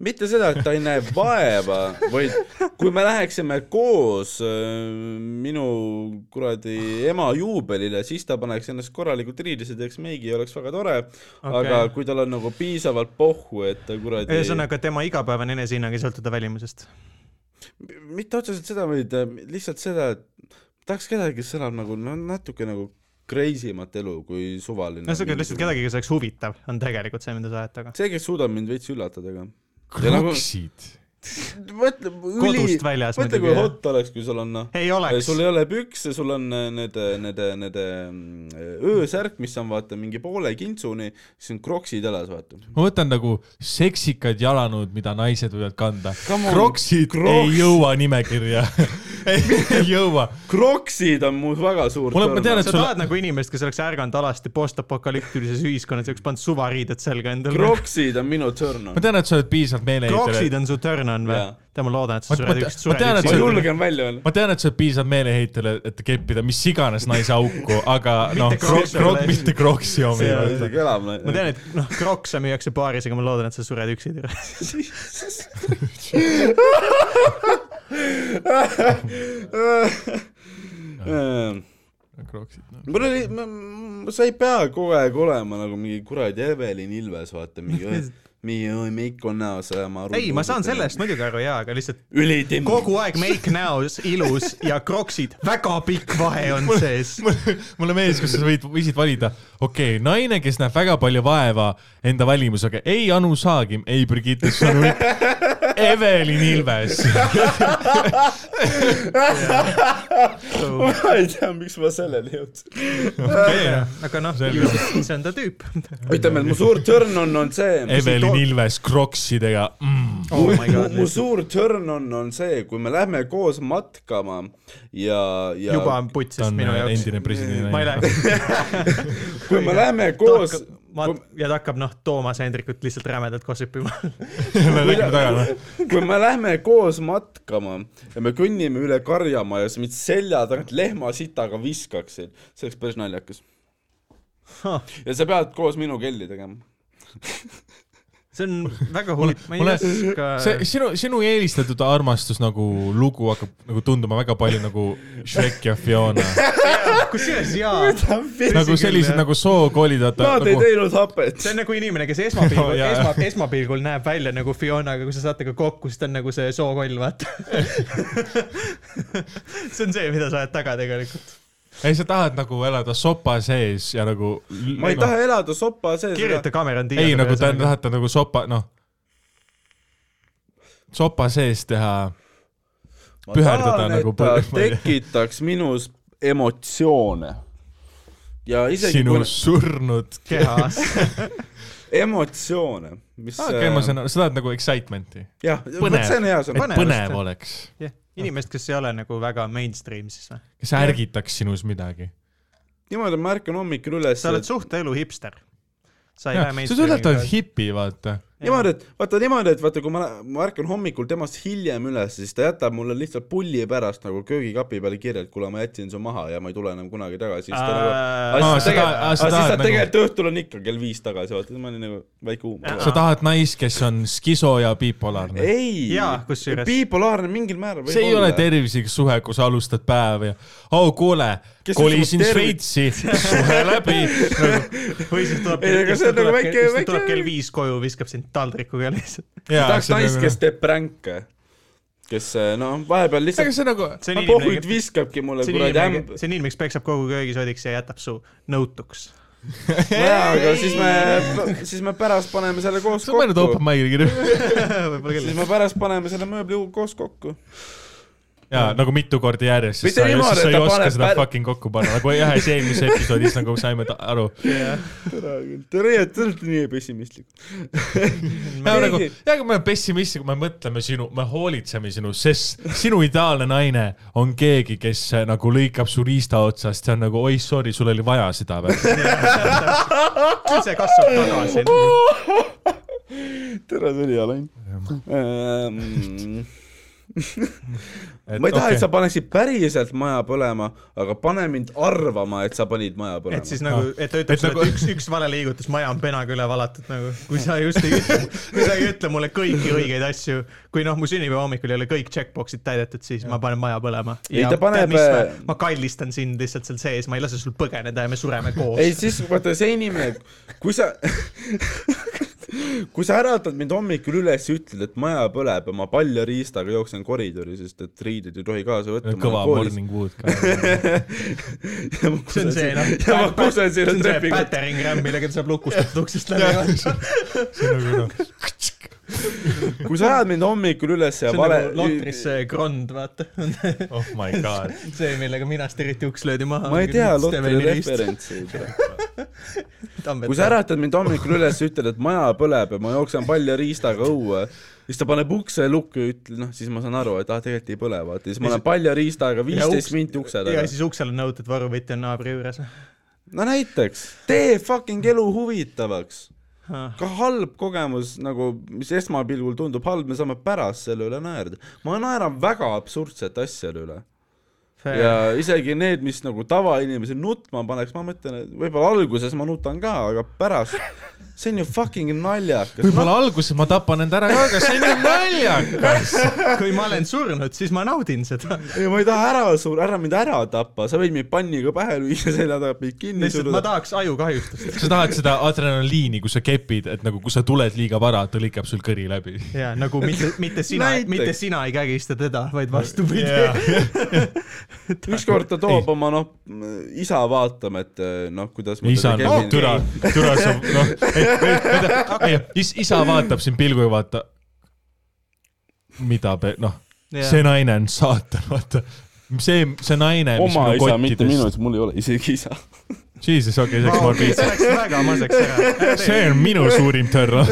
A: mitte seda , et ta ei näe vaeva , vaid kui me läheksime koos äh, minu kuradi ema juubelile , siis ta paneks ennast korralikult riidesse , teeks meigi ja oleks väga tore okay. , aga kui tal on nagu piisavalt pohhu , et ta kuradi
B: ühesõnaga , tema igapäevane enesehinnang ei sõltu ta välimusest .
A: M- mitte otseselt seda , vaid äh, lihtsalt seda , et tahaks kedagi , kes elab nagu no natuke nagu crazy imat elu kui suvaline .
B: ühesõnaga lihtsalt . kedagi , kes oleks huvitav , on tegelikult see , mida sa ajad taga .
A: see , kes suudab mind veits üllatada ka . Ja nagu-
C: kroksid .
A: mõtle , üli
B: kodust , väljas
A: mõtle kui
B: muidugi .
A: hot oleks , kui sul on noh ,
B: ei oleks
A: sul . ei ole pükse , sul on äh, need , need , need äh, öösärk , mis on vaata mingi poole kintsuni , siis on kroksid jalas , vaata .
C: ma võtan nagu seksikad jalanõud , mida naised võivad kanda .
A: Come on,
C: kroksid
A: Crocs.
C: ei jõua nimekirja . ei jõua .
A: kroksid on mu väga suur
C: Mulle- ma tean, et
B: sa
C: sul-
B: tahad nagu inimest , kes oleks ärganud alasti postapokalüptilises ühiskonnas ja oleks pannud suvariided selga endale .
A: kroksid on minu turn on
C: ma . tean , et sa oled piisavalt meeleheitel .
B: kroksid on su turn on või
A: Jaa. ?
B: tead , ma loodan , et
C: Ma-
B: sa sured
C: ma-
B: üks ,
C: ma tean,
B: sured
C: et
A: ma
C: see-
B: üks .
A: julgen välja öelda .
C: ma tean , et sa oled piisavalt meeleheitel , et keppida mis iganes naise auku , aga
B: Mitte
C: noh ,
B: Crocs-
C: krok- , mitte kroksi omi .
A: see kõlab .
B: ma tean , et noh , krokse müüakse baaris , aga ma loodan , et sa sured üksi ära .
A: Ähm,
C: noh.
A: mul oli , sa ei pea kogu aeg olema nagu mingi kuradi Evelin Ilves , vaata mingi , mingi oi, meik on näos ja ma .
B: ei , ma saan sellest . muidugi aru jaa , aga lihtsalt
A: ülitimm .
B: kogu aeg make näos ilus ja kroksid , väga pikk vahe on sees .
C: mulle , mulle meeldis , kus sa võid , võisid valida , okei okay, , naine , kes näeb väga palju vaeva enda valimusega , ei Anu Saagim , ei Brigitte Sõnulik , Evelin Ilves .
A: ma ei tea , miks ma selleni jõudsin .
B: aga noh ,
C: Selge.
B: see on ta tüüp .
A: ütleme , et mu suur turn on , on see .
C: Evelin Ilves kroksidega mm. .
B: oh my god ,
A: mu suur turn on , on see , kui me lähme koos matkama ja , ja .
B: juba on
C: ta
B: putsist
C: on
A: äh,
B: minu jaoks .
C: endine presidendi
B: ma ei . lähe .
A: kui me läheme koos .
B: ja ta hakkab noh , Toomas Hendrikut lihtsalt rämedalt kossipima .
C: me räägime taga ,
A: kui me lähme koos matkama ja me kõnnime üle karjamaa ja sa mind selja tagant lehmasitaga viskaksid , see oleks päris naljakas .
B: Ah,
A: ja sa pead koos minu kelli tegema .
B: see on väga huvitav , ma ei
C: mulle-
B: oska .
C: see sinu , sinu eelistatud armastus nagu lugu hakkab nagu tunduma väga palju nagu Shrek ja Fiona .
B: kusjuures jaa ,
C: nagu sellised nagu sookoolid , vaata .
A: Nad ei
C: Nagu,
A: teinud hapet .
B: see on nagu inimene , kes esmapilgul
C: Jaa, jaa.
B: esma , esmapilgul näeb välja nagu Fiona , aga kui sa saate ka kokku , siis ta on nagu see sookoll , vaata . see on see , mida sa ajad taga tegelikult .
C: ei , sa tahad nagu elada sopa sees ja nagu .
A: ma ei taha elada sopa sees .
B: kirjuta Cameron Diaz .
C: ei , nagu ta on , tahate nagu sopa , noh , sopa sees teha , püherdada nagu
A: ta
C: põlve- ma ei tea.
A: tekitaks minus emotsioone . ja isegi
C: sinu
A: kui
C: surnud
B: kehas .
A: emotsioone , mis .
C: okei , ma saan aru , sa tahad nagu excitement'i .
A: jah ,
C: Ah, põnev.
A: vot see on hea
C: et
A: sõna .
B: Põnev.
C: põnev oleks ,
B: jah , inimest , kes ei ole nagu väga mainstream siis või ?
C: kes ärgitaks sinus midagi .
A: niimoodi ma ärkan hommikul üles .
B: sa oled suht elu hipster . sa ei lähe
C: see on
B: mainstreami .
C: üllatavalt hipi , vaata .
A: niimoodi , et vaata niimoodi , et vaata , kui ma , ma ärkan hommikul temast hiljem üles , siis ta jätab mulle lihtsalt pulli pärast nagu köögikapi peale kirja , et kuule , ma jätsin su maha ja ma ei tule enam kunagi tagasi . siis ta nagu ,
B: Äh,
A: aga
C: aa,
A: siis
C: sa
A: ta
C: tahad- aa,
A: tegelikult ,
C: sa
A: aga siis
C: tahad
A: ta
C: nagu-
A: tegelikult õhtul on ikka kell viis tagasi , vaata , siis ma olin nagu väike uum .
B: Jaa.
C: sa tahad naist , kes on skiso ja bipolaarne .
A: ei
B: Jaa, , kusjuures-
A: bipolaarne mingil määral võib
C: see ei ole
A: olla .
C: tervislik suhe , kus alustad päeva ja oh kuule ,
A: Kes
C: kolisin
A: ütleb, et
C: Šveitsi , suhe läbi .
B: Nagu- või siis tuleb ,
A: Ei, aga
B: siis
A: see
B: ta
A: on nagu
B: tuleb,
A: väike-
B: ke- siis ta tuleb
A: väike-
B: kell viis koju , viskab sind taldrikuga lihtsalt .
A: tahaks naist ,
C: nagu-
A: kes teeb pränke , kes noh , vahepeal
C: ega
A: lihtsalt
C: see nagu ,
B: see on inimene ,
A: pohhuid
B: kes
A: viskabki mulle
B: see on
A: kuradi
B: inimene ,
A: ämb- .
B: see on inimene , kes peksab kogu köögisodiks ja jätab su nõutuks .
A: jaa , aga siis me , siis me pärast paneme selle koos
C: sa mõelnud
A: kokku
C: open . mic'i kirju ?
B: võib-olla
A: siis
B: küll .
A: me pärast paneme selle mööbli ju- koos kokku .
C: jaa , nagu mitu korda järjest ,
A: Mitte
C: sest sa ei-
A: niimoodi,
C: sest sa
A: et
C: ei
A: ta
C: oska
A: paneb
C: seda
A: pär-
C: fucking kokku panna , nagu ühes eelmises episoodis nagu saime ta- aru .
A: tere küll , tere , te olete nii pessimistlik .
C: ja nagu ,
A: Keegi-
C: ja aga me oleme pessimistid , kui me mõtleme sinu , me hoolitseme sinu , sest sinu ideaalne naine on keegi , kes äh, nagu lõikab su riista otsast ja on nagu oi , sorry , sul oli vaja seda või ?
B: see kasvab tagasi .
A: tere , see oli hea lain . ma ei taha , et sa paneksid päriselt maja põlema , aga pane mind arvama , et sa panid maja
B: et siis
A: põlema .
B: nagu , et ta ütleb
C: Et
B: sulle ,
C: nagu-
B: et üks , üks vale liigutus , maja on penaga üle valatud nagu , kui sa just ei ütle , kui sa ei ütle mulle kõiki õigeid asju , kui noh , mu sünnipäeva hommikul ei ole kõik checkbox'id täidetud , siis ma panen maja põlema .
A: Ei, ta paneb- äh,
B: ma kallistan sind lihtsalt seal sees , ma ei lase sul põgeneda ja me sureme koos .
A: ei , siis vaata see inimene , kui sa , kui sa äratad mind hommikul üles ja ütled , et maja põleb ja ma palja riistaga jooksen koridori , sest et riideid ei tohi kaasa võtta .
C: Nagu kõva . morning wood ka .
B: see on see noh ,
A: ja ma kusen
B: see
A: sinna
B: on see
A: trepi kohta .
B: battering ram , millega ta saab lukustatud uksest läbi .
C: see on nagu noh ,
A: kui sa ajad mind hommikul üles ja
B: see on
A: vale
B: nagu , lotris see krond , vaata .
C: oh my god .
B: see , millega minast eriti uks löödi maha .
A: ma ei tea lotri . referentsi . kui sa äratad mind hommikul üles ja ütled , et maja põleb ja ma jooksen palja riistaga õue , siis ta paneb ukse lukku ja ütleb , noh , siis ma saan aru , et ah , tegelikult ei põle , vaata , siis ma olen palja riistaga viisteist minti ukse
B: ja
A: taga .
B: siis uksel on nõutud varuvõtja on naabri juures .
A: no näiteks , tee fucking elu huvitavaks .
B: Ah,
A: ka halb kogemus nagu , mis esmapilgul tundub halb , me saame pärast selle üle naerda . ma naeran väga absurdsete asjade üle . ja isegi need , mis nagu tavainimesi nutma paneks , ma mõtlen , et võib-olla alguses ma nutan ka , aga pärast , see on ju fucking naljakas .
C: võib-olla alguses ma tapan end ära ka , aga see on ju naljakas .
B: kui ma olen surnud , siis ma naudin seda .
A: ei , ma ei taha ära sur- , ära mind ära tappa , sa võid mind panniga pähe lüüa , selja taga mind kinni
B: lihtsalt ma
A: suruda .
B: tahaks ajukahjustust .
C: sa tahad seda adrenaliini , kui sa kepid , et nagu , kui sa tuled liiga vara , ta lõikab sul kõri läbi .
B: ja nagu mitte , mitte sina ,
A: Näiteks.
B: mitte sina ei kägista teda , vaid vastupidi
C: Jaa.
B: yeah. .
A: ükskord ta toob oma noh , isa vaatame , et noh , kuidas ma
C: isa on
A: teda
C: nagu
A: kepin.
C: türa , türa sa , noh , ei , ei , ei , isa vaatab sind pilgu ja vaata . mida , noh , see naine on saatan , vaata . see , see naine , mis
A: oma
C: minu
A: isa , mitte minu
C: kottidest .
A: isa , mul ei ole isegi isa .
C: Jesus , okei , see läks morbiidselt .
B: see läks väga maseks ära .
C: see on minu suurim tõrva .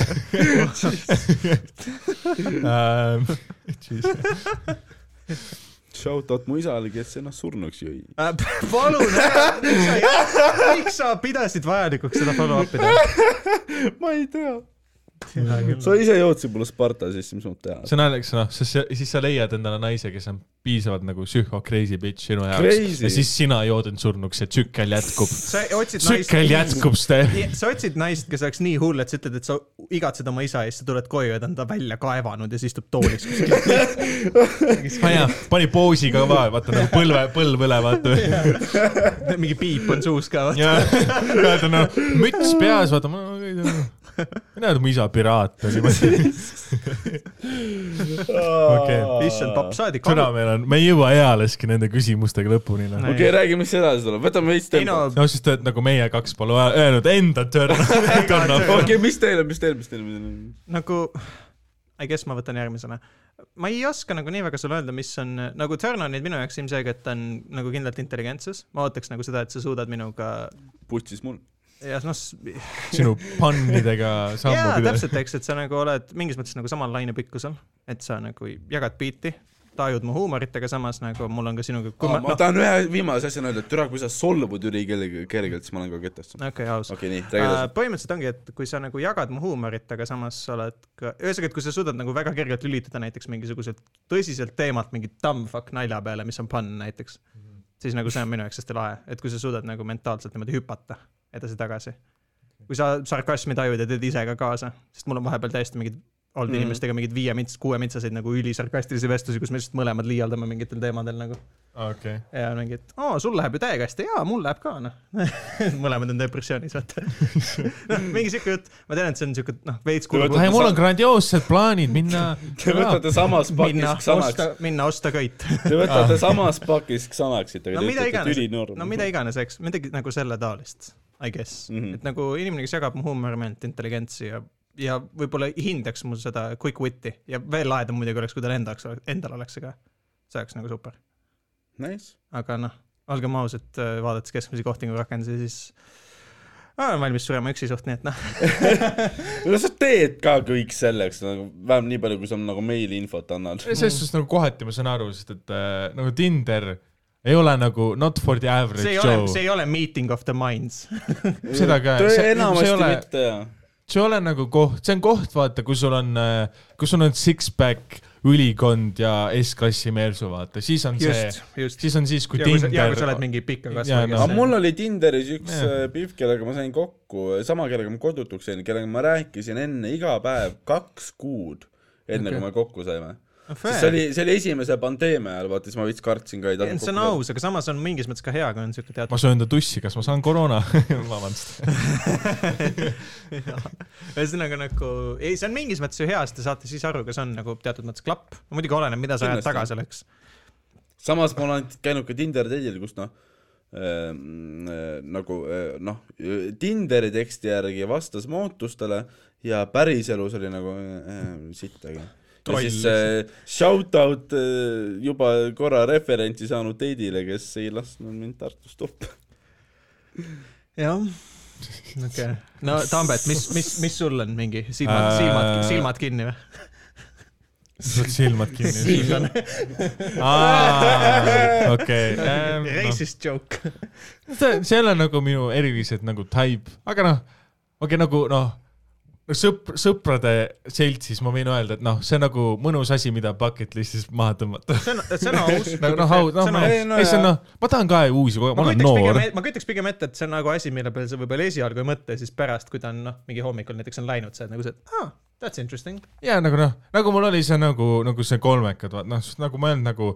C: Ähm,
A: Shout out mu isale , kes ennast surnuks jõi .
B: Äh, palun , äh, miks sa pidasid vajalikuks seda follow-up'i teha ?
A: ma ei tea . sa ise jõudsid mulle Sparta sisse , mis ma tean .
C: see on naljakas noh , sest see- siis sa leiad endale naise , kes on piisavalt nagu psühho crazy bitch sinu jaoks
A: Crazy.
C: ja siis sina jood end surnuks ja tsükkel jätkub .
B: sa otsid naist
C: tsükkel , jätkub , Sten .
B: sa otsid naist , kes oleks nii hull , et sa ütled , et sa igatsed oma isa ja siis sa tuled koju ja ta on ta välja kaevanud ja siis istub toolis kuskil .
C: ma ei tea , pani poosi ka vaja , vaata nagu põlve , põlv üle vaata .
B: mingi piip on suus ka .
C: ja , vaata noh , müts peas , vaata ma nagu ei tea . mina arvan , et mu isa piraat oli . Okei.
B: issand , papp saadik .
C: täna meil on , me ei jõua ealeski nende küsimustega lõpuni noh
B: Näe.
A: okei , räägi , mis edasi tuleb , võtame veits
B: ei no
A: tempo .,
C: no siis te olete nagu meie kaks pole vä- öelnud enda törn .
A: okei , mis teil on , mis teil , mis teil on ?
B: nagu , I guess ma võtan järgmisena . ma ei oska nagu nii väga sulle öelda , mis on nagu turn-on'id minu jaoks ilmselgelt on nagu kindlalt intelligentsus , ma ootaks nagu seda , et sa suudad minuga
A: putsis mul .
B: ja noh ,
C: sinu pannidega sammu
B: jaa ,
C: pidada .
B: täpselt , eks , et sa nagu oled mingis mõttes nagu samal lainepikkusel , et sa nagu jagad biiti , tajud mu huumorit , aga samas nagu mul on ka sinuga , kui
A: ma,
B: ma,
A: ma no.
B: noh ,
A: tahan ühe viimase asjana öelda , et türa , kui sa solvud üli kellegi kergelt , siis ma olen kohe kettas . okei
B: okei , aus .
A: okay, , nii , räägi edasi .
B: Äh, põhimõtteliselt ongi , et kui sa nagu jagad mu huumorit , aga samas sa oled ka , ühesõnaga , et kui sa suudad nagu väga kergelt lülitada näiteks mingisuguselt tõsiselt teemalt mingi dumbfuck nalja peale , mis on pann näiteks , siis nagu see on minu jaoks hästi lahe , et kui sa suudad nagu mentaalselt niimoodi hüpata edasi-tagasi . kui sa sarkasmi tajud ja teed ise ka kaasa , sest mul on vahepeal täiesti mingid olnud mm
A: Mhm.
B: -hmm. inimestega mingeid viie mints , kuue mintsaseid nagu ülisarkastilisi vestlusi , kus me lihtsalt mõlemad liialdame mingitel teemadel nagu .
C: okei .
B: ja mingi , et aa , sul läheb ju täiega hästi , jaa , mul läheb ka , noh . mõlemad on depressioonis , vaata . noh , mingi siuke jutt , ma tean , et see on siuke , noh , veits kulub
C: ei , mul on grandioossed plaanid minna .
A: Te võtate samas
B: Äh, minna
A: pakis
B: osta
A: Xanax ,,
B: minna osta köit .
A: te võtate samas pakis Xanaxit , aga
B: no
A: te ütlete ,
B: mida
A: et
B: iganes ,
A: ülinorm .
B: no mida iganes , eks , midagi nagu selle taolist , I guess mm .
A: Mhm.
B: -hmm. et nagu inimene , kes jagab mu huumorimeelt , intelligentsi ja , ja võib-olla hindaks mu seda quick wit'i ja veel lahedam muidugi oleks , kui tal enda , endal oleks see ka . see oleks nagu super .
A: Nice .
B: aga noh , olgem ausad , vaadates keskmisi kohtingu rakendusi , siis ma olen valmis surema üksi suht , nii et noh ,
A: no sa teed ka kõik selleks , nagu vähemalt nii palju , kui sa nagu meile infot annad .
C: selles suhtes nagu kohati ma saan aru , sest et äh, nagu Tinder ei ole nagu not for the
B: see
C: average
B: ei ole , see
C: Joe .
B: ei ole meeting of the minds .
C: seda ka- see- see ei
A: enamasti
C: ole-
A: mitte jah .
C: see ei ole nagu koht , see on koht , vaata , kus sul on , kus sul on six-pack , ülikond ja S-klassi meelsu , vaata , siis on see ,
B: just , just .
C: siis on siis , kui
B: ja kui sa , ja kui sa
C: Tinder
B: oled mingi pika
C: Jaa, no.
B: kasvaga
A: aga
C: see- .
A: mul oli Tinderis üks
C: Jah.
A: äh, pihv , kellega ma sain kokku , sama kellega ma kodutuks sain , kellega ma rääkisin enne iga päev kaks kuud , enne kui me kokku saime . see oli , see oli esimese pandeemia ajal , vaata siis ma veits kartsin ka , ei tahtnud
B: see on
A: kokku
B: aus , aga samas on mingis mõttes ka hea , kui on siuke teatud
C: ma söön ta tussi , kas ma saan koroona ? vabandust .
B: ühesõnaga nagu , ei , see on mingis mõttes ju hea , sest te saate siis aru , kas on nagu teatud mõttes klapp . muidugi oleneb , mida sa ajad
A: Kindlasti.
B: taga selleks .
A: saada. samas ma olen käinud ka Tinder teedil , kus noh ähm, äh, nagu äh, noh , Tinderi teksti järgi vastas ma ootustele ja päriselus oli nagu äh, äh, sitt , aga . ja
C: Troll
A: siis äh, shout out äh, juba korra referentsi saanud teidile , kes ei lasknud mind Tartust uppi .
B: jah . okei , no Tambet , mis , mis , mis sul on mingi silmad ,
C: Äh,
B: silmad , silmad kinni või ?
C: sa oled silmad kinni .
B: siin on
C: okei .
B: racist joke .
C: see , see ei ole nagu minu erilised nagu type , aga noh , okei okay, , nagu noh , sõpr- , sõprade seltsis ma võin öelda , et noh , see on nagu mõnus asi , mida bucket list'is maha tõmmata .
B: see on , see on aus .
C: nagu noh , noh , ma ,
A: ei,
C: ei
A: no
C: see on
A: jaa.
C: noh , ma tahan ka uusi , ma
B: ma
C: olen
B: kujutaks pigem
C: noor .,
B: ma kujutaks pigem ette , et see on nagu asi , mille peale sa võib-olla esialgu ei mõtle , siis pärast , kui ta on noh , mingi hommikul näiteks on läinud , sa oled nagu see , et aa , that's interesting .
C: jaa , nagu noh , nagu mul oli see nagu , nagu see kolmekad , vaat noh , nagu ma ei olnud nagu ,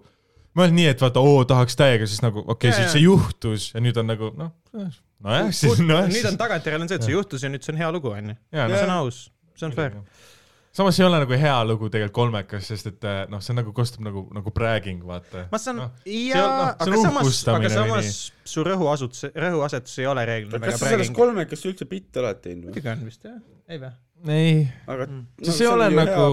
C: ma ei olnud nii , et vaata , oo , tahaks täiega , siis nagu okei
B: Jaa,
C: okay, , siis
B: jaa.
C: see juhtus ja nüüd on nagu noh , nojah , Ah, siis nojah .
B: nüüd on tagantjärele on see , et see juhtus ja nüüd see on hea lugu , onju .
C: jaa ,
B: see on aus , see on fair .
C: nagu- samas ei ole nagu hea lugu tegelikult kolmekas , sest et äh, noh , see nagu kostab nagu , nagu bragging , vaata .
B: ma saan
C: Noh, ,
B: jaa ,
C: see
B: aga
C: on
B: samas , aga
C: uhkustamine või
B: samas
C: nii?
B: su rõhuasutus , rõhuasetus ei ole reeglina
A: kas
B: väga
A: sa sellest
B: bragging .
A: kolmekest üldse bitti oled teinud või ?
B: muidugi on vist jah , ei vä ?
C: ei ,
A: aga no,
C: see ei ole nagu ,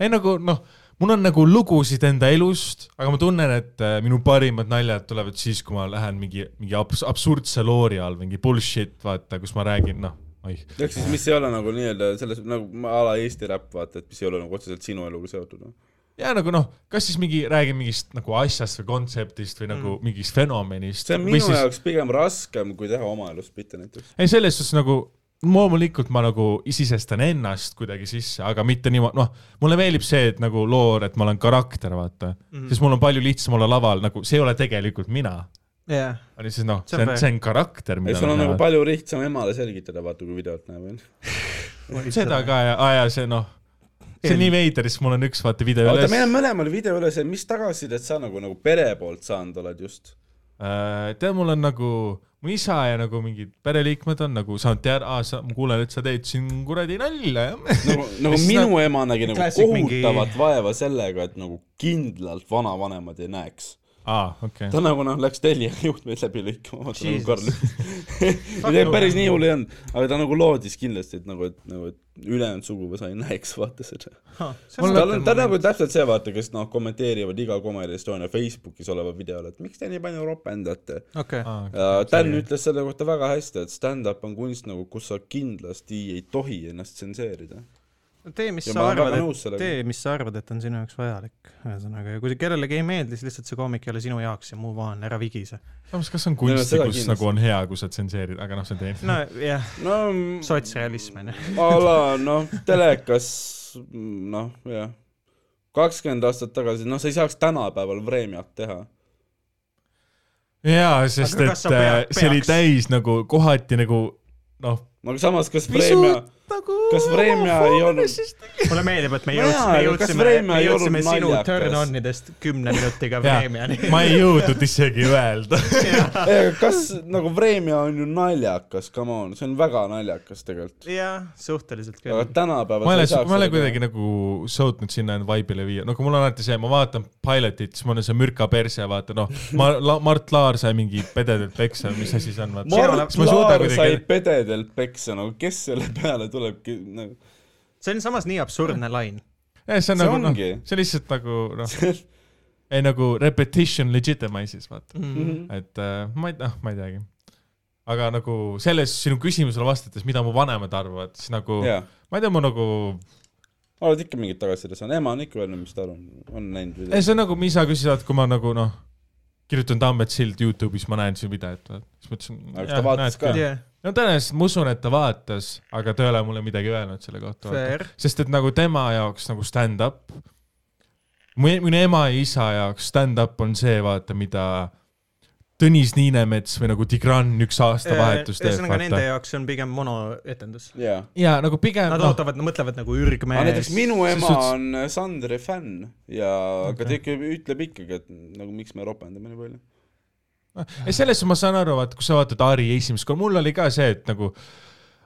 C: ei nagu noh , mul on nagu lugusid enda elust , aga ma tunnen , et äh, minu parimad naljad tulevad siis , kui ma lähen mingi , mingi abs- , absurdse loori all , mingi bullshit , vaata , kus ma räägin , noh , oih .
A: ehk siis , mis ei ole nagu nii-öelda selles nagu ma- a la Eesti räpp , vaata , et mis ei ole nagu otseselt sinu eluga seotud .
C: ja nagu noh , kas siis mingi , räägin mingist nagu asjast või kontseptist või nagu mm. mingist fenomenist .
A: see on minu siis... jaoks pigem raskem , kui teha oma elus bitte näiteks .
C: ei , selles suhtes nagu loomulikult ma nagu sisestan ennast kuidagi sisse , aga mitte niimoodi , noh , mulle meeldib see , et nagu loor , et ma olen karakter , vaata mm .
B: Mhm.
C: -hmm. siis mul on palju lihtsam olla laval , nagu see ei ole tegelikult mina .
B: jaa ,
C: aga siis noh ,
B: See on
C: see on ,
B: fair.
C: see on karakter ,
A: ei ,
C: mida
A: sul on nagu
C: näen .
A: palju lihtsam emale selgitada , vaata kui videot näeb , onju .
C: seda ka ja , ja see noh , see on nii veider , siis mul on üks vaata video
A: oota ,
C: üles
A: meil . on mõlemal video üles , mis tagasisidet sa nagu , nagu pere poolt saanud oled just ?
C: tead , mul on nagu mu isa ja nagu mingid pereliikmed on nagu saanud teada , sa , ma kuulen , et sa teed siin kuradi nalja , jah .
A: nagu , nagu
C: Mis
A: minu ema nägi nagu
B: Classic mingi-
A: kohutavat mingi... vaeva sellega , et nagu kindlalt vanavanemad ei näeks .
C: aa , okei
A: ta nagu noh , läks Telia juhtmeid läbi lõikama , vaata nagu
B: Jesus.
A: Karl ei , päris nii hull ei olnud , aga ta nagu loodis kindlasti , et nagu , et nagu , et ülejäänud suguvõsa ei näeks , vaata seda . tal on , ta on nagu täpselt see , vaata , kes noh , kommenteerivad iga Comedy Estonia Facebookis oleva videole , et miks te nii palju ropendate .
B: okei ,
C: okay. .
A: ja Dan ütles selle kohta väga hästi , et stand-up on kunst nagu , kus sa kindlasti ei tohi ennast tsenseerida .
B: tee , mis
A: ja
B: sa
A: ma olen
B: arvad ,
A: väga
B: et
A: nõus sellega .
B: tee , mis sa arvad , et on sinu jaoks vajalik , ühesõnaga , ja kui see kellelegi ei meeldi , siis lihtsalt see koomik ei ole sinu jaoks ja move on , ära vigise .
C: samas , kas on
A: No,
C: kunsti
A: seda ,
C: kus
A: kindlasti.
C: nagu on hea , kui sa tsenseerid , aga noh , see on teine no. .
B: nojah ,
A: no
B: sotsialism on ju .
A: a la noh , telekas , noh jah , kakskümmend aastat tagasi , noh , sa ei saaks tänapäeval Vremjat teha .
C: jaa , sest
B: Aga kas
C: et
B: sa
C: äh,
B: pead-
C: see oli
B: peaks?
C: täis nagu kohati nagu noh ,
A: aga samas , kas Vremja ,
B: nagu
A: kas Vremja ei olnud ,
B: mulle meeldib , et me
A: Ma
B: jõudsime ,
A: jaa, aga kas
B: jõudsime ,
A: Vremja ei
B: jõudsime
A: olnud
B: sinu
A: naljakas?
B: turn-on'idest kümne minutiga
C: jaa ,
B: Vremjani .
C: ma ei jõudnud isegi öelda .
A: kas nagu Vremja on ju naljakas , come on , see on väga naljakas tegelikult .
B: jah , suhteliselt
A: aga
B: küll .
A: tänapäeval
C: ma olen , ma olen kuidagi nagu suutnud sinna end vibe'ile viia , no kui mul on alati see , ma vaatan Pilotit , siis mul on see mürka perse , vaata noh , ma La, , Mart Laar sai mingi pededelt peksa , mis asi see on , vaata .
A: Mart
C: Kas ma suudan
A: Laar
C: kuidagi-
A: sai pededelt peksa , nagu kes selle peale tuleb , nagu
B: see on samas nii absurdne lain .
C: see on
A: see
C: nagu noh ,
A: ongi.
C: see lihtsalt nagu noh , ei nagu repetition legitimizes , vaata .
A: Mhm.
B: Mhm.
C: et äh, ma ei , noh , ma ei teagi . aga nagu selles sinu küsimusele vastates , mida mu vanemad arvavad , siis nagu yeah.
A: jaa ,
C: ma ei tea , ma nagu ,
A: oled ikka mingit tagasisidet saanud , ema on ikka öelnud , mis tal on , on näinud või
C: ei see on nagu , mu isa küsis , et kui ma nagu noh , kirjutan Tammet Sild Youtube'is , ma näen sinu videot , vaata . siis ma ütlesin .
A: Aga kas ta vaatas ka?
B: jah ,
C: no tõenäoliselt ma usun , et ta vaatas , aga ta ei ole mulle midagi öelnud selle kohta .
B: fair .
C: sest et nagu tema jaoks nagu stand-up , minu ema ja isa jaoks stand-up on see , vaata , mida Tõnis Niinemets või nagu Tigran üks aastavahetus teeb ,
B: ühesõnaga nende
C: vaata .
B: jaoks see on pigem monoetendus .
A: jaa
C: ja nagu pigem ,
B: Nad
C: noh ,
B: ootavad , mõtlevad nagu
A: aga näiteks
B: ürgmees .
A: minu
C: Ses
A: ema
C: suhtes-
A: on Sandri fänn ja okay. , aga ta ikka ütleb ikkagi , et nagu miks me ropendame nii palju .
C: selles suhtes ma saan aru , vaata , kui sa vaatad Ari esimest korda , mul oli ka see , et nagu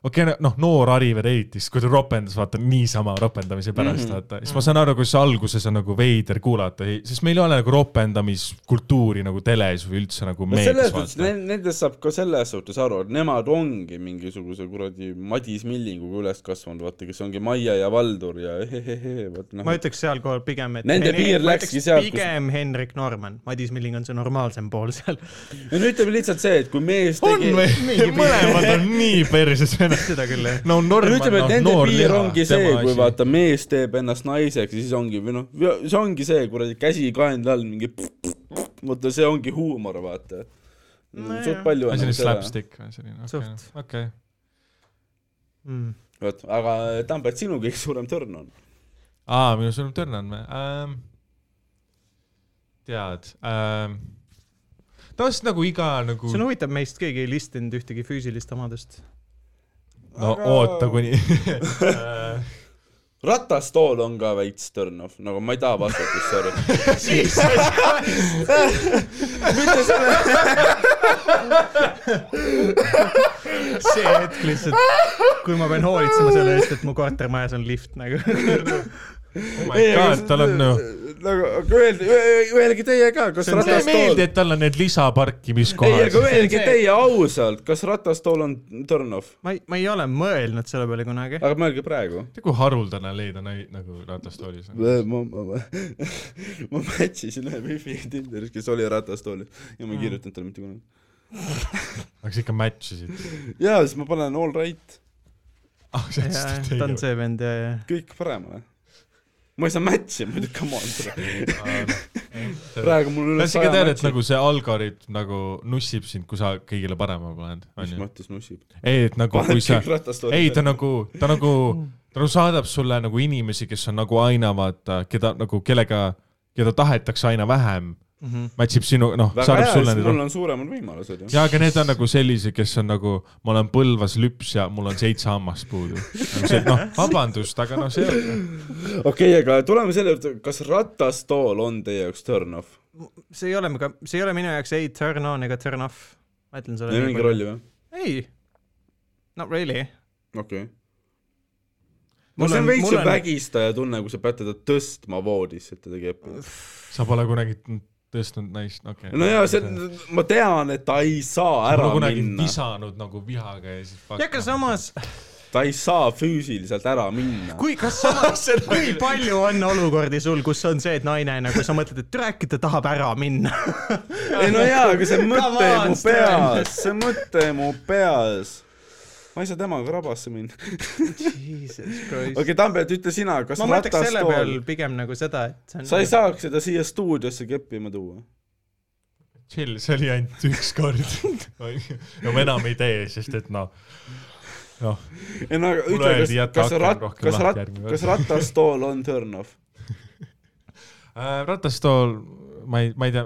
C: okei okay, , noh , noor Ari veel eriti , siis kui ta ropendas , vaata niisama ropendamise pärast
A: Mhm.
C: mm , -hmm. vaata , siis ma saan aru , kuidas alguses on nagu veider kuulata , sest meil ei ole nagu ropendamiskultuuri nagu teles või üldse nagu
A: no selles
C: meedias ,
A: suhtes ,
C: vaata .
A: nendest saab ka selles suhtes aru , et nemad ongi mingisuguse kuradi Madis Millinguga üles kasvanud , vaata , kes ongi Maie ja Valdur ja hehehe , vot noh
B: ma . ütleks sealkohal pigem , et
A: Nende
B: Henri-
A: piir
B: ma
A: läkski
B: ütleks
A: sealt, kus-
B: pigem Henrik Norman , Madis Milling on see normaalsem pool seal .
A: ja nüüd ütleme lihtsalt see , et kui mees
C: on
A: tegi
C: või ? mõlemad on nii perses vennad .
B: seda küll , jah .
C: no
A: no
C: Norman
A: ütleme ,
C: on noh,
A: et nende
C: noor
A: piir
C: liha ,
A: ongi see , kui asi. . vaata mees teeb ennast naiseks ja siis ongi või noh , see ongi see kuradi käsi kaenla all mingi vaata , see ongi huumor , vaata
B: Nojah.
A: no, . suht palju
C: see
A: on
C: oli . slapstick või selline , okei
B: Suht. ,
C: okei .
B: Mm.
A: vot , aga Tambet , sinu kõige suurem törn on ?
C: aa , minu sõnum Törn on või ähm, ? tead ähm, , tavaliselt nagu iga nagu ,
B: see on
C: no
B: huvitav , meist keegi ei listinud ühtegi füüsilist omadust .
A: Aga-
C: oota kuni .
A: ratastool on ka veits törn-off , nagu ma ei taha vastata , sorry .
B: see hetk lihtsalt , kui ma pean hoolitsema selle eest , et mu kortermajas on lift nagu .
C: Oh tal on noh ,
A: nagu , aga öelge , öelge teie ka , kas
B: See on see-
C: mulle ei
A: ratastool
C: meeldi ,, et tal on need
A: ei ,
C: lisaparkimiskohad
A: aga . öelge teie ausalt , kas ratastool on törn-off ?
B: ma ei , ma ei ole mõelnud selle peale kunagi .
A: aga mõelge praegu .
C: tead , kui haruldane leida nai- nagu ratastoolis on .
A: ma , ma , ma , ma match isin ühe Wi-Fi Tinderis , kes oli ratastoolis ja ma ei kirjutanud talle mitte kunagi .
C: aga sa ikka match isid .
A: jaa , siis ma panen all right ,
C: ah , sa ütlesid , et
B: ta on
C: ei .
B: see vend ja , ja .
A: kõik paremale . ma ei saa match'i muidu , come on .
C: praegu
A: praegu mul üle
C: no noh, sa
A: saja
C: ikka tead , et
A: match'i .
C: nagu see algoritm nagu nussib sind , kui sa kõigile parema paned ,
A: mis
C: onju .
A: mõttes nussib ?
C: ei , et nagu kui
A: paned
C: sa ,
A: kõik ratastooli
C: ei ta nagu , ta nagu , ta nagu saadab sulle nagu inimesi , kes on nagu aina vaata , keda nagu , kellega , keda tahetakse aina vähem ,
B: Mhm.
C: match ib sinu , noh ,
A: väga
C: saadab
A: hea ,
C: sulle
A: siis
C: neid
A: mul on suuremad võimalused ju .
C: ja aga need on nagu sellised , kes on nagu , ma olen Põlvas lüps ja mul on seitse hammast puudu . noh , vabandust , aga noh , see on ,
A: okei , aga tuleme selle juurde , kas ratastool on teie jaoks turn-off ?
B: see ei ole , see ei ole minu jaoks ei turn on ega turn off . ma ütlen sulle .
A: Neil on mingi . rolli või ?
B: ei , not really .
A: okei okay. . no
B: Mul
A: see
B: on-
A: on veits
B: mul
A: ju
B: on-
A: vägistaja tunne , kui sa pead teda tõstma voodisse , et ta teeb .
C: sa pole kunagi tõstnud naist , okei
A: no jaa , see , ma tean , et ta ei saa ära
C: ära kunagi
A: minna ,
C: visanud nagu vihaga ja siis
B: ja aga samas ,
A: ta ei saa füüsiliselt ära minna .
B: kui , kas samas , kui
C: nagu-
B: palju on olukordi sul , kus on see , et naine nagu sa mõtled , et türa äkki ta tahab ära minna .
A: ei no jaa , aga see mõte
B: Come on,
A: mu
B: Sten.
A: peas , see mõte mu peas . ma ei saa temaga rabasse minna . okei
B: ma
A: okay, , Tambet , ütle sina , kas
B: mõtleks selle
A: ratastool
B: peal , pigem nagu seda , et see on
A: sa ei saaks seda siia stuudiosse keppima tuua ?
C: chill , see oli ainult üks kord . no ma enam ei tee , sest et noh , noh ,
A: ei no aga
C: Mulle
A: ütle ,
C: öeldi,
A: kas ,
C: jäta
A: kas
C: aken
A: rat- ,
C: rohkem
A: kas
C: lahti
A: rat-
C: järgmine , kord.
A: kas ratastool on turn-off ?
C: Äh, ratastool , ma ei , ma ei tea ,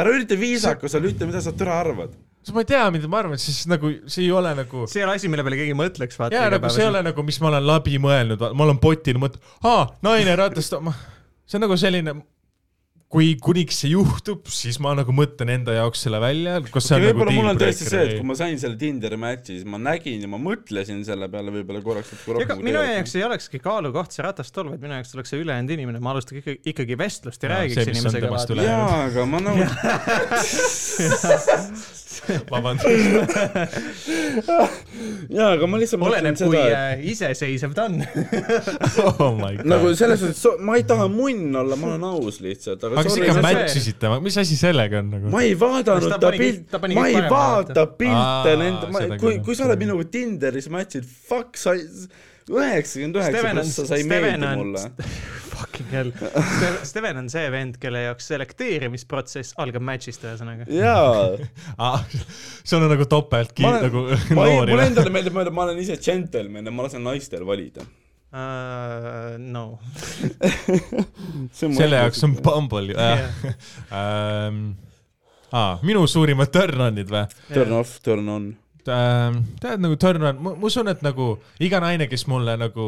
A: ära ürita viisakas olla , ütle , mida sa täna arvad .
C: ma ei tea , mida ma arvan , siis nagu see ei ole nagu ,
B: see ei ole asi , mille peale keegi mõtleks , vaata .
C: jaa , nagu see ei ole nagu , mis ma olen läbi mõelnud , ma olen potil mõt- , aa , naine ratastool , see on nagu selline , kui kuniks see juhtub , siis ma nagu mõtlen enda jaoks selle välja , kas see on nagu
A: võib-olla mul on tõesti see , et
C: dealbreaker
A: kui ma sain selle Tinderi match'i , siis ma nägin ja ma mõtlesin selle peale võib-olla korraks , et kui
B: ega
C: Nagu
A: rohkem
B: minu jaoks ei olekski kaalukoht see ratastool , vaid minu jaoks oleks see ülejäänud inimene , ma alustaks ikkagi, ikkagi vestlust ja
C: Jaa,
B: räägiks
C: see, mis on
B: inimesega .
C: temast üle-
A: jaa , aga ma nagu ,
C: ei , vabandust ,
A: jaa , aga ma lihtsalt mõtlen
B: oleneb , kui
A: seda , et
B: äh, iseseisev ta on .
C: oh my god
A: nagu selles mõttes , ma ei taha munn olla , ma olen aus lihtsalt ,
C: aga
A: aga
C: kas
A: sorry
C: ikka
B: see-
C: match isite , mis asi sellega on nagu ?
A: ma ei vaadanud
B: Kas ta
A: ta
B: pani kõik-
A: pilt
B: ta , pani
A: ma
B: kõik
A: ei
B: parema
A: vaata
B: vaata?
A: pilte
C: Aa,
A: nende , ma
C: seda ,
A: kui
C: küll, ,
A: kui sa
C: seda
A: oled minuga Tinderis match'id , fuck , sa , üheksakümmend üheksa
B: Steven on-
A: pluss sa sai
B: Steven
A: meeldi
B: on-
A: mulle .
B: Fucking hell . Steven on see vend , kelle jaoks selekteerimisprotsess algab match'ist , ühesõnaga .
A: jaa
C: sul on nagu topelt ki- ,
A: ma olen ,
C: nagu
A: ma ei , mulle
C: noori .
A: endale meeldib mõelda , ma olen ise džentelmen ja ma lasen naistel valida .
B: Uh, no .
C: selle jaoks on Bumble ju , jah . Ehm, minu suurimad turn-on'id või ?
A: turn off , turn on .
C: tead nagu turn-on , ma usun , et nagu iga naine , kes mulle nagu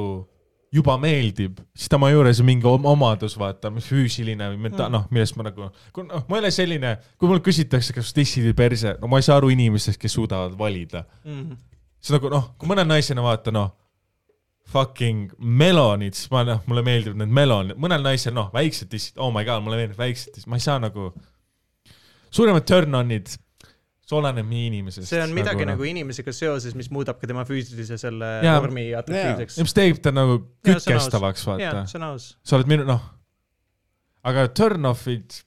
C: juba meeldib , siis tema juures on mingi om- omadus , vaata , mis füüsiline või menta- , noh , millest ma nagu , noh , ma ei ole selline , kui mult küsitakse , kas tissid või perse , no ma ei saa aru inimestest , kes suudavad valida
B: Mm.
C: see nagu noh , kui mõne naisena vaata noh , fucking melonid , siis ma noh , mulle meeldivad need melonid , mõnel naisel noh , väiksed tissid , oh my god , mulle meeldivad väiksed tissid , ma ei saa nagu , suuremad turn-on'id , see oleneb nii inimesest .
B: see on midagi
C: noh.
B: nagu, nagu . inimesega seoses , mis muudab ka tema füüsilise selle
C: Jaa.
B: yeah. vormi atraktiivseks
C: ja mis teeb ta nagu
B: Jaa, see on aus.
C: kütkestavaks ,
B: yeah. .
C: vaata
B: jaa ,. see on aus .
C: sa oled minu , noh , aga turn-off'id ,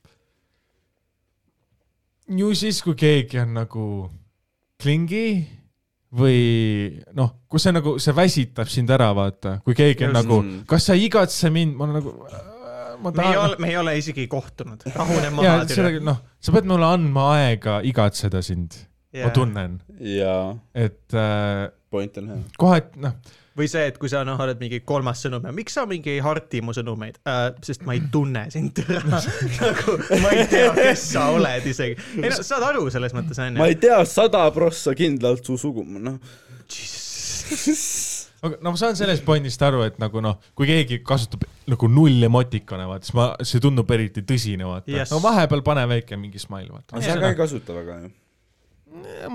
C: ju siis , kui keegi on nagu klingi või noh , kui see nagu , see väsitab sind ära , vaata , kui keegi on
B: Just.
C: nagu
A: Mm. ,
C: kas sa ei igatse mind , ma olen nagu ,
B: me
C: ma
B: ei
C: tahan
B: ole ,, me ei ole isegi kohtunud , rahune
C: ja
B: maha
C: seda küll , noh , sa pead mulle andma aega igatseda sind yeah. , ma
B: Jaa.
C: tunnen ,
A: jaa ,
C: et äh,
A: point on hea .
C: kohati , noh ,
B: või see , et kui sa noh , oled mingi kolmas sõnum ja miks sa mingi ei harti mu sõnumeid äh, , sest ma ei tunne sind . nagu ma ei tea , kes sa oled isegi . ei no saad aru selles mõttes
A: ma
B: onju .
A: ei tea sada prossa kindlalt su sugu , noh .
C: aga no ma saan sellest pointist aru , et nagu noh , kui keegi kasutab nagu null emotikone , vaata , siis ma , see tundub eriti tõsine , vaata
B: Yes.
C: yes. . no vahepeal pane väike mingi smile , vaata .
A: aga sa ka ei kasuta väga ju .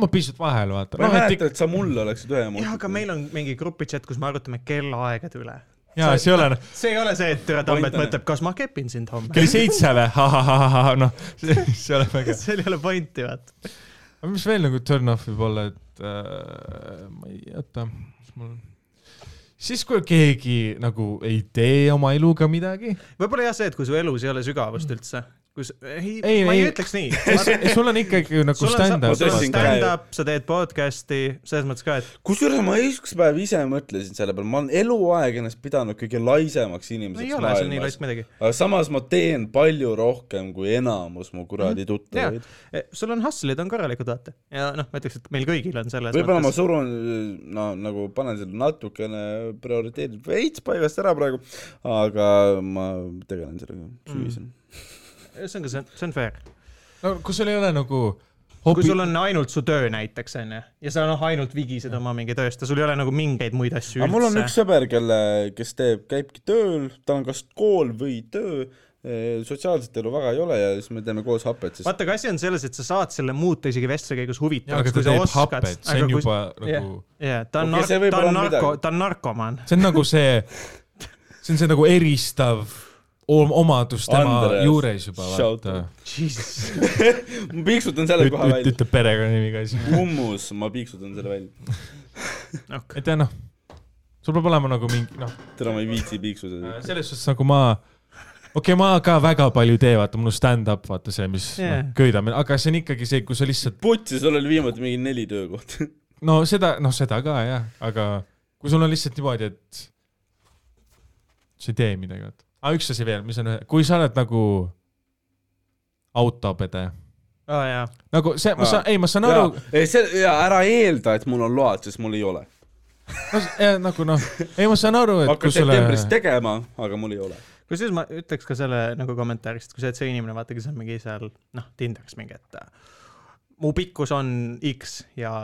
C: ma pisut vahele , vaata .
A: ma ei
C: noh , et
A: mäleta ,
C: ikka ,
A: et sa mulle oleksid ühe
B: jah , aga
A: emootsi .
B: meil on mingi grupi chat , kus me arutame kellaaegade üle .
C: jaa , see ei ole noh ,
B: see ei ole see , et tere , Tambet
A: Point on-
B: mõtleb , kas ma kepin sind homme .
C: kell seitse või , ahahahah , noh , see see ei ole väga .
B: seal ei ole pointi , vaata .
C: aga mis veel nagu turn-off võib olla , et äh, ma ei , oota , mis mul siis , kui keegi nagu ei tee oma eluga midagi ,
B: võib-olla jah , see , et kui su elus ei ole
C: Mm.
B: sügavust üldse , kus , ei, ei ,
C: Ei,
B: ma ei,
C: ei.
B: ei ütleks nii .
C: sul on ikkagi nagu
B: sul on
C: stand-up
A: sa- ma tõstsin ka-
C: vaata.
B: stand-up , sa teed podcast'i , selles mõttes ka , et
A: kusjuures ma üks päev ise mõtlesin selle peale , ma olen eluaeg ennast pidanud kõige laisemaks
B: no ei
A: inimeseks
B: ole seal nii
A: maailmas
B: laisk . midagi .
A: aga samas ma teen palju rohkem kui enamus mu kuradi
B: Mhm. jaa e,
A: tuttavaid .,
B: sul on hustle'id on korralikud , vaata . ja noh , ma ütleks , et meil kõigil on selles
A: võib-olla ma
B: mõttes .
A: surun , no nagu panen selle natukene prioriteedid veits paigast ära praegu , aga ma tegelen sellega
B: Mhm.
A: sügisel mm. .
B: see on ka , see on , see on fair .
C: no kui sul ei ole nagu
B: kui sul on ainult su töö näiteks , onju , ja sa noh , ainult vigised oma mingi tööst ja sul ei ole nagu mingeid muid asju
A: aga mul on üks
B: üldse .
A: sõber , kelle , kes teeb , käibki tööl , tal on kas kool või töö , sotsiaalset elu väga ei ole ja siis me teeme koos hapet , sest
B: vaata , aga asi on selles , et sa saad selle muuta isegi vestluse käigus
C: jaa , aga
B: huvitavaks ,
C: ta
B: kui sa
C: teeb
B: oskad .
C: hapet , see on juba nagu ,
B: jaa , ta on
A: Okei, see
B: narko ,
A: võib
B: ta
A: olla
B: on
A: midagi.
C: nagu
B: narko , ta on narkomaan .
C: see on nagu see , see on see nagu eristav omadus tema
A: Andres,
C: juures juba ,
A: shout
C: vaata .
A: ma piiksutan selle kohe välja .
C: ütle perekonnanimi ka siis .
A: kummus , ma piiksutan selle välja .
B: okay. .
C: et jah , noh , sul peab olema nagu mingi , noh ,
A: täna ma ei viitsi piiksuda .
C: selles suhtes nagu ma , okei okay, , ma ka väga palju ei tee , vaata , mul on stand-up , vaata see , mis yeah.
B: Jaa.
C: noh, köidamine , aga see on ikkagi see , kui sa lihtsalt ,
A: putsi , sul oli viimati mingi neli töökohta .
C: no seda , noh , seda ka jah , aga kui sul on lihtsalt niimoodi , et sa ei tee midagi , vaata . aga üks asi veel , mis on , kui sa oled nagu autopede ,
B: aa Oh, jaa ,
C: nagu see , ma
A: Aa.
C: saan , ei , ma saan
A: jaa
C: aru ,,
A: ei see , jaa , ära eelda , et mul on load , sest mul ei ole .
C: nagu noh , ei , ma saan aru , et
A: hakkan
C: kui sulle
A: septembris tegema , aga mul ei ole .
B: kusjuures ma ütleks ka selle nagu kommentaariks , et kui sa oled see inimene , vaata , kes on mingi seal noh , Tinderis mingi , et äh, mu pikkus on X ja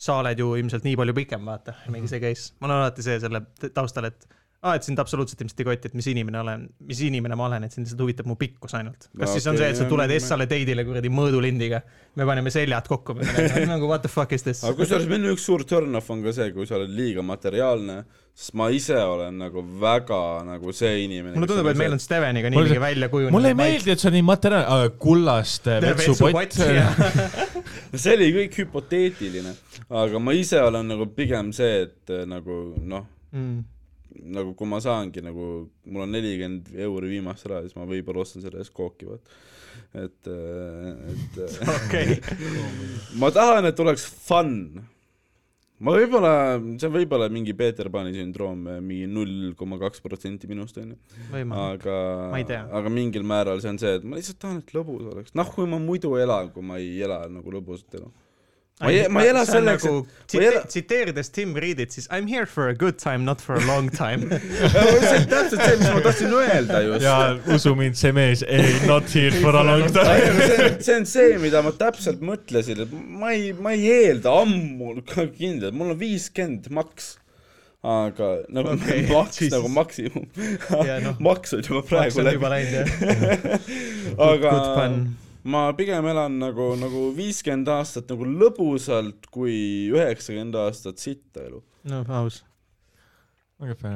B: sa oled ju ilmselt nii palju pikem , vaata ,
A: Mhm.
B: mingi see case . mul on alati see selle t- taustal , et aa , et sind absoluutselt ilmselt ei koti , et mis inimene olen , mis inimene ma olen , et sind lihtsalt huvitab mu pikkus ainult . kas
A: No
B: no, siis on
A: okei,
B: okay, see , et sa
A: jah,
B: tuled
A: ma-
B: Essale teidile kuradi mõõdulindiga , me paneme seljad kokku , nagu what the fuck is this
A: aga ? kusjuures minu üks suur turn-off on ka see , kui sa oled liiga materiaalne , sest ma ise olen nagu väga nagu see inimene .
B: mulle tundub , et meil on Steveniga nii
C: Mulle-
B: mingi välja kujunenud .
C: mulle ei meeldi , et sa nii materjal , kullast äh, vetsupott .
A: no see oli kõik hüpoteetiline , aga ma ise olen nagu pigem see , et eh, nagu noh ,
B: Mm.
A: nagu kui ma saangi nagu , mul on nelikümmend euri viimast raha , siis ma võib-olla ostan selle eest kooki , vaat . et , et äh,
B: okei ,
A: ma tahan , et oleks fun . ma võib-olla , see on võib-olla mingi Peeter Pani sündroom , mingi null koma kaks protsenti minust onju ,
B: võimalik .
A: aga
B: Ma ei tea. ,
A: aga mingil määral see on see , et ma lihtsalt tahan , et lõbus oleks , noh , kui ma muidu elan , kui ma ei ela nagu lõbusat elu . ma ei , ma ei ela selleks , et ma ei ela-
B: et . nagu tsiteerides Tim Reedit , siis I m here for a good time , not for a long time .
A: see on täpselt see , mis ma tahtsin öelda
C: ja
A: just .
C: usu mind , see mees ei not here for a long time .
A: see on see , mida ma täpselt mõtlesin , et ma ei , ma ei eelda ammu ka kindlalt , mul on viiskümmend maks . aga nagu okay,
B: Okei,
A: maks
B: Jesus.
A: nagu maksimum
B: Ja noh,
A: maks on juba praegu läbi ,
B: läbi .
A: aga
B: good fun.
A: ma pigem elan nagu , nagu viiskümmend aastat nagu lõbusalt kui üheksakümmend aastat sitta elu .
B: no aus , okei .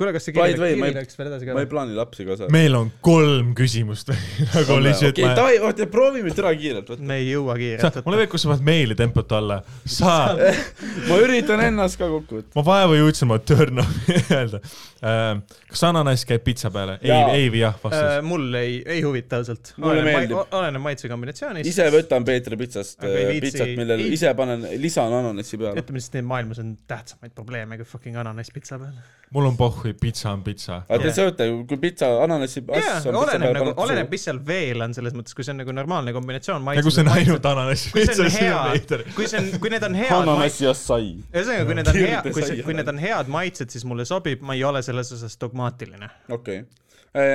B: kuule , kas see
A: By
B: kiri
A: the way, ma ei-
B: kiri läks veel edasi ka
A: ma ei ? plaani lapsi ka saada .
C: meil on kolm küsimust nagu oli see , et
A: okei ,
C: ma
A: davai , oota , proovime türa kiirelt , vot
B: me ei jõua
C: sa
B: kiirelt ,
C: mulle
B: võtta .
C: meeldib , kui sa paned meili tempot alla . sa ,
A: ma üritan ennast ka kokku võtta .
C: ma vaeva jõudsin oma turn-off'i öelda . kas ananass käib pitsa peale ? ei
A: Jaa. ,
C: ei või jah vastus .
B: Äh, mul ei , ei huvita ausalt .
A: Mulle meeldib.
B: oleneb maitse kombinatsioonist .
A: ise võtan Peetri pitsast
B: Aga ei
A: äh,
B: viitsi-
A: pitsat , millele
B: ei-
A: ise panen , lisan ananassi peale .
B: ütleme siis , et maailmas on tähtsamaid probleeme kui fucking ananass pitsa peal .
C: mul on pohhui , pitsa on pitsa .
A: aga te
B: Jah.
A: sööte , kui pitsa , ananassi
B: jaa ,
A: asja on pitsa
B: oleneb
A: peale
B: nagu , oleneb ,
A: pandud .
B: mis seal veel on , selles mõttes , kui see on nagu normaalne kombinatsioon .
C: ja kui Nagu see on ainult ananass ,
B: kui see
C: pitsa ,
B: on
C: siis on veider
B: hea . kui see on , kui need on head maitsed ,
A: ananassi ja sai .
B: ühesõnaga , kui need on hea ,
A: Kirde
B: kui
A: sai
B: see , kui need on head maitsed , siis mulle sobib , ma ei ole selles osas dogmaatiline .
A: okei .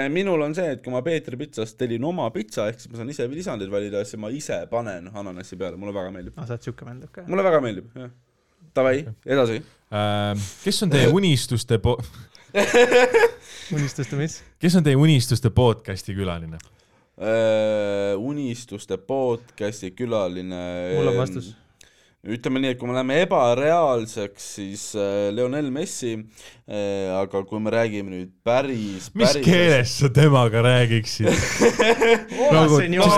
A: minul on see , et kui ma Peetri pitsast tellin oma pitsa , ehk siis ma saan ise lisandeid valida , siis ma ise panen ananassi peale , mulle väga meeldib .
B: aa , sa oled siuke vend , okei .
A: mulle väga meeldib , jah . Davai , edasi .
C: Ehm, kes on teie unistuste po- ,
B: unistuste mis ?
C: kes on teie unistuste podcast'i külaline ?
A: Äh, unistuste podcasti külaline .
B: mul on vastus .
A: Ehm, ütleme nii , et kui me läheme ebareaalseks , siis äh, Lionel Messi , aga kui me räägime nüüd päris ,
C: mis
A: päris
C: keeles sa temaga räägiksid ? nagu ,
A: No,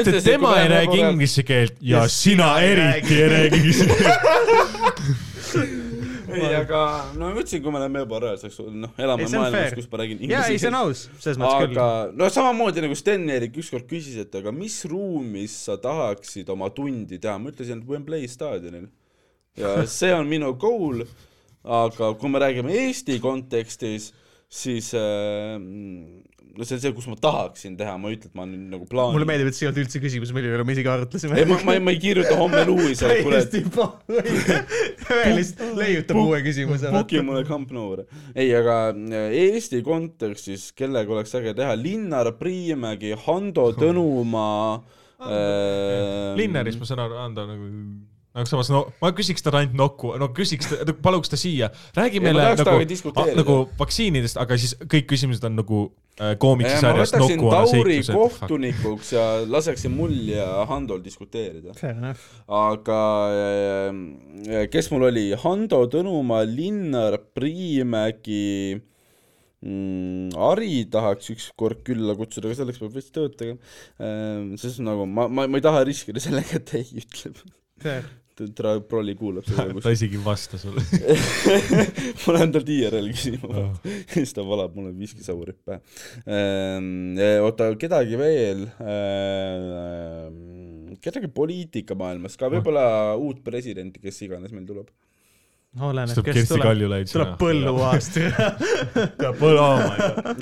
A: Ah, ma
C: sest
A: ütlesin,
C: et
A: et
C: tema
A: kui
C: ei
A: me
C: räägi
A: läheme-
C: inglise keelt ja sina eriti ei räägi inglise keelt .
A: ei , aga no ma ütlesin , kui me läheme ebareaalseks , noh , elame
B: Ei, see on
A: maailmas ,
B: fair.
A: kus ma räägin
B: jaa , ei ,
A: inglise
B: see on
A: keeles .
B: aus , selles mõttes
A: aga
B: küll .
A: no samamoodi nagu Sten-Erik ükskord küsis , et aga mis ruumis sa tahaksid oma tundi teha , ma ütlesin , et Wembley staadionil . ja see on minu goal , aga kui me räägime Eesti kontekstis , siis äh, no see on see , kus ma tahaksin teha , ma ei ütle , et ma nüüd nagu plaanin .
B: mulle meeldib , et see ei olnud üldse küsimus , mille üle me isegi arutlusime
A: ei , ma , ma ei , ma ei kirjuta homme Lewisele , et kuule ,
B: täiesti pohvõige . Evelist leiutab uue küsimuse .
A: Puki mulle Camp Nou'le . ei , aga äh, Eesti kontekstis , kellega oleks äge teha , Linnar Priimägi , Hando Tõnumaa äh, .
C: Linnaris ma saan aru , Ando nagu , aga samas no ma küsiks talle ainult nokku , no küsiks , paluks ta siia , räägi
A: Ei, ma
C: meile
A: tahaks
C: nagu
A: temaga , diskuteerida.
C: nagu vaktsiinidest , aga siis kõik küsimused on nagu äh,
A: ma
C: koomiksisarjast
A: võtaksin
C: Nokku on
A: Tauri
C: seiklused .
A: kohtunikuks ja laseksin mul ja Handol diskuteerida .
B: Fair enough .
A: aga eh, äh, kes mul oli , Hando Tõnumaa , Linnar Priimägi mm, Ari tahaks ükskord külla kutsuda , aga selleks peab vist tööd tegema ehm, . sest nagu ma , ma , ma ei taha riskida sellega , et ei ütleb . ta trolli kuulab seda
C: ta isegi ei vasta sulle .
A: ma lähen talt IRL küsima , siis ta valab mulle viskisaurit pähe ehm, . oota , kedagi veel ehm, , kedagi poliitikamaailmas ka , võib-olla uut presidenti , kes iganes meil tuleb .
B: oleneb ,
C: istub
B: kes
C: Kersti
B: tuleb ,
C: Kaljulaid .
B: tuleb põlluaast .
C: põlluaast .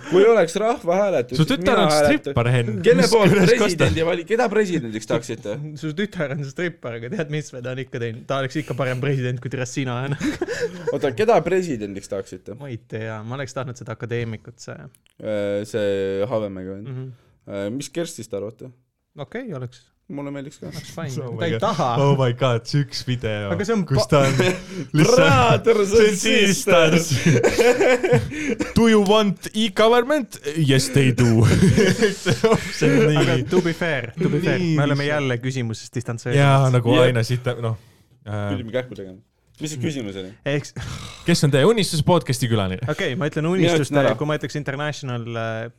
A: kui oleks rahvahääletus .
C: su tütar on strippar , Henn .
A: kelle poolt presidendi vali- , keda presidendiks tahaksite ?
B: su tütar on strippar , aga tead , mis ta on ikka teinud , ta oleks ikka parem president , kui tere sina on .
A: oota , keda presidendiks tahaksite ?
B: ma ei tea , ma oleks tahtnud seda akadeemikut , see ,
A: Äh, see Habemägi vend .
C: Mhm.
A: mis Kerstist arvate ?
B: okei , oleks ,
A: mulle meeldiks ka .
B: oleks fine
C: Oh , my
B: ta ei
C: God.
B: taha .
C: oh my god , see üks video
B: Aga see on ,
C: kus
B: pa-
C: ta on lihtsalt .
A: Brother and sisters .
C: Do you want e-government ? Yes they do . see on
B: aga
C: nii .
B: to be fair , to be fair ,
C: Nii
B: me oleme
C: lihtsalt.
B: jälle küsimusest
C: jaa ,
B: distantseerinud .
C: nagu
A: Jah.
C: aina siit , noh .
B: Äh.
A: pidime kähku tegema . mis see küsimus oli ?
B: ehk ,
C: kes on teie unistuse podcast'i külaline ?
B: okei , ma ütlen
A: ütlen
B: unistuste
A: ära. ,
B: kui ma ütleks international ,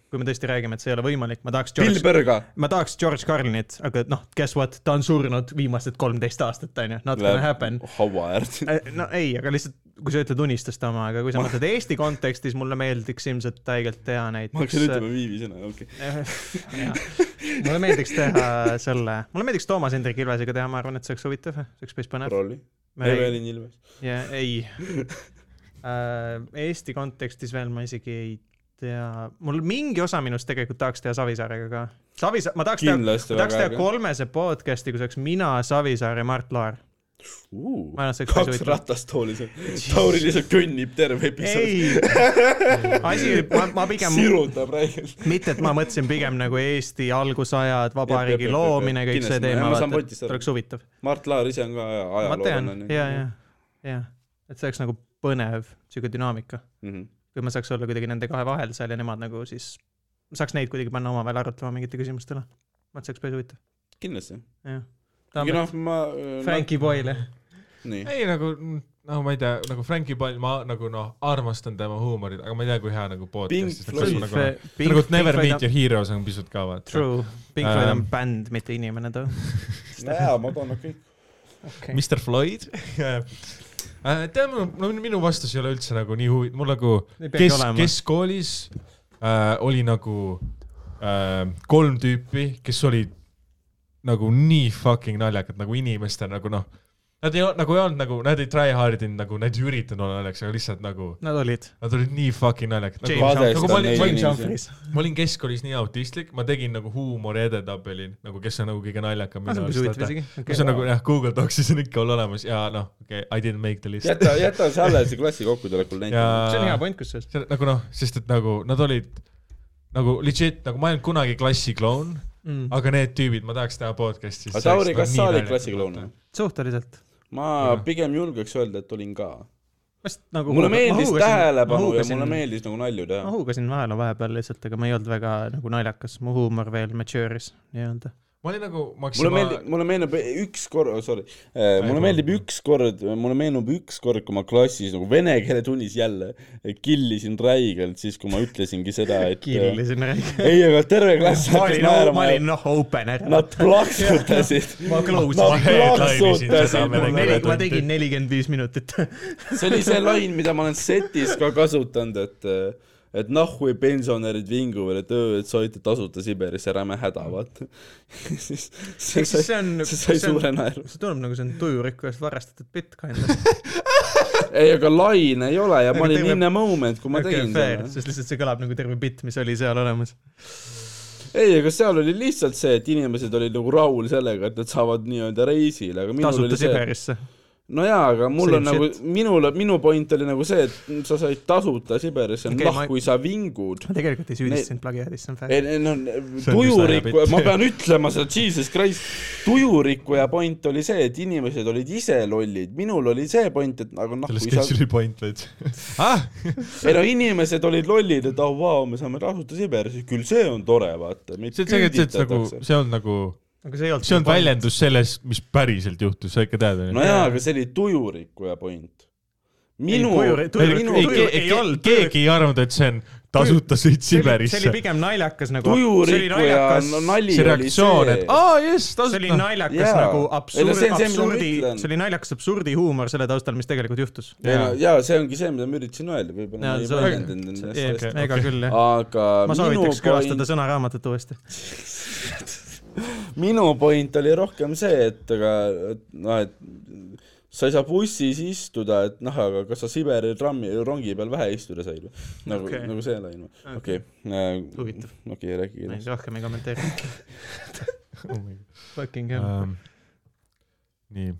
B: kui me tõesti räägime , et see ei ole võimalik , ma tahaks
A: Bill
B: George ,
A: Berga .
B: ma tahaks George Carlinit , aga noh , guess what , ta on surnud viimased kolmteist aastat , onju , not gonna happen .
A: Oh, haua äärt .
B: no ei , aga lihtsalt , kui sa ütled unistuste oma , aga kui sa mõtled Eesti kontekstis , mulle meeldiks ilmselt haigelt teha äh,
A: ma hakkasin
B: näiteks .
A: ütlema Viivi sõna , okei .
B: mulle meeldiks teha selle , mulle meeldiks Toomas Hendrik Ilvesega teha , ma arvan , et see oleks huvitav , see oleks päris põnev .
A: Rolli . Evelin Ilves .
B: ja ei äh, . Eesti kontekstis veel ma isegi ei tea , mul mingi osa minust tegelikult tahaks teha Savisaarega ka . Savisaar , ma tahaks teha ,
A: kindlasti
B: ma tahaks
A: väga
B: teha
A: äge .
B: kolmese podcast'i , kus oleks mina , Savisaar ja Mart Laar . ma arvan , et see oleks päris
A: kaks
B: huvitav .
A: ratastoolis on . Tauri lihtsalt kõnnib terve episood .
B: ei , asi , ma , ma pigem ,
A: sirutab räigelt .
B: mitte et ma mõtlesin pigem nagu Eesti algusajad ,
A: Jep, jep,
B: vabariigi
A: jep, jep, jep.
B: loomine , kõik see
A: Kindlasti,
B: teema
A: ma , saan
B: vaata ,
A: potist
B: et
A: aru.
B: oleks huvitav .
A: Mart Laar ise on ka
B: ma tean
A: ajaloolane .,
B: ja , ja , ja , et see oleks nagu põnev , sihuke dünaamika .
A: ja .
B: kui ma saaks olla kuidagi nende kahe vahel seal ja nemad nagu siis , saaks neid kuidagi panna omavahel arutlema mingite küsimuste üle . ma arvan , et see oleks päris huvitav ,
A: kindlasti .
B: jah .
A: kuigi
B: tahame
A: noh , noh, ma .
B: Frankie Boyle .
A: nii .
C: ei nagu , no ma ei tea , nagu Frankie Pall , ma nagu noh , armastan tema huumorit , aga ma ei tea , kui hea nagu
A: Pink
C: podcast'is .
A: Floyd.
C: nagu, nagu Never Meet Your Heroes on pisut ka vaata .
B: True , Pink Floyd on
C: Ähm.
B: bänd , mitte inimene too .
A: jaa , Madonna kõik .
C: Mr Floyd . tead , no minu vastus ei ole üldse nagu nii huvi- , mul nagu kes , keskkoolis äh, oli nagu äh, kolm tüüpi , kes olid nagu nii fucking naljakad nagu inimeste nagu noh , nad ei olnud nagu ei olnud nagu , nad ei try hard inud nagu , nad ei üritanud olla naljakad , aga lihtsalt nagu
B: Nad olid .
C: nad olid nii fucking naljakad nagu, .
B: James
A: Kadestan
C: Humphrey- ma olin-
A: neid
C: ma olin
A: inimesi .
C: ma olin keskkoolis nii autistlik , ma tegin nagu huumori edetabeli nagu , kes on nagu kõige naljakam
B: see on
C: minu
B: päris huvitav
C: arust .
B: isegi .
C: see on nagu jah , Google Docsis on ikka veel olemas ja noh , okei okay, , I didn't make the list .
A: jäta , jäta see alles , see klassi kokkutulekul näitab .
B: see on hea point kusjuures .
C: see nagu noh , sest et nagu nad olid nagu legit , nagu ma ei olnud kunagi klassikloun , aga need tüübid , ma tahaks teha podcast'i . nagu
A: aga Tauri ,
B: nagu
A: kas sa olid klassikloon või ?
B: suhteliselt .
A: ma
C: Jah.
A: pigem julgeks öelda , et olin ka .
B: Nagu
A: mulle meeldis tähelepanu ja mulle
B: meeldis .
A: meeldis nagu nalju
B: ma
A: teha .
B: huugasin vahele vahepeal lihtsalt , aga ma ei olnud väga nagu naljakas , mu huumor veel mature'is nii-öelda .
C: ma olin nagu
A: mulle
C: Maxima ,
A: meeldib , mulle meenub üks kord , sorry , mulle meeldib üks kord , mulle meenub üks kord , kui ma klassis nagu vene keele tunnis jälle killisin räigelt , siis kui ma ütlesingi seda , et äh,
B: kiirilisena räägin .
A: ei , aga terve klass
B: ma
A: hakkas
B: olin , ma
A: naerma
B: olin
A: ja
B: noh opener .
A: nad plaksutasid .
B: ma
A: Nad
B: close .
C: headline'isin seda
A: plaksutasid
C: vene
A: mulle
C: keele
B: ma tegin nelikümmend viis minutit .
A: see oli see lain , mida ma olen setis ka kasutanud , et äh, et nahhui pensionärid vinguvad , et öö , et soovite tasuta Siberisse , ära me häda , vaata . siis see
B: Eks see
A: sai ,
B: on-
A: see sai
B: see on-
A: suure naeru .
B: see tundub nagu see on tujurikkujast varastatud bitt kind .
A: ei , aga lain ei ole ja
B: Aga
A: ma olin
B: terve-
A: in a moment , kui ma
B: okei ,
A: tegin
B: fair ,
A: seda .
B: sest lihtsalt see kõlab nagu terve bitt , mis oli seal olemas .
A: ei , aga seal oli lihtsalt see , et inimesed olid nagu rahul sellega , et nad saavad nii-öelda reisile , aga minul
B: tasuta
A: oli see ,
B: Siberisse .
A: no jaa , aga mul
B: Same
A: on nagu
B: shit. ,
A: minul , minu point oli nagu see , et sa said tasuta Siberisse ,
B: Okei,
A: noh
B: ma- ,
A: kui sa vingud .
B: ma tegelikult ei
A: Ne-
B: süüdista sind plagiaadis , see on fair .
A: ei , ei no
C: üsna
A: tujurikku
C: hea ,
A: ma pean ütlema seda , jesus christ , tujurikkuja point oli see , et inimesed olid ise lollid , minul oli see point , et aga noh ,
C: selles
A: kui
C: sketšis
A: sa ,
C: oli point veits . ah ,
A: ei no inimesed olid lollid , et oh vau , me saame tasuta Siberisse , küll see on tore , vaata .
C: see on see , see nagu , see on nagu ,
B: aga see ei olnud .
C: see on . väljendus sellest , mis päriselt juhtus , sa ikka tead onju .
A: nojaa , aga see oli tujurikkuja point . minu ,
B: tujuri-
A: minu
B: tujuri- ,
C: ei , keegi ei arvanud , et see on tasuta sõit
B: see oli
C: Siberisse .
B: pigem naljakas nagu . see oli
A: tujurikkuja
B: naljakas
A: no, , nali
C: see
A: oli
C: reaktsioon ,
A: see
C: et . aa jess ,
B: see oli
C: tasuta .
B: naljakas
A: jaa.
B: nagu
A: Ei, no see
B: absurd ,
A: on see, mis ma
B: absurdi ,
A: ütlen.
B: see oli naljakas absurdi huumor selle taustal , mis tegelikult juhtus .
A: ja , ja see ongi see , mida ma üritasin öelda , võib-olla
B: Jaa,
A: ma ei
B: see on-
A: väljendanud ennast hästi .
B: ega okay. küll jah .
A: aga
B: ma
A: minu
B: soovitaks
A: point
B: külastada , sõnaraamatut uuesti .
A: minu point oli rohkem see , et aga et noh , et sa ei saa bussis istuda , et noh , aga kas sa Siberi trammi , rongi peal vähe istuda said või ? nagu
B: Okei.
A: okay. , nagu see laine . okei .
B: Huvitav.
A: okei , rääkige edasi .
B: rohkem ei kommenteeri . Fucking hell .
C: Ähm, nii ,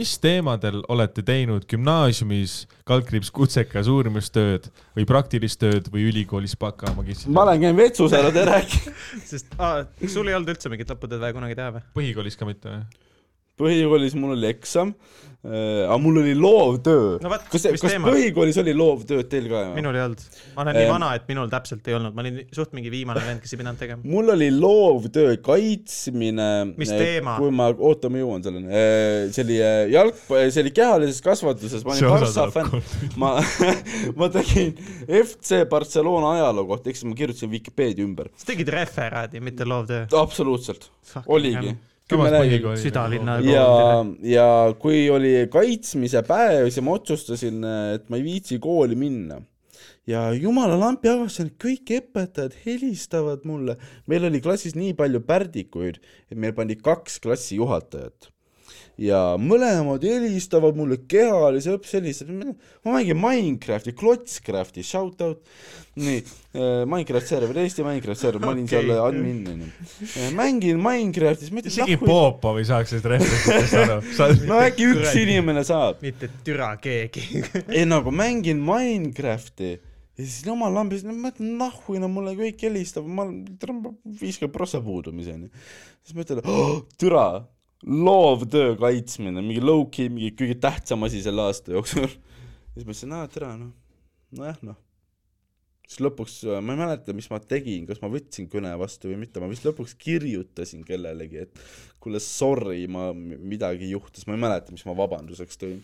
C: mis teemadel olete teinud gümnaasiumis , kaldkriips kutsekas uurimustööd või praktilist tööd või ülikoolis baka magistrit ?
A: ma olen käinud vetsus ära , te rääkige .
B: sest aa, sul ei olnud üldse mingit lõputööd vaja kunagi teha või ?
C: põhikoolis ka mitte või ?
A: põhikoolis mul oli eksam , aga mul oli loovtöö
B: No
A: no,
B: vot, .
A: kas ,
B: mis
A: kas
B: teema?
A: põhikoolis oli loovtööd teil ka või ?
B: minul ei olnud . ma olen nii
A: Ehm.
B: vana , et minul täpselt ei olnud , ma olin suht mingi viimane vend , kes ei pidanud tegema .
A: mul oli loovtöö kaitsmine .
B: Mis teema?
A: kui ma , oota , ma jõuan selleni . see oli eh, jalg , see oli kehalises kasvatuses , ma olin Barca fänn . ma , ma tegin FC Barcelona ajaloo kohta , eks ma kirjutasin Vikipeedia ümber .
B: sa tegid referaadi , mitte loovtöö .
A: absoluutselt , oligi .
B: südalinna-
A: ja , ja kui oli kaitsmise päev , siis ma otsustasin , et ma ei viitsi kooli minna . ja jumala lampi avastasin , et kõik õpetajad helistavad mulle . meil oli klassis nii palju pärdikuid , et meil pandi kaks klassijuhatajat ja mõlemad helistavad mulle kehalise õps helistab , ma mängin Minecrafti , Klotscrafti , shout out . nii , Minecraft server , Eesti Minecraft server , ma olin seal
B: Okei.
A: admin onju . mängin Minecraftis , ma ütlen .
C: isegi Poopa ei saaks sellest rehvenditest aru . sa oled
A: no äkki üks
B: Kuradi.
A: inimene saab .
B: mitte türa keegi .
A: ei no aga mängin Minecrafti ja siis jumal lambis , no ma ütlen nahhuina mulle kõik helistab , ma olen viiskümmend prossa puudumiseni . siis ma ütlen oh, , türa , loovtöö kaitsmine , mingi low-key , mingi kõige tähtsam asi selle aasta jooksul . siis ma ütlesin , aa türa noh , nojah noh . siis lõpuks äh, ma ei mäleta , mis ma tegin , kas ma võtsin kõne vastu või mitte , ma vist lõpuks kirjutasin kellelegi , et kuule sorry , ma midagi juhtus , ma ei mäleta , mis ma vabanduseks tõin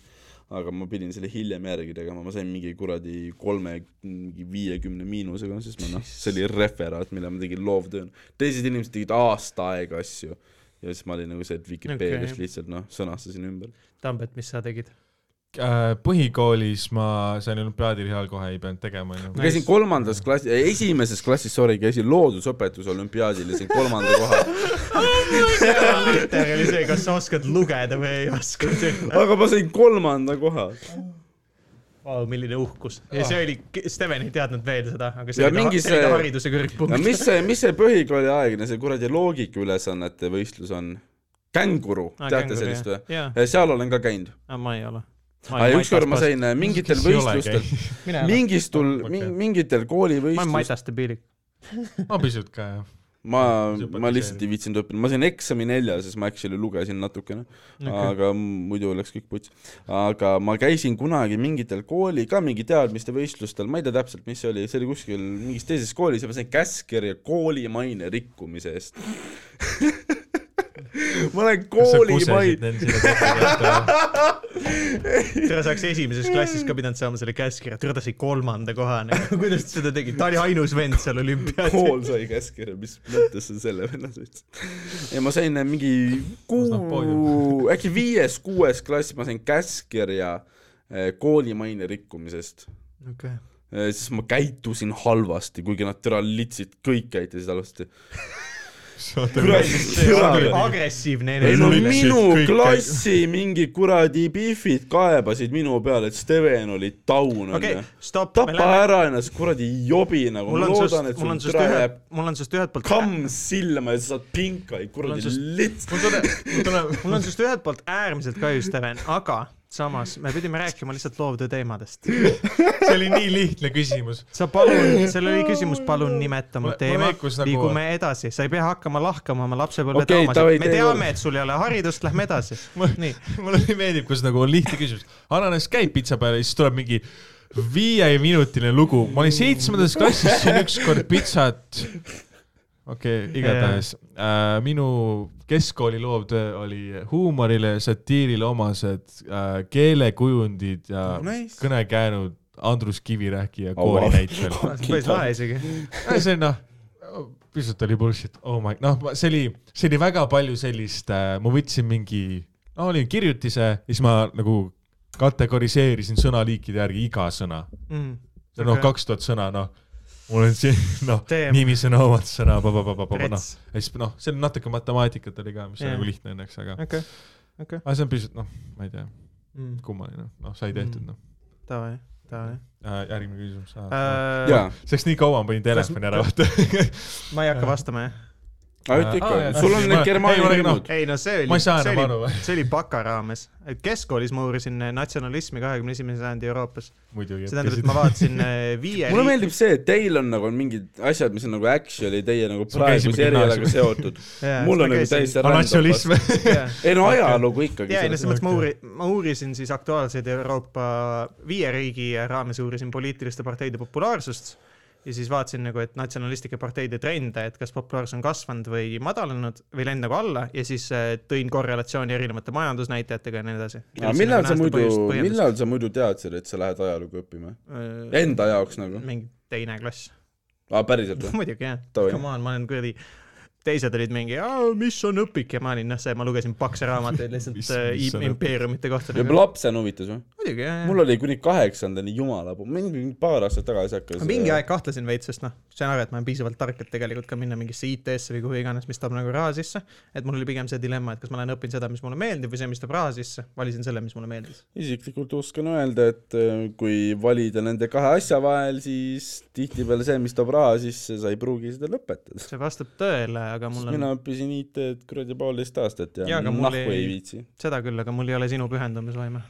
A: aga ma pidin selle hiljem järgi tegema , ma sain mingi kuradi kolme , mingi viiekümne miinusega , sest ma noh , see oli referaat , mille ma tegin loovtööna . teised inimesed tegid aasta aega asju ja siis ma olin nagu see , et Vikipeediast
B: Okei.
A: okay. lihtsalt noh , sõnastasin ümber .
B: Tambet , mis sa tegid ?
C: Äh, põhikoolis ma sain olümpiaadirihal kohe , ei pidanud tegema
A: ma
C: onju .
A: käisin kolmandas klassi , esimeses klassis , sorry , käisin loodusõpetuse olümpiaadil ja sain kolmanda koha .
B: liter oli see , kas sa oskad lugeda või ei oska .
A: aga ma sain kolmanda koha .
B: Vau , milline uhkus . ja see oli , Steven ei teadnud veel seda , aga see
A: Ja
B: oli ta-
A: mingi
B: see oli ta
A: see-
B: hariduse
A: no
B: kõrgpunkt .
A: mis see , mis see põhikooliaegne , see kuradi loogikaülesannete võistlus on ? känguru ,
B: Ah,
A: teate sellist või ??
B: jaa ,
A: seal olen ka käinud .
B: ma ei ole .
A: aga ükskord ma sain äh, mingitel
C: Kes ei ole
A: võistlustel ,
B: mina ei ole ,
A: mingistul
C: Okei.
A: okay. , mingitel
B: ma olen
A: koolivõistlustel ,
B: Matast debiilik .
C: ma pisut ka jah .
A: ma , ma
C: sümpatiseerin.
A: lihtsalt ei viitsinud õppida , ma sain eksami nelja , sest ma actually lugesin natukene okay. , aga muidu oleks kõik puts . aga ma käisin kunagi mingitel kooli , ka mingi teadmiste võistlustel , ma ei tea täpselt , mis see oli , see oli kuskil mingis teises koolis ja ma sain käskkirja kooli maine rikkumise eest . ma olen kooli maine ,
C: ma
B: tere , sa oleks esimeses klassis ka pidanud saama selle käskkirja , tere , ta sai kolmanda koha . kuidas ta seda tegi , ta oli ainus vend seal olümpiaadil .
A: kool sai käskkirja , mis mõttes sa selle venna said ? ja ma sain äh, mingi
C: Kus nad
A: kuu
C: poodium- ,
A: äkki viies-kuues klass ma sain käskkirja eh, kooli maine rikkumisest .
B: okei ,
A: siis ma käitusin halvasti , kuigi nad türa litsid , kõik käitusid halvasti .
B: see oli agressiivne
A: ei no
B: enesemüük .
A: minu
C: kõik
A: klassi mingi kuradi pihvid kaebasid minu peale , et Steven oli taun
B: okei
A: onju ,
B: stopp , me
A: tapa
B: läheme .
A: ära ennast kuradi jobi nagu ,
B: mul
A: ma
B: on
A: loodan ,
B: sust
A: et ,
B: mul
A: sul
B: on sust
A: türa
B: ühe
A: jääb ,
B: mul on sust ühelt poolt
A: kamm silma ja sa saad pinka , kuradi
B: sust-
A: lits .
B: mul on sinust ühelt poolt äärmiselt kahju , Steven , aga samas me pidime rääkima lihtsalt loovtöö teemadest .
C: see oli nii lihtne küsimus .
B: sa palun , seal oli küsimus , palun nimeta mu
C: Mulle-
B: teema
C: mulle liikus , nagu-
B: liigume edasi , sa ei pea hakkama lahkama oma lapsepõlve
A: Okei,
B: traumasid
A: davai, ,
B: me
A: tee
B: teame ,
A: juurde.
B: et sul ei ole haridust , lähme edasi . nii ,
C: mulle nii meeldib , kus nagu on lihtne küsimus . ananass käib pitsa peale ja siis tuleb mingi viieminutiline lugu . ma olin seitsmendas klassis , sõin ükskord pitsat . okei okay, , igatahes äh, minu keskkooli loovtöö oli huumorile , satiirile omased äh, keelekujundid ja
A: Oh, nice.
C: kõnekäänud Andrus Kivirähki ja
A: Au, au.
C: koori näitel .
B: päris vahe isegi .
C: see noh , pisut oli bullshit , oh my , noh , see oli , see oli väga palju sellist äh, , ma võtsin mingi , no olin kirjutise ja siis ma nagu kategoriseerisin sõnaliikide järgi iga sõna .
B: Mm.
C: noh , kaks tuhat sõna , noh , mul on siin , noh ,
B: Damn.
C: nimisõna , omad sõna , vabababababa , noh .
B: Rets.
C: ja siis noh , seal natuke matemaatikat oli ka , mis on
B: Jaa.
C: nagu lihtne õnneks , aga ,
B: okei , okei .
C: aga see on pisut , noh , ma ei tea , kummaline , noh , sai tehtud ,
B: Mm.
C: noh .
B: Davai , davai .
C: järgmine küsimus äh, .
B: ma
A: jaa ,
C: see läks nii kaua , ma panin telefoni ära , vaata .
B: ei hakka vastama , jah .
A: aga ütle
C: Aa, jaa.
A: ikka , sul on
C: Ma-
A: need
C: ei, ma
A: Germaani
C: olen-
A: nimed .
B: ei no see
C: Ma
B: oli ,
C: ei saa
B: see
C: enam
B: oli ,
C: aru ,
B: see oli baka raames . keskkoolis ma uurisin äh, natsionalismi kahekümne esimese sajandi Euroopas .
C: muidugi .
B: see tähendab , et ma vaatasin eh, viie
A: mulle meeldib see , et teil on nagu mingid asjad , mis on nagu actually teie nagu
C: Sul käisime
A: praeguse erialaga
C: gümnaasiumis.
A: seotud .
B: Jaa,
A: mul
B: ma
A: on nagu
B: käisin-
A: täiesti
C: natsionalism .
B: jaa.
A: ei no ajalugu ikkagi .
B: jaa , ei no selles mõttes ma
C: okei.
B: uuri- , ma uurisin siis aktuaalseid Euroopa viie riigi raames uurisin poliitiliste parteide populaarsust ja siis vaatasin nagu , et natsionalistlike parteide trende , et kas populaarsus on kasvanud või madalenenud või läinud nagu alla ja siis eh, tõin korrelatsiooni erinevate majandusnäitajatega ja nii edasi .
A: aga millal sa muidu , millal sa muidu teadsid , et sa lähed ajalugu õppima ?
B: millal ?
A: Enda jaoks nagu ?
B: äh, mingi teine klass ,
A: aa , päriselt või ?
B: muidugi jah ,
A: Davai.
B: come on , ma olen kuradi teised olid mingi , mis on õpik ja ma olin , noh , see , ma lugesin pakse raamatuid lihtsalt
C: Mis-
B: eh,
C: mis on
B: im-
C: õpik?
B: impeeriumite kohta .
A: juba lapsena huvitas või ?
B: muidugi , jah , jah .
A: mul oli kuni kaheksandani jumala , mingi paar aastat tagasi hakkas . äh,
B: ma mingi aeg kahtlesin veits , sest noh , sain aru , et ma olen piisavalt tark , et tegelikult ka minna mingisse IT-sse või kuhu iganes , mis toob nagu raha sisse . et mul oli pigem see dilemma , et kas ma lähen õpin seda , mis mulle meeldib või see , mis toob raha sisse . valisin selle , mis mulle meeldis .
A: isiklikult oskan öelda , et äh, kui valida nende kahe asja vahel , siis tihtipeale see , mis toob raha sisse , sa ei pruugi seda lõpetada .
B: see vastab tõele , aga mul on
A: mina õppisin IT-d kuradi poolteist aastat ja,
B: Jaa,
A: ja
B: aga mul
A: nahku ei...
B: ei-
A: ei viitsi .
B: seda küll , aga mul ei ole sinu pühendumisvõime ,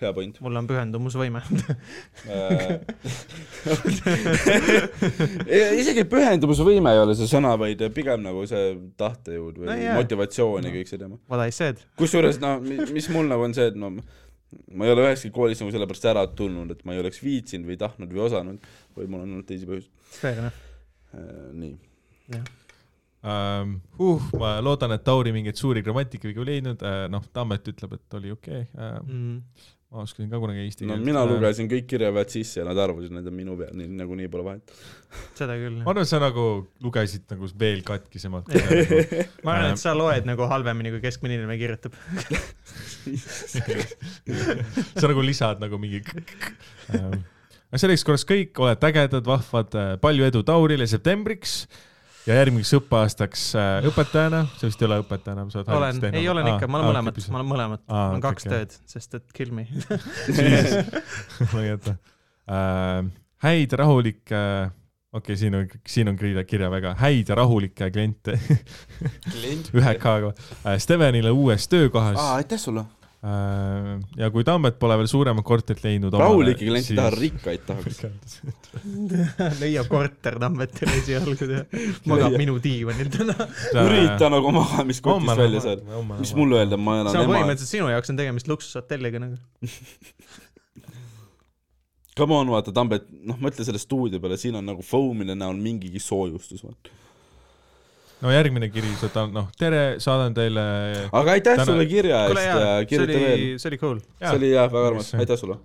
A: hea point . Äh,
B: mul on pühendumusvõime .
A: e, isegi pühendumusvõime ei ole see sõna , vaid pigem nagu see tahtejõud või
B: No
A: no,
B: jaa.
A: motivatsioon ja kõik see teema .
B: What I said .
A: kusjuures noh , mis mul nagu on see , et no ma ei ole üheski koolis nagu sellepärast ära tulnud , et ma ei oleks viitsinud või tahtnud või osanud või mul on olnud teisi põhjuseid .
B: Fair enough .
A: Äh, nii .
C: Um, huh, ma loodan , et Tauri mingeid suuri grammatikavigu ei leidnud uh, , noh , Tammet ütleb , et oli okei okay. uh, ,
B: Mm,
C: ma oskasin ka kunagi eesti äh,
A: no mina . lugesin kõik kirjaväed sisse ja nad arvasid , need on minu peal , nii nagu nii pole vahet .
B: seda küll .
C: ma arvan , sa nagu lugesid nagu veel katkisemalt .
B: ma
C: Äh.
B: arvan , et sa loed nagu halvemini , kui keskmine inimene kirjutab .
C: sa nagu lisad nagu mingi um, . aga selleks korraks kõik , olete ägedad , vahvad , palju edu Taurile septembriks ja järgmiseks õppeaastaks uh, õpetajana , sa vist ei ole õpetajana , sa oled
B: olen , ei olen ikka , ma olen mõlemat , ma olen mõlemat .
C: Aa,
B: mul on
C: okei,
B: kaks
C: okei.
B: tööd , sest et kill me .
C: ma ei jäta äh, . häid , rahulikke äh, , okei okay, , siin on , siin on kirja , kirja väga , häid ja rahulikke kliente ühe K-ga äh, Stevenile uues töökohas
A: aa ,
C: ah, .
A: aitäh sulle .
C: Äh, ja kui Tammet pole veel suuremat korterit leidnud .
A: rahulikke kliente siis... tahan , rikkaid tahaks .
B: leiab korter Tammetil esialgu ja magab
A: Leia.
B: minu diivanil täna .
A: ürita nagu magamiskotist välja saada . mis
C: saada .
A: mulle öelda , ma
B: see
A: elan
B: on
A: ema .
B: nagu- põhimõtteliselt sinu jaoks on tegemist luksushotelliga nagu .
A: Come on , vaata Tambet , noh , mõtle selle stuudio peale , siin on nagu foam'ide näol mingigi soojustus , vaata .
C: no järgmine kiri , noh , tere , saadan teile .
A: aga aitäh
C: Tänan.
A: Täna... sulle kirja
B: kuule
A: eest ja
B: jaa ,
C: äh,
B: see
A: kirjuta
B: oli
A: veel .,
B: see oli cool .
A: see oli jah , väga armas ,
C: Yes.
A: aitäh sulle .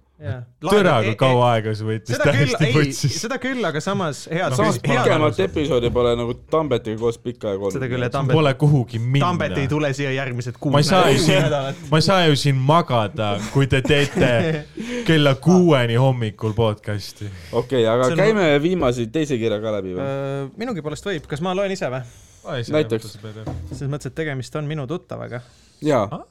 C: türa , kui kaua aega see võttis ,
B: e- seda küll ,
C: täiesti
B: ei ,
C: võtsis .
B: seda küll , aga samas head
C: No,
A: samas
C: siis ma-
A: pikemat episoodi pole nagu Tambetiga koos pikka aega olnud .
B: seda küll , et Tambet ,
C: Pole kuhugi minna .
B: Tambet ei tule siia järgmised kuus
C: ma ei saa ju siin , ma ei saa ju siin magada , kui te teete kella kuueni hommikul podcast'i .
A: okei , aga
B: See on- Äh,
A: käime viimase teise kirja ka läbi või ?
B: minugi poolest võib , kas ma loen ise või ?
A: Näiteks. .
B: selles mõttes , et tegemist on minu tuttavaga .
A: jaa ,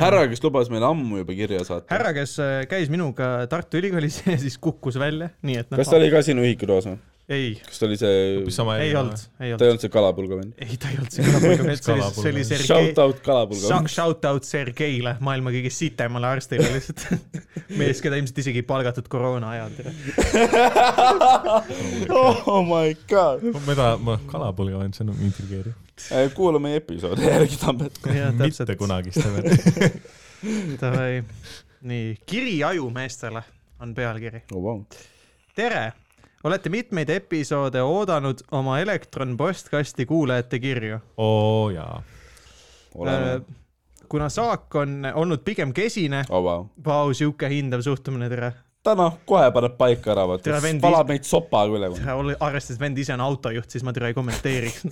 A: härra , kes lubas meile ammu juba kirja saata .
B: härra , kes äh, käis minuga Tartu Ülikoolis ja siis kukkus välja , nii et noh,
A: kas ta oli ka sinu ühikutoas või ?
B: ei ,
A: kas ta oli see ,
C: sama
B: ei olnud , ei
A: ta ei
B: olnud ,
A: olnud see kalapulga vend ?
B: ei ta ei olnud see kalapulga mees , see oli , see oli Sergei
A: Shout out kalapulga
B: Sa- . Shout out Sergeile , maailma kõige sitemale arstile lihtsalt . mees , keda ilmselt isegi ei palgatud koroona ajal .
A: oh my god .
C: ma tahan , ma kalapulga olen , see on intrigeeriv .
A: kuula meie episoodi järgi , Tambet .
C: mitte . kunagi seda veel .
B: Davai , nii , kiri ajumeestele on pealkiri .
A: oh vau .
B: tere , olete mitmeid episoode oodanud oma Elektron postkasti kuulajate kirju .
C: oo jaa .
B: Äh,
A: oleme .
B: kuna saak on olnud pigem kesine ,
A: oh vau .
B: vau , sihuke hindav suhtumine , tere .
A: täna noh, kohe paneb paika ära , vaata
B: Tere, , vend,
A: valab meid sopaga üle .
B: arvestades , et vend ise on autojuht , siis ma teda ei kommenteeriks .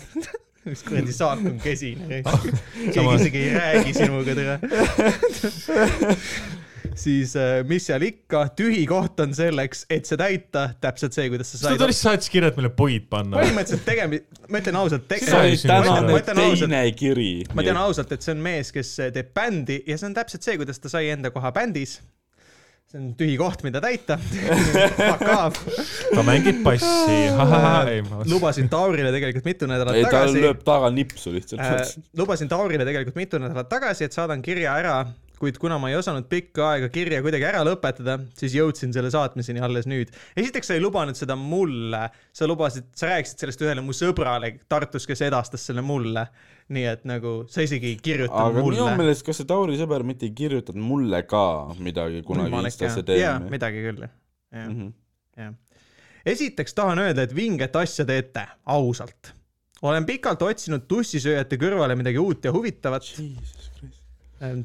B: mis kuradi saak on kesine . keegi isegi ei räägi sinuga tere . siis äh, mis seal ikka , tühi koht on selleks , et see täita , täpselt see , kuidas sa
C: sa
B: said .
C: lihtsalt saatis kirja , et meile poid panna .
B: põhimõtteliselt tegemist , ma ütlen ausalt ,
A: see oli
C: Sai
B: tegemist .
C: sinust aru.
A: tänane
C: Ma
B: ütlen ausalt-
A: teine kiri .
B: ma tean ausalt , et see on mees , kes teeb bändi ja see on täpselt see , kuidas ta sai enda koha bändis . see on tühi koht , mida täita . Fuck off .
C: ta mängib passi .
B: lubasin Taurile tegelikult mitu nädalat
A: ei , ta
B: tagasi
A: lööb taga nipsu lihtsalt .
B: äh, . lubasin Taurile tegelikult mitu nädalat tagasi , et saadan kirja ära , kuid kuna ma ei osanud pikka aega kirja kuidagi ära lõpetada , siis jõudsin selle saatmiseni alles nüüd . esiteks , sa ei lubanud seda mulle , sa lubasid , sa rääkisid sellest ühele mu sõbrale Tartus , kes edastas selle mulle . nii et nagu sa isegi ei kirjutanud
A: aga minu
B: mulle
A: meelest , kas see Tauri sõber mitte ei kirjutanud mulle ka midagi kunagi Instasse
B: jaa ,
A: teeme ?
B: midagi küll , jah .
A: Mhm.
B: jah . esiteks tahan öelda , et vinget asja teete , ausalt . olen pikalt otsinud tussisööjate kõrvale midagi uut ja huvitavat .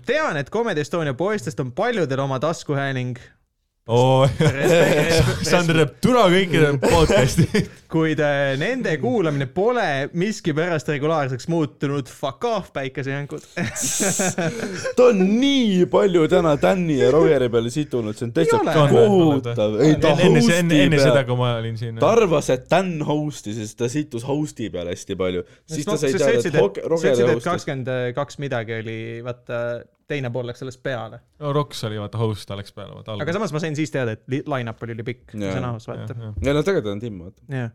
B: tean , et Comedy Estonia poistest on paljudel oma taskuhääling ,
C: Sander teeb türa kõikide podcast'i .
B: kuid äh, nende
A: Hmm.
B: kuulamine pole miskipärast regulaarseks muutunud . Fuck off , päikesejänkud .
A: ta on nii palju täna Tänni ja Rogeri peale situnud , see on
B: ole.
A: täitsa
C: On või?
A: kohutav . ei , ta
C: enne se- enne-
A: host'i
C: enne seda ,
A: peal
C: kui ma olin siin .
A: ta arvas , et Tän host'is ja siis ta situs host'i peal hästi palju . siis ta sai teada , et Hog-
B: noh, sa
A: Roger
B: ütlesid , et
A: host'is .
B: kakskümmend kaks midagi oli , vaata , teine pool läks sellest peale .
C: no Roks oli vaata host , ta läks peale , vaata
B: aga
C: alguses .
B: samas ma sain siis teada , et li- line-up oli ülipikk , see
A: Jaa.
B: on aus , vaata .
A: ei no tegelikult on Tim , vaata .
B: jah ,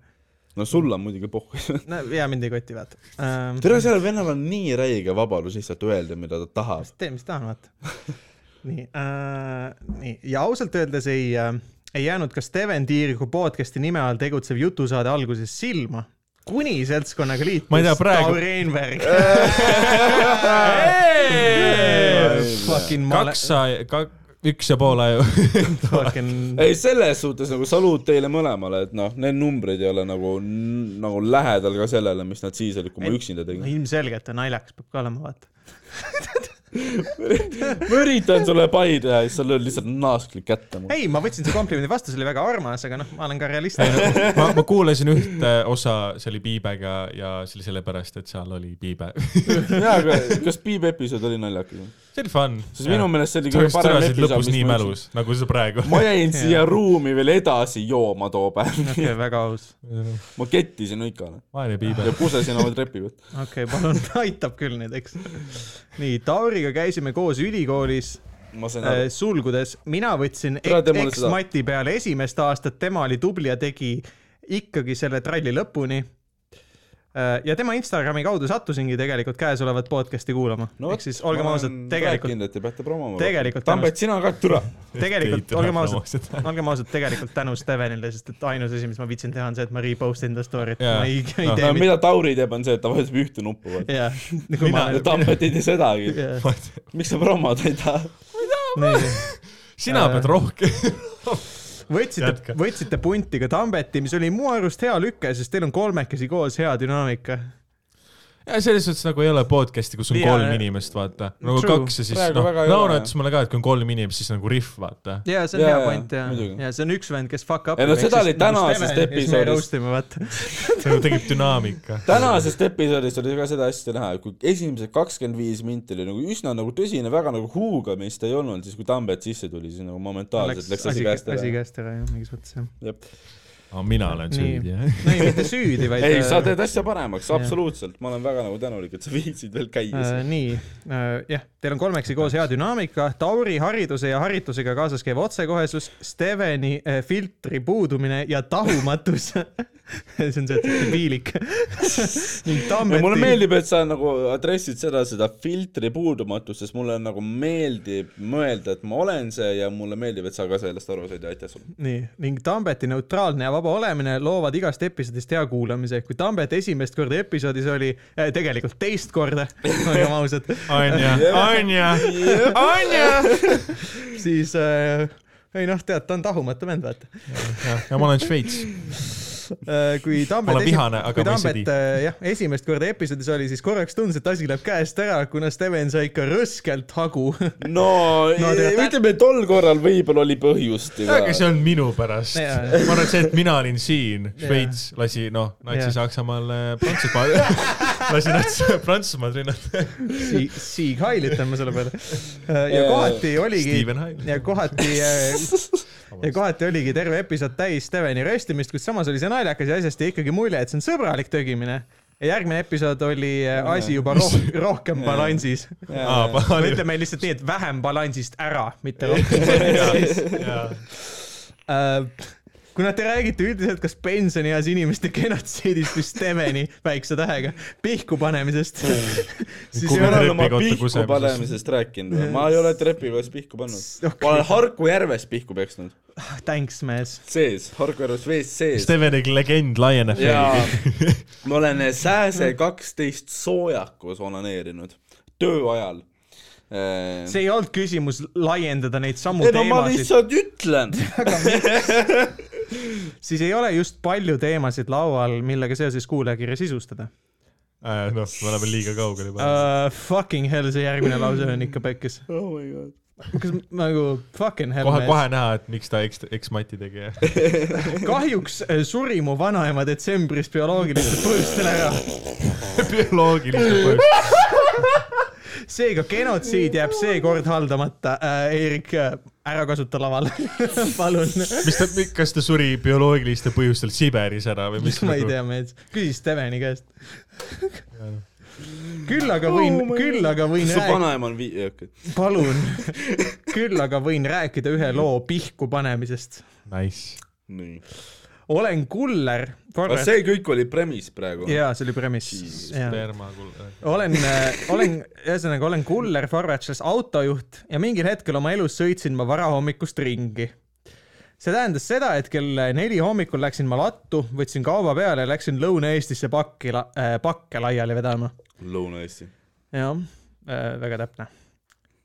A: no sul on muidugi pohhu .
B: no ja mind ei koti , vaata ähm, .
A: tere , sellel vennal on nii räige vabadus lihtsalt öelda , mida ta tahab .
B: tee , mis tahan , vaata . nii äh, , nii ja ausalt öeldes ei äh, , ei jäänud ka Steven Tiiriku podcast'i nime all tegutsev jutusaade alguses silma , kuni seltskonnaga liitus
C: Ma ei tea, praegu-
B: Tauri Einberg . Fucking ma
C: kaks sai , üks ja pool aju .
B: fucking ,
A: ei , selles suhtes nagu saluut teile mõlemale , et noh , need numbrid ei ole nagu , nagu lähedal ka sellele , mis nad siis olid , kui ma üksinda tegin
B: no . ilmselgelt on naljakas , peab ka olema , vaata .
A: ma üritan sulle pai teha ja siis sa lööd lihtsalt naasklik kätte mulle .
B: ei , ma võtsin su komplimendi vastu , see oli väga armas , aga noh , ma olen ka realist .
C: ma , ma kuulasin ühte osa , see oli Piibega ja see oli sellepärast , et seal oli Piibe .
A: jaa , aga kas Piip episood oli naljakas ?
C: see oli fun .
A: sest minu meelest see oli
C: sa
A: kõige
C: olid
A: parem
C: tõrasid
A: episood ,
C: lõpus
A: mis
C: nii
A: ma üldse-
C: mälus , nagu sa praegu .
A: ma jäin siia ruumi veel edasi jooma too päev .
B: okei , väga aus .
A: ma kettisin Õikale
C: vaene Piibe
A: ja . pusesin oma trepi pealt .
B: okei okay, , palun , aitab küll nüüd , eks . nii , Tauriga käisime koos ülikoolis
A: ma sain
B: äh,
A: aru .
B: sulgudes , mina võtsin
A: Tere, tee mulle seda.
B: eks-Mati peale esimest aastat , tema oli tubli ja tegi ikkagi selle tralli lõpuni . ja tema Instagrami kaudu sattusingi tegelikult käesolevat podcast'i kuulama no, . ehk siis olgem ausad , tegelikult ,
A: rääkinud , et te peate promoma .
B: tegelikult
A: Tambet , sina ka , türa .
B: tegelikult
C: Ei,
B: olgem
C: tuleb
B: ausad ,
C: promosid.
B: olgem ausad , tegelikult tänu Stevenile , sest et ainus asi , mis ma viitsin teha , on see , et ma repost enda story't yeah. ,
C: Jaa.
B: ma ei, ei
C: Noh,
B: tee
A: no
B: mitte .
A: mida Tauri teeb , on see , et ta vajutab ühte nuppu , vaata .
B: jah , kui ma
C: Mina-
A: ja
B: olen .
A: Tambet ei tee sedagi . miks sa promoda ei taha ?
B: nii
C: sina pead rohkem .
B: võtsite
C: Jätka. ,
B: võtsite punti ka Tambeti , mis oli mu arust hea lüke , sest teil on kolmekesi koos hea dünaamika .
C: ja selles suhtes nagu ei ole podcast'i , kus on
B: Jaa,
C: yeah, kolm
B: jah.
C: inimest , vaata . nagu
B: True.
C: True. kaks ja siis
A: Praegu
C: noh ,
A: väga ei ole,
C: Laura
A: jah.
C: ütles mulle ka , et kui on kolm inimest , siis nagu rihv , vaata .
B: ja see on
A: Jaa,
B: hea
A: jaa,
B: point ja ,
A: muidugi.
B: ja see on üks vend , kes fuck up .
A: Ei no seda oli tänasest episoodist.
B: roastime , vaata .
C: nagu tekib dünaamika .
A: tänasest episoodist oli ka seda hästi näha , kui esimesed kakskümmend viis minti oli nagu üsna nagu tõsine , väga nagu huugamist ei olnud , siis kui Tambet sisse tuli , siis nagu momentaalselt läks asi käest
B: asi
A: ära .
B: käest ära jah , mingis mõttes jah .
C: aga mina olen
B: Nii.
C: süüdi , jah .
B: no ei , mitte süüdi , vaid . äh,
A: ei , sa teed asja paremaks , absoluutselt , ma olen väga nagu tänulik , et sa viitsid veel käia
B: Äh,
A: siin .
B: nii äh, , jah , teil on kolmekesi koos hea dünaamika , Tauri hariduse ja haritusega kaasas käiv otsekohesus , Steveni äh, filtri puudumine ja tahumatus . see on see , et see on piilik . ning
A: ja mulle
B: Tambeti ,
A: meeldib , et sa nagu adressid seda , seda filtri puudumatust , sest mulle nagu meeldib mõelda , et ma olen see ja mulle meeldib , et sa ka sellest aru said ja aitäh sulle .
B: nii , ning Tambeti neutraalne ja vaba olemine loovad igast episoodist hea kuulamise . kui Tambet esimest korda episoodis oli äh, , tegelikult teist korda , olgem ausad ,
C: Anja , Anja , Anja .
B: siis äh, ei noh , tead , ta on tahumatu vend , vaata .
C: ja ma olen Šveits .
B: kui Tambet .
C: olen vihane, aga ma ei sõdi.
B: jah , esimest korda episoodis oli , siis korraks tundus , et asi läheb käest ära , kuna Steven sai ikka rõskelt hagu .
A: no, no
B: No tead-
A: ütleme , tol korral võib-olla oli põhjust
C: aga see on minu pärast .
B: Jaa.
C: ma arvan , et see , et mina olin siin ,
B: Jaa.
C: Šveits lasi , noh ,
B: Jaa.
C: natsi Saksamaal äh, Prantsusmaal , lasi natsi Prantsusmaal rinnata .
B: Siig , Siig Hail , ütleme selle peale . ja
A: Jaa.
B: kohati oligi ,
C: Steven Hail .
B: ja kohati , ja kohati oligi terve episood täis Steveni röstimist , kuid samas oli see naljakas ja asjast jäi ikkagi mulje , et see on sõbralik tögimine . ja järgmine episood oli äh, asi juba roh rohkem balansis .
C: aa ,
A: jaa ,
C: palju .
B: ütleme lihtsalt nii , et vähem balansist ära , mitte rohkem . Äh, kuna te räägite üldiselt kas pensionieas inimeste genotsiidist või Steveni väikse tähega pihku panemisest , siis
C: Kui
B: ei
A: ma
B: ole
A: olen oma
C: trepi kohta
A: pihku
C: kusemisest.
A: panemisest rääkinud või ? ma ei ole trepi kohas pihku pannud .
B: Okei.
A: ma olen Harku järves pihku peksnud .
B: thanks , mees .
A: sees , Harku järves vees sees .
C: Stevenik legend laieneb .
A: jaa , ma olen Sääse kaksteist soojakus onaneerinud töö ajal . ei
B: see ei olnud küsimus laiendada neid samu
A: no ma
B: teemasid ,
A: lihtsalt ütlen .
B: siis ei ole just palju teemasid laual , millega seoses kuulajakirja sisustada
C: noh , me oleme liiga kaugel juba .
B: uh, . Fucking hell , see järgmine lause on ikka pekkis .
A: oh my god .
B: kas ma- nagu fucking hell
C: kohe , kohe näha , et miks ta eks , eks-mati tegi .
B: mees . kahjuks äh, suri mu vanaema detsembris bioloogilistel põhjustel ära
C: bioloogiline põhjus .
B: seega genotsiid jääb seekord haldamata äh, . Eerik , ära kasuta laval , palun .
C: mis ta , kas ta suri bioloogilistel põhjustel Siberis ära või mis ? nagu-
B: ma ei tea , mees , küsi Steveni käest . küll aga võin
A: Oh my
B: oh , küll aga võin
A: su
B: rääkida ,
A: vanaema on vii- , okei .
B: palun , küll aga võin rääkida ühe loo pihku panemisest .
C: Nice .
A: nii .
B: olen kuller ,
A: aga
B: korras ,
A: see kõik oli premise praegu .
B: jaa , see oli premiss
A: Jesus, .
C: spermakull .
B: olen , olen , ühesõnaga olen kuller Farvatšis autojuht ja mingil hetkel oma elus sõitsin ma varahommikust ringi . see tähendas seda , et kell neli hommikul läksin ma lattu , võtsin kauba peale ja läksin Lõuna-Eestisse pakki , äh, pakke laiali vedama .
A: Lõuna-Eesti .
B: jah äh, , väga täpne .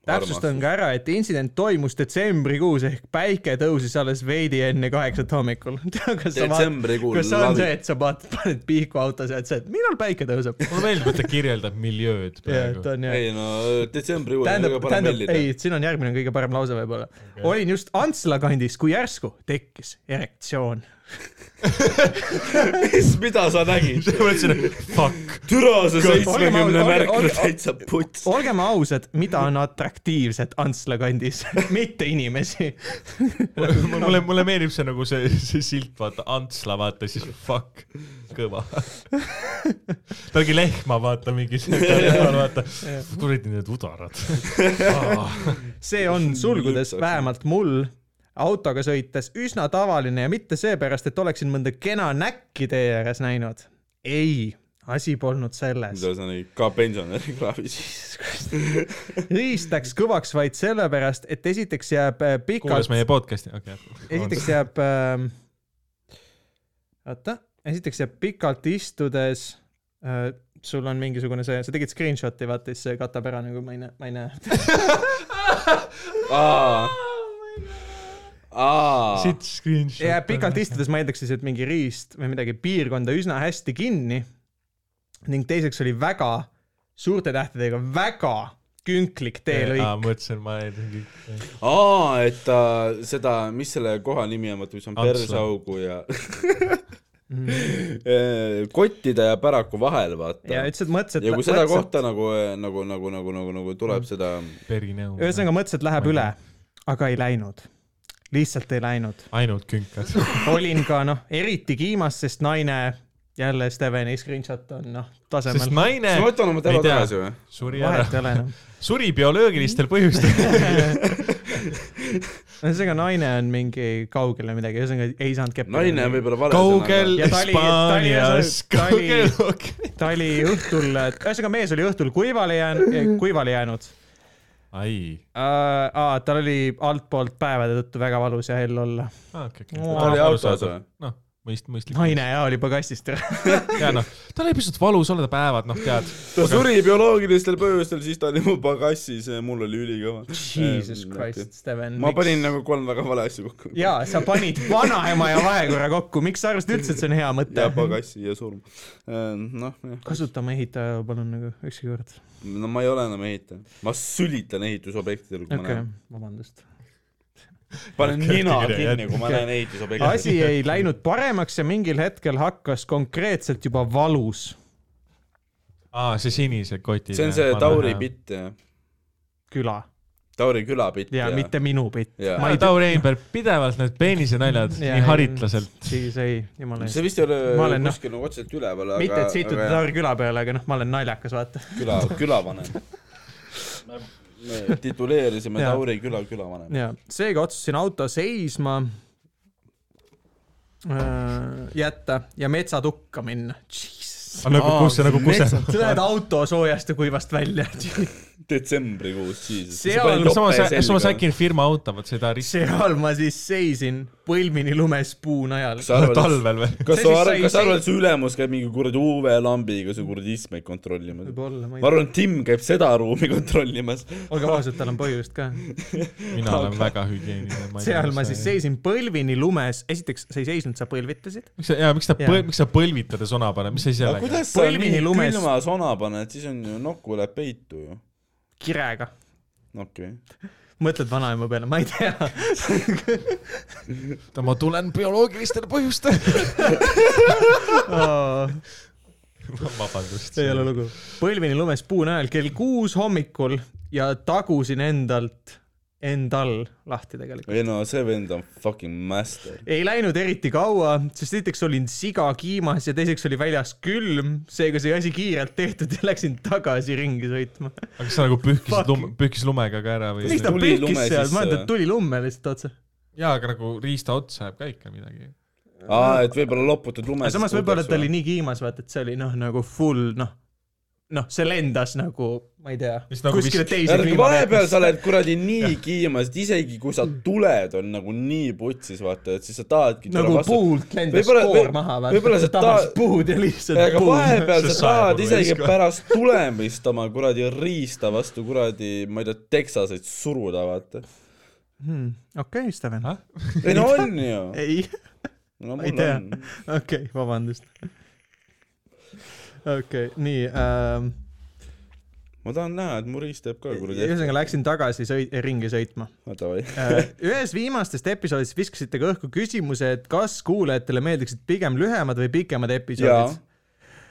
B: täpsustan ka ära , et intsident toimus detsembrikuus ehk päike tõusis alles veidi enne kaheksat hommikul . kas sa vaatad ,
A: detsembrikuu
B: kas see on see ,
A: lavi .
B: et sa vaatad , paned pihku autos ja ütled , et millal päike tõuseb ?
C: mulle meeldib , et ta kirjeldab miljööd
B: jah ,
C: praegu
B: ta . on jah
A: ei no detsembrikuu on
B: tähendab
A: kõige , parem
B: tähendab ,
A: mellida .
B: ei , siin on järgmine kõige parem lause võib-olla okay. . olin just Antsla kandis , kui järsku tekkis erektsioon .
A: mis , mida sa nägid ?
C: ma mõtlesin , et fuck .
A: türa see
C: Olge-
A: seitsmekümne
B: olge-
A: märk on
B: olge-
A: täitsa puts .
B: olgem ausad , mida on atraktiivset Antsla kandis , mitte inimesi .
C: mulle , mulle meeldib see nagu see , see silt , vaata , Antsla , vaata siis fuck , kõva . ta ongi lehma , vaata mingi , vaata , kuradi need udarad .
B: see on sulgudes
A: Lüpsaks.
B: vähemalt mul autoga sõites üsna tavaline ja mitte seepärast , et oleksin mõnda kena näkki tee ääres näinud . ei , asi polnud selles .
A: mida sa nägid ? ka pensionäri kraavis .
B: riist läks kõvaks vaid sellepärast , et esiteks jääb äh, pikalt
C: kuulas meie podcast'i , okei okay. .
B: esiteks jääb ähm, , oota , esiteks jääb pikalt istudes äh, , sul on mingisugune see , sa tegid screenshot'i , vaata siis see katab ära nagu ma ei näe , ma ei näe .
A: aa , aa .
C: Oh siit screenshot .
B: jääb pikalt . istudes , ma eeldaks siis , et mingi riist või midagi piirkonda üsna hästi kinni . ning teiseks oli väga suurte tähtedega väga künklik teelõik .
C: mõtlesin , ma äh, ei tea .
A: aa , et ta seda , mis selle koha nimi on , vaata , mis on
C: Antsla. Mhm.
A: persaugu ja Eh, kottide ja päraku vahel , vaata . ja
B: ja ütles , et mõtles , et .
A: kui seda mõtlesin... kohta nagu , nagu , nagu , nagu , nagu , nagu
C: Mm.
A: tuleb seda ,
C: Eh, perinõu .
B: ühesõnaga mõtles , et läheb
C: Ma ei
B: üle , aga ei läinud . lihtsalt ei läinud .
C: ainult künkad .
B: olin ka noh , eriti kiimas , sest naine , jälle Steveni screenshot on noh ,
C: sest
B: tasemel .
C: naine
A: kas ma võtan oma
C: Ei
A: telo
C: tea.
A: tagasi või ?
C: suri
B: vahet ei
C: ära ,
B: ole enam .
C: suri bioloogilistel põhjustel .
B: ühesõnaga naine on mingi kaugel või midagi , ühesõnaga ei saanud keppi .
A: naine on . võib-olla vale
C: kaugel
B: Ja Tali-
C: Hispaanias ,
B: Tali-
C: kaugel
B: ta oli õhtul , ühesõnaga mees oli õhtul kuivale jäänud ,
A: Mhm.
B: kuivale jäänud .
C: ai ,
B: aa , tal oli altpoolt päevade tõttu väga valus ja hell olla .
C: Ah, okei , okei .
B: Ta
A: sõna . ta oli autos või ?
C: noh , mõist- , mõistlik .
B: naine ja oli pagasist ära .
C: ja noh , tal oli pisut valus olla , ta päevad , noh tead .
A: ta suri bioloogilistel põhjustel , siis ta oli mu pagassis ja mul oli ülikõva .
B: Jesus Christ , Steven .
A: ma panin . nagu kolm väga vale asja kokku .
B: jaa , sa panid vanaema ja vahekorra kokku , miks sa arvasid üldse , et see on hea mõte
A: ja ? pagassi ja surm . noh , jah ,
B: kasutame ehitaja palun nagu ükski kord .
A: no ma ei ole enam ehitaja , ma sülitan ehitusobjektidel , kui
B: okei
A: ma okay.
B: okay,
A: näen ,,
B: vabandust .
A: panen
C: Okei,
A: nina
C: okei,
A: kinni , kui ma
B: okei.
A: näen ehitusobjekti .
B: asi ei läinud paremaks ja mingil hetkel hakkas konkreetselt juba valus .
C: aa , see sinise koti .
A: see on see Tauri . bitt , jah ,
B: küla
A: Tauri küla bitt
B: ja, ja mitte minu pitt .
A: Jaa.
B: ma ei tea ,
C: Tauri Einberg , pidevalt need peenisenaljad ,
B: Jaa,
C: nii
B: ei.
C: haritlaselt .
B: siis ei , jumala eest .
A: see vist ei
B: Ma
A: ole
B: olen, noh,
A: kuskil nagu otseselt üleval , aga .
B: mitte , et sa itud Tauri küla peale , aga noh , ma olen naljakas , vaata .
A: küla , külavanem . me tituleerisime
B: Jaa.
A: Tauri küla külavanem .
B: ja seega otsustasin auto seisma äh, jätta ja metsatukka minna .
C: aga nagu
A: Aa,
C: kus see nagu kus see .
B: sa lähed auto soojast ja kuivast välja .
A: detsembrikuus , siis .
B: See on-
C: samas , samas . äkki on firma auto , vot seda risti .
B: seal ma siis seisin põlvini lumes puu najal .
A: sa arvad ,
C: talvel või ?
A: kas sa
B: See siis
A: arvad ,
B: sai-
A: kas sa
B: sai-
A: arvad , et see ülemus käib mingi kuradi UV-lambiga su kuradi istmeid kontrollimas ?
B: võib-olla , ma
A: ma
B: ei tea .
A: arvan , Tim käib seda ruumi kontrollimas .
B: olgem ausad , tal on põhjust ka .
C: mina olen väga hügieeniline .
B: seal ma siis . seisin põlvini lumes , esiteks sa ei seisnud , sa põlvitasid .
C: miks sa , jaa , miks ta
B: Jaa.
C: põl- , miks sa põlvitades ona paned , mis sa ise
A: aga
C: oled ?
A: kuidas sa
B: Põlvini
A: nii
B: lumes-
A: külma sona paned , siis on ju nokku läheb peitu ju .
B: kirega .
A: okei okay. .
B: mõtled vanaema peale , ma ei tea .
C: ma tulen bioloogilistel põhjustel . vabandust .
B: ei ole lugu . põlvini lumes puu najal kell kuus hommikul ja tagusin endalt , endal lahti tegelikult .
A: ei no see vend on fucking master .
B: ei läinud eriti kaua , sest esiteks olin siga kiimas ja teiseks oli väljas külm , seega sai asi kiirelt tehtud ja läksin tagasi ringi sõitma .
C: aga kas sa nagu pühkisid
B: Fuck.
C: lume , pühkis lumega ka ära või
B: miks ? ta
A: Tuli
B: pühkis
A: lume äh,
B: seal ,
A: sisse
B: ma
A: või?
B: arvan , et tuli lumme lihtsalt otsa .
C: jaa , aga nagu riista otsa jääb ka ikka midagi .
A: aa , et võib-olla loputad lume .
B: aga samas võib-olla ta oli nii kiimas , vaata , et see oli noh , nagu full noh , noh , see lendas nagu , ma ei tea ,
C: Mis nagu
B: kuskile
C: vist-
B: teise
A: ärge
B: kliima
A: vahepeal sa oled kuradi nii kiimas , et isegi kui sa tuled , on nagu nii putsis , vaata , et siis sa tahadki
B: nagu puult lendas
A: Võib-olla-
B: koor
A: või-
B: maha ,
A: võib-olla
B: vaata ,
A: see
B: sa tabas
A: ta-
B: puud ja lihtsalt
A: aga
B: puud .
A: vahepeal
C: See
A: sa
C: saeb
A: tahad
C: mul
A: isegi
C: veits ka.
A: pärast tulemist oma kuradi riista vastu kuradi , ma ei tea , teksaseid suruda , vaata .
B: Hmm, okei ,
A: Ah.
B: Steven .
A: ei no on ju .
B: ei ,
A: no
B: ei
A: mul
B: tea
A: on ..
B: okei , vabandust . okei , nii ähm, .
A: ma tahan näha , et mu riist jääb ka kuradi .
B: ühesõnaga läksin tagasi sõi- , ringi sõitma .
A: davai .
B: Äh, ühes viimastest episoodist viskasite ka õhku küsimuse , et kas kuulajatele meeldiksid pigem lühemad või pikemad
A: jaa
B: episoodid .,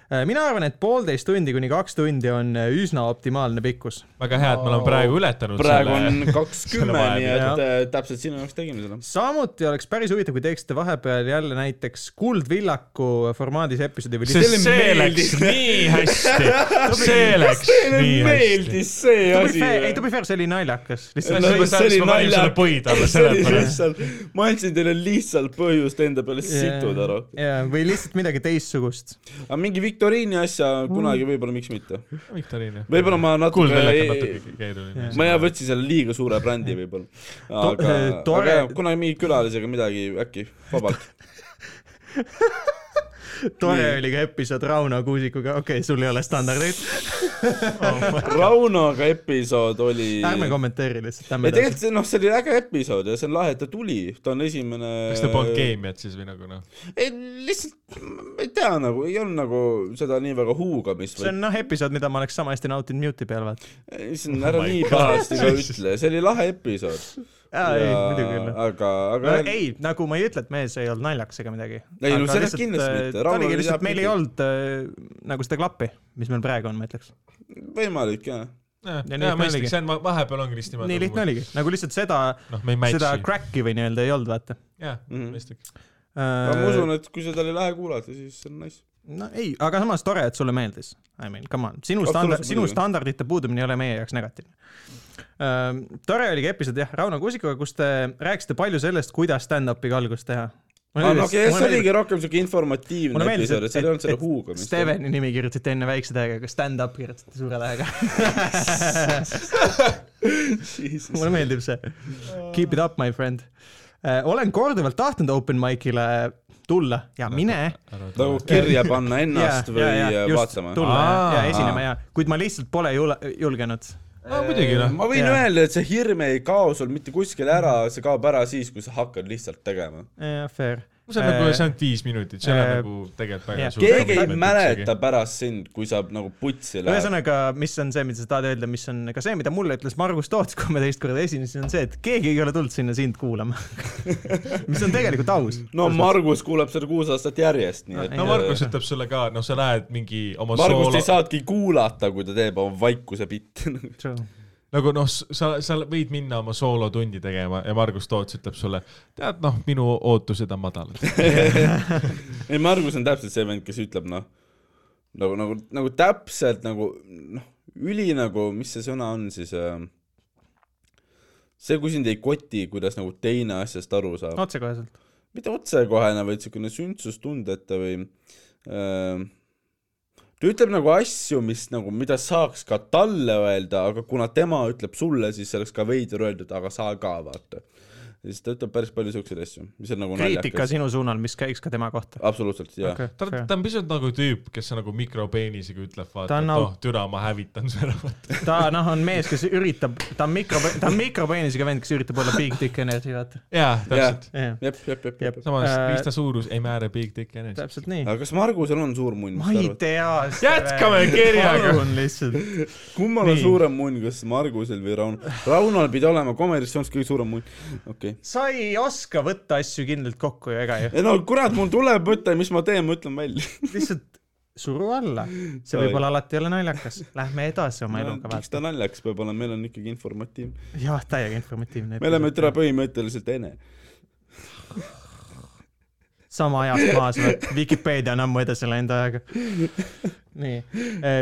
B: mina arvan , et poolteist tundi kuni kaks tundi on äh, üsna optimaalne pikkus .
C: väga hea , et me oleme praegu ületanud
A: praegu on
C: selle .
A: kakskümmend , nii
B: Jah.
A: et äh, täpselt sinu jaoks tegime selle .
B: samuti oleks päris huvitav , kui teeksite vahepeal jälle näiteks Kuldvillaku formaadis episoodi või
C: sest see läks
A: meeldis.
C: nii hästi , see läks
A: Teile
C: nii hästi .
A: meeldis see
B: To be
A: asi
B: fair- ei , to be fair , see oli naljakas ,
A: See
B: lihtsalt
A: oli- see oli naljakas.
C: põid alla
A: see oli
C: sellepärast .
A: lihtsalt , ma andsin teile lihtsalt põhjust enda peale situda rohkem .
B: jaa , või lihtsalt midagi teistsugust .
A: aga mingi viktoriini asja kunagi võib-olla , miks mitte .
C: viktoriine .
A: võib-olla ma natuke ,
C: kuulda jälle
A: ma
C: natuke keeruline .
A: jah , võtsin selle liiga suure brändi võib-olla . aga ,
B: eh, tore-
A: aga jah, kunagi mingi külalisega midagi äkki vabalt .
B: tore
A: Nii.
B: oli ka episood Rauno Kuusikuga , okei okay, , sul ei ole standardeid ,
A: Raunoga episood oli
B: ärme kommenteeri lihtsalt , lähme
A: ja tegelikult see noh , see oli äge episood ja see on lahe , et ta tuli , ta on esimene .
C: kas ta polnud ? keemiat siis või nagu noh ?
A: ei , lihtsalt ma ei tea nagu , ei olnud nagu seda nii väga huugamist .
B: see on noh , episood , mida ma oleks sama hästi nautinud mute'i peal , vaata .
A: ei , see on , ära
C: Oh my
A: nii
C: God.
A: pahasti ka ütle , see oli lahe episood .
B: jaa , ei , muidugi küll .
A: aga ,
B: No,
A: aga
B: ei , nagu ma ei ütle , et mees ei olnud naljakas ega midagi .
A: Ei, no sellest kindlasti mitte.
B: ta
A: Rauno
B: oligi
A: oli
B: lihtsalt , meil ei
A: teadlik.
B: olnud äh, nagu seda klappi , mis meil praegu on , ma ütleks .
A: võimalik jah .
B: nii
C: jaa ,
B: lihtne
C: mõistlik ,
B: oligi.
C: see on , vahepeal ongi vist niimoodi .
B: nii lihtne . oligi , nagu lihtsalt seda ,
C: noh , me ei
B: seda
C: match'i .
B: crack'i või nii-öelda ei olnud , vaata .
C: jaa ,
A: Mhm.
C: mõistlik .
A: aga
B: Äh.
A: ma usun , et kui seda oli lahe kuulata , siis see on nice .
B: no ei , aga samas tore , et sulle meeldis . I mean , come on , sinu standard ,
A: Absoluutselt
B: sinu
A: muidugi.
B: standardite puudumine ei ole meie jaoks negatiivne . tore oligi episood jah , Rauno Kuusikuga , kus te rääkisite palju sellest , kuidas stand-up'iga algust teha .
A: aga noh , okei , see oligi rohkem siuke informatiivne
B: mulle meeldis ,
A: episood , et seal ei olnud seda
B: et
A: huugamist .
B: Steveni nimi kirjutasite enne väikse tähega , aga stand-up kirjutasite suure tähega . mulle Äh, meeldib see . Keep it up , my friend . olen korduvalt tahtnud open mic'ile tulla ja mine
A: nagu kirja panna ennast või äh, vaatama .
B: tulla ja- ja
C: Aa.
B: esinema ja , kuid ma lihtsalt pole jule- julgenud .
C: aa , muidugi noh .
A: ma võin
B: Jaa.
A: öelda , et see hirm ei kao sul mitte kuskil ära , see kaob ära siis , kui sa hakkad lihtsalt tegema .
B: Fair . Äh,
C: see on
A: Äh,
C: nagu , see on viis minutit , see ei ole nagu tegelikult väga
B: jah.
C: suur .
A: keegi ei mäleta . pärast sind , kui sa nagu putsi lähed .
B: ühesõnaga , mis on see , mida sa tahad öelda , mis on ka see , mida mulle ütles Margus Toots , kui ma teist korda esinesin , on see , et keegi ei ole tulnud sinna sind kuulama . mis on tegelikult aus .
A: no Margus kuulab seda kuus aastat järjest , nii et .
C: no Margus ütleb sulle ka , noh , sa lähed mingi oma
A: Margust
C: soolo
A: ei , saadki kuulata , kui ta teeb oma vaikuse bitti .
C: nagu noh , sa , sa võid minna oma soolotundi tegema ja Margus Toots ütleb sulle , tead noh , minu ootused on madalad .
A: ei , Margus on täpselt see vend , kes ütleb noh , nagu , nagu , nagu täpselt nagu noh , üli nagu , mis see sõna on siis äh, see , kui sind ei koti , kuidas nagu teine asjast aru saab ,
B: otsekoheselt .
A: mitte otsekohene , vaid siukene sündsustundeta või äh, ta ütleb nagu asju , mis nagu , mida saaks ka talle öelda , aga kuna tema ütleb sulle , siis oleks ka veider öelda , et aga sa ka vaata . ja siis ta ütleb päris palju siukseid asju , mis on nagu
B: kriitika
A: naljakas . Ah.
B: sinu suunal , mis käiks ka tema kohta .
A: absoluutselt , jaa okay. .
C: ta , ta on pisut nagu tüüp , kes nagu mikropeenisega ütleb , vaata ,
B: Ta on
C: et
B: au-
C: oh , türa , ma hävitan su ära .
B: ta noh , on mees , kes üritab , ta on mikro , ta on mikropeenisega vend , kes üritab olla big dick energy , vaata .
C: jaa , täpselt .
B: jah ,
A: jep , jep , jep , jep .
C: samas
B: Äh,
C: riista suurus ei määra big dick energy .
B: täpselt nii .
A: aga kas Margusel on suur munn ,
B: ma
A: mis te
B: ei
A: arvate ?
B: tea .
C: Jätkame kirjaga.
B: palun lihtsalt .
A: kummal on
B: Nii.
A: suurem munn , kas Margusel või Rauno ? Raunol pidi olema Comedy Stones kõige suurem munn , okei okay. .
B: sa ei oska võtta asju kindlalt kokku ju , ega ju .
A: ei no kurat , mul tuleb võtta , mis ma teen , ma ütlen välja .
B: lihtsalt suru alla , see
A: Sorry.
B: võib-olla alati ei ole naljakas , lähme edasi oma eluga
A: miks ta
B: vaata .
A: naljakas peab olema , meil on ikkagi informatiivne .
B: jah , täiega informatiivne .
A: me oleme täna põhimõtteliselt ene .
B: sama ajast maas , Vikipeedia on ammu edasi läinud ajaga . nii ,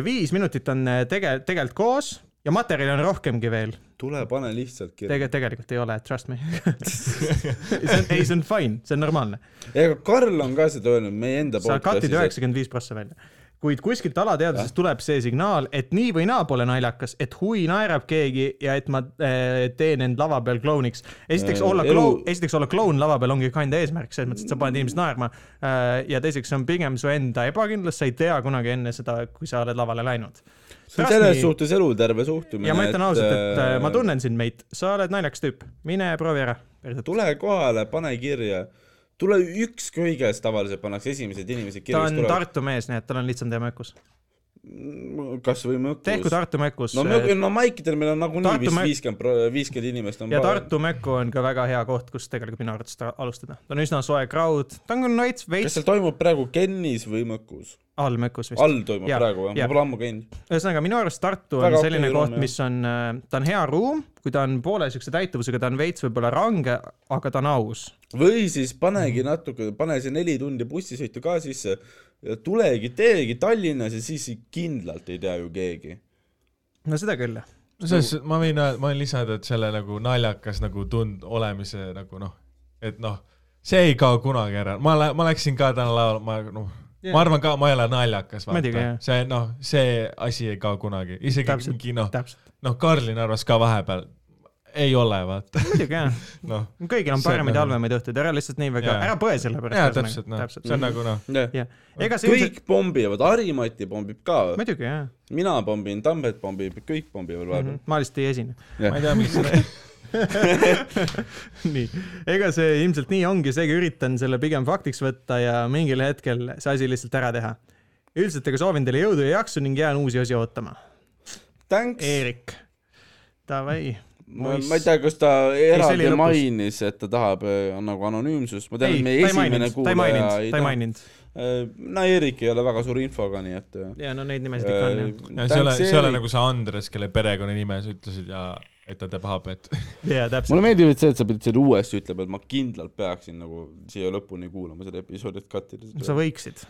B: viis minutit on äh, tege- , tegelikult koos ja materjali on rohkemgi veel ,
A: tule pane lihtsalt kirja .
B: tegelikult , tegelikult ei ole , trust me . see on , ei , see on fine , see on normaalne .
A: ega Karl on ka seda öelnud , meie enda
B: sa cut'id
A: podcastis,
B: üheksakümmend viis prossa välja . kuid kuskilt alateadvusest tuleb see signaal , et nii või naa pole naljakas , et hui naerab keegi ja et ma äh, teen end lava peal klouniks . esiteks
A: Äh,
B: olla
A: elu-
B: kloun , esiteks olla kloun lava peal ongi kinda eesmärk , selles mõttes , et sa paned inimesed naerma . ja teiseks on pigem su enda ebakindlus , sa ei tea kunagi enne seda , kui sa oled lavale läinud .
A: et see on selles suhtes eluterve suhtumine .
B: ja ma ütlen ausalt , et äh, ma . tunnen sind , Meit , sa oled naljakas tüüp , mine proovi ära .
A: tule kohale , pane kirja . tule ükskõik , kes tavaliselt pannakse esimesed inimesed
B: ta
A: kirja , kes
B: on
A: tulevad .
B: Tartu mees , nii et tal on lihtsam teha mökus .
A: kasvõi
B: tehku
A: Mõkus .
B: Tartu äh, mökus .
A: no me , no maikidel meil on nagunii
B: eh, Tartu
A: vist
B: mä-
A: viiskümmend , viiskümmend inimest on
B: ja . Tartu Möku on ka väga hea koht , kus tegelikult minu arvates ta alustada . ta on üsna soe crowd , ta on küll veits ,
A: kas
B: veits
A: seal toimub praegu Kennis või Mõkus ?
B: all Mökus vist .
A: all toimub ja,
B: Jaa,
A: praegu ,
B: jaa.
A: ma pole ammu käinud .
B: ühesõnaga , minu arust Tartu on
A: Väga okei
B: selline
A: ruum,
B: koht ,
A: jah.
B: mis on , ta on hea ruum , kui ta on poole siukse täituvusega , ta on veits võib-olla range , aga ta on aus .
A: või siis panegi natuke , pane see neli tundi bussisõitu ka sisse ja tulegi , teegi Tallinnas ja siis kindlalt ei tea ju keegi .
B: no seda küll , jah .
C: selles , ma võin , ma võin lisada , et selle nagu naljakas nagu tund olemise nagu noh , et noh , see ei kao kunagi ära , ma lä- , ma läksin ka täna laulma , ma noh yeah. , ma arvan ka , ma ei ole naljakas ,
B: Muidugi,
C: vaata
B: jah. ,
C: see noh , see asi ei kao kunagi , isegi
B: Täpselt,
C: Täpselt. mingi noh ,
B: täpselt .
C: noh , Karlin arvas ka vahepeal , ei ole vaata ,
B: muidugi jah ,
C: noh .
B: kõigil on
C: See on
B: paremaid ja
C: nagu-
B: halvemaid õhtuid , ära lihtsalt nii väga
C: Jaa. ,
B: ära põe selle
C: jaa ,
B: pärast .
C: täpselt noh , see on nagu noh ,
A: kõik
B: jah , ega see ilmselt ,
A: pommivad , Harimati pommib ka ,
B: muidugi jah ,
A: mina pommin , Tambet pommib , kõik pommivad vahepeal .
B: Mhm. ma lihtsalt ei esine .
C: ma ei tea , miks see
B: nii , ega see ilmselt nii ongi , seega üritan selle pigem faktiks võtta ja mingil hetkel see asi lihtsalt ära teha . üldiselt aga soovin teile jõudu ja jaksu ning jään uusi osi ootama .
A: Thanks ,
B: Eerik . Davai .
A: ma ma ei tea , kas ta eraldi
B: lõpus.
A: mainis , et ta tahab äh, nagu anonüümsust , ma tean ,
B: ei ,
A: et
B: ta
A: meie
B: ei
A: esimene
B: maininud , ta ei
A: kuulaja
B: maininud , ta ei maininud .
A: Äh, no Eerik ei ole väga suure infoga , nii et . äh,
B: ja no neid nimesid ikka on jah .
C: ei ole , see ei ole nagu see Andres , kelle perekonnanime sa ütlesid ja et ta teeb habet .
B: jaa , täpselt .
A: mulle meeldib , et see , et sa pidid selle uuesti ütlema , et ma kindlalt peaksin nagu siia lõpuni kuulama seda episoodi , et cut ida
B: sa
A: seda .
B: võiksid ,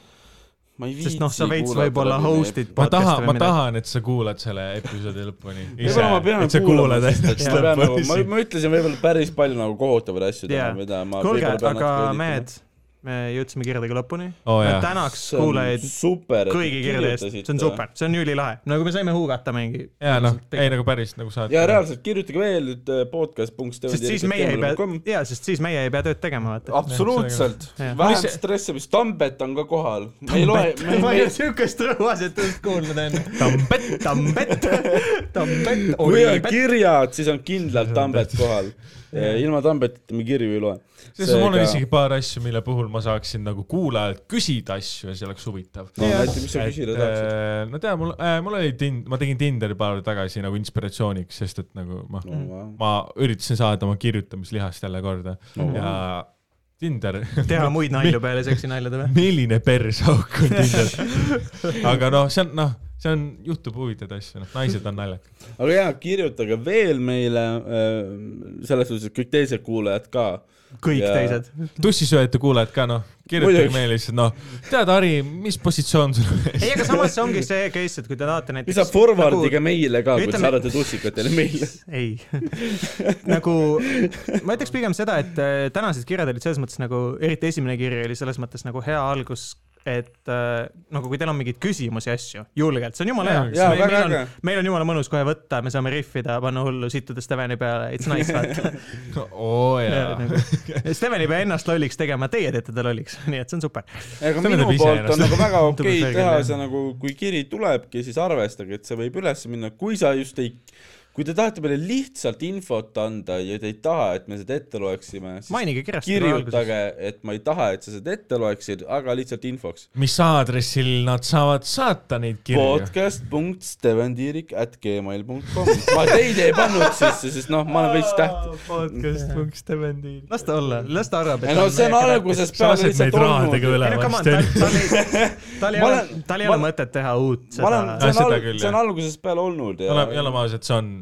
A: ma ei
B: sest noh , sa veits võib-olla host'id .
C: ma tahan , ma . tahan , et sa kuulad selle episoodi lõpuni .
A: võib-olla ma pean
C: et sa
A: kuulama
C: kuulad ,
A: sest et
C: hästi
A: ma pean nagu , ma
C: lõpuni .
A: ma ütlesin võib-olla päris palju nagu kohutavaid asju
B: Jaa.
A: teha , mida ma .
B: kuulge , aga mehed , me jõudsime kirjadega lõpuni
C: Oo,
B: Me
C: Oh, jaa.
B: tänaks kuulajaid
A: super ,
B: kõigi kirjade eest , see on super , see on ülilahe , nagu me saime huugata mingi .
C: ja noh , ei nagu päris nagu saad .
A: ja reaalselt kirjutage veel nüüd eh, podcast.com
B: sest siis meie ei pea ,
A: nagu-
B: ja sest siis meie ei pea tööd tegema , vaata .
A: absoluutselt ,
B: Jah.
A: vähem stressimist , Tambet on ka kohal , me ei loe , me
B: ma ei
A: ei
B: ole , siukest rõhuasetust kuulnud enne . tambet , tambet , tambet ,
A: kui on
B: olipet .
A: kirjad , siis on kindlalt Tambet kohal . ilma Tambetita me kirju ei loe .
C: sest mul on isegi paar asju , mille puhul ma saaksin nagu kuulajalt küsida asju ja see oleks huvitav .
A: no näita , mis sa küsida tahaksid .
C: no tea , mul , mul oli Tind- , ma tegin Tinderi paar päeva tagasi nagu inspiratsiooniks , sest et nagu ma no. , ma üritasin saada oma kirjutamislihast jälle korda
A: Oh,
C: no. ja Tinder ,
B: teha muid nalju peale seksinalja või ?
C: milline persauk on Tinder . aga noh , see on noh , see on , juhtub huvitavaid asju , noh , naised on naljakad .
A: aga jaa , kirjutage veel meile , selles suhtes , et kõik teised kuulajad ka .
B: kõik
A: Jaa.
B: teised .
C: tussisööjate kuulajad ka noh , kirjutage
A: Muidugi.
C: meile lihtsalt noh , tead , Harri , mis positsioon sul
B: ei , aga samas see ongi see case , et kui te tahate näiteks . Nagu-
A: lisa forward'iga . meile ka , kui te
B: Ütleme-
A: saadate tussikatele meile .
B: ei , nagu ma ütleks pigem seda , et äh, tänased kirjad olid selles mõttes nagu , eriti esimene kiri oli selles mõttes nagu hea algus , et äh, nagu kui teil on mingeid küsimusi , asju , julgelt , see on jumala hea
A: jaa,
C: Jaa,
B: sest meil-
A: väga
B: meil
A: äge.
B: on- meil on jumala mõnus kohe võtta , me saame rihvida , panna hullu sittude Steveni peale , it's nice vaata .
C: oo jaa .
B: Steven ei pea ennast lolliks tegema , teie teete ta lolliks , nii et see on super .
A: aga
C: Sa
A: minu
C: võtad ise
A: poolt on
C: ennast.
A: nagu väga
B: Tundub
A: okei
B: selge,
A: teha
B: jah.
A: see nagu , kui kiri tulebki , siis arvestage , et see võib üles minna , kui sa just ei , kui te tahate meile lihtsalt infot anda ja te ei taha , et me seda ette loeksime , siis
B: mainige kirjast . nagu
A: kirjutage , et ma ei taha , et sa seda ette loeksid , aga lihtsalt infoks .
C: mis aadressil nad saavad saata neid kirju ?
A: podcast.steventiirik at gmail punkt kom . ma teid ei pannud sisse , sest noh , ma olen veits täht- .
C: podcast punks Stevendi .
B: las ta olla , las ta arvab .
A: ei no see on algusest
C: sa
A: peale
C: lased
A: lihtsalt
C: meid rahadega
A: olnud .
C: üle
B: ei no come on , tal ,
C: varsti .
B: tal ei , tal ei
A: Ma
B: ole
A: olen- ,
B: tal ei
A: ma
B: ole
A: olen-
B: mõtet teha uut
A: ma olen ,
B: seda .
A: see on
C: seda
A: alg-
C: küll, ,
A: see on
C: jah.
A: algusest peale olnud ja .
C: oleme , oleme ausad , see on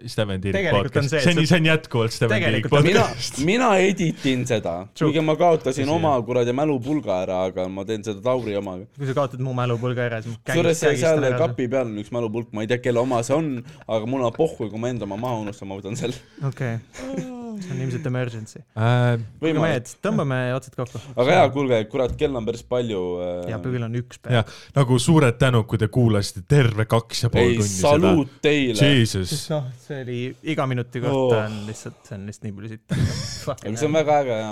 C: Stevendi
B: Tegelikult on
C: podcast .
B: see, et
C: see on ,
B: sa-
C: see on jätkuvalt Stevendi
B: Tegelikult on-
A: mina
C: podcast .,
A: mina editin seda ,
B: True.
A: kuigi ma kaotasin oma kuradi mälupulga ära , aga ma teen seda Tauri omaga .
B: kui sa kaotad mu mälupulga ära , siis ma
A: kusjuures seal- seal
B: kägistan ära .
A: kapi peal on üks mälupulk , ma ei tea , kelle oma see on , aga mul on pohhu , kui ma enda oma maha unustan , ma võtan selle .
B: okei , see on ilmselt emergency .
C: Äh,
B: kuulge
A: võimalik ,
B: mehed , tõmbame otsad kokku .
A: aga hea , kuulge , kurat , kell on päris palju . äh,
B: ja kõigil on üks päev .
C: jah , nagu suured tänud , kui te kuulasite terve kaks ja pool
A: ei ,
C: tundi seda .
A: saluut teile .
C: Jesus ,
B: noh , see oli iga minuti
A: Oh.
B: kohta on lihtsalt , see on lihtsalt nii palju sitta .
A: aga see on väga äge ja .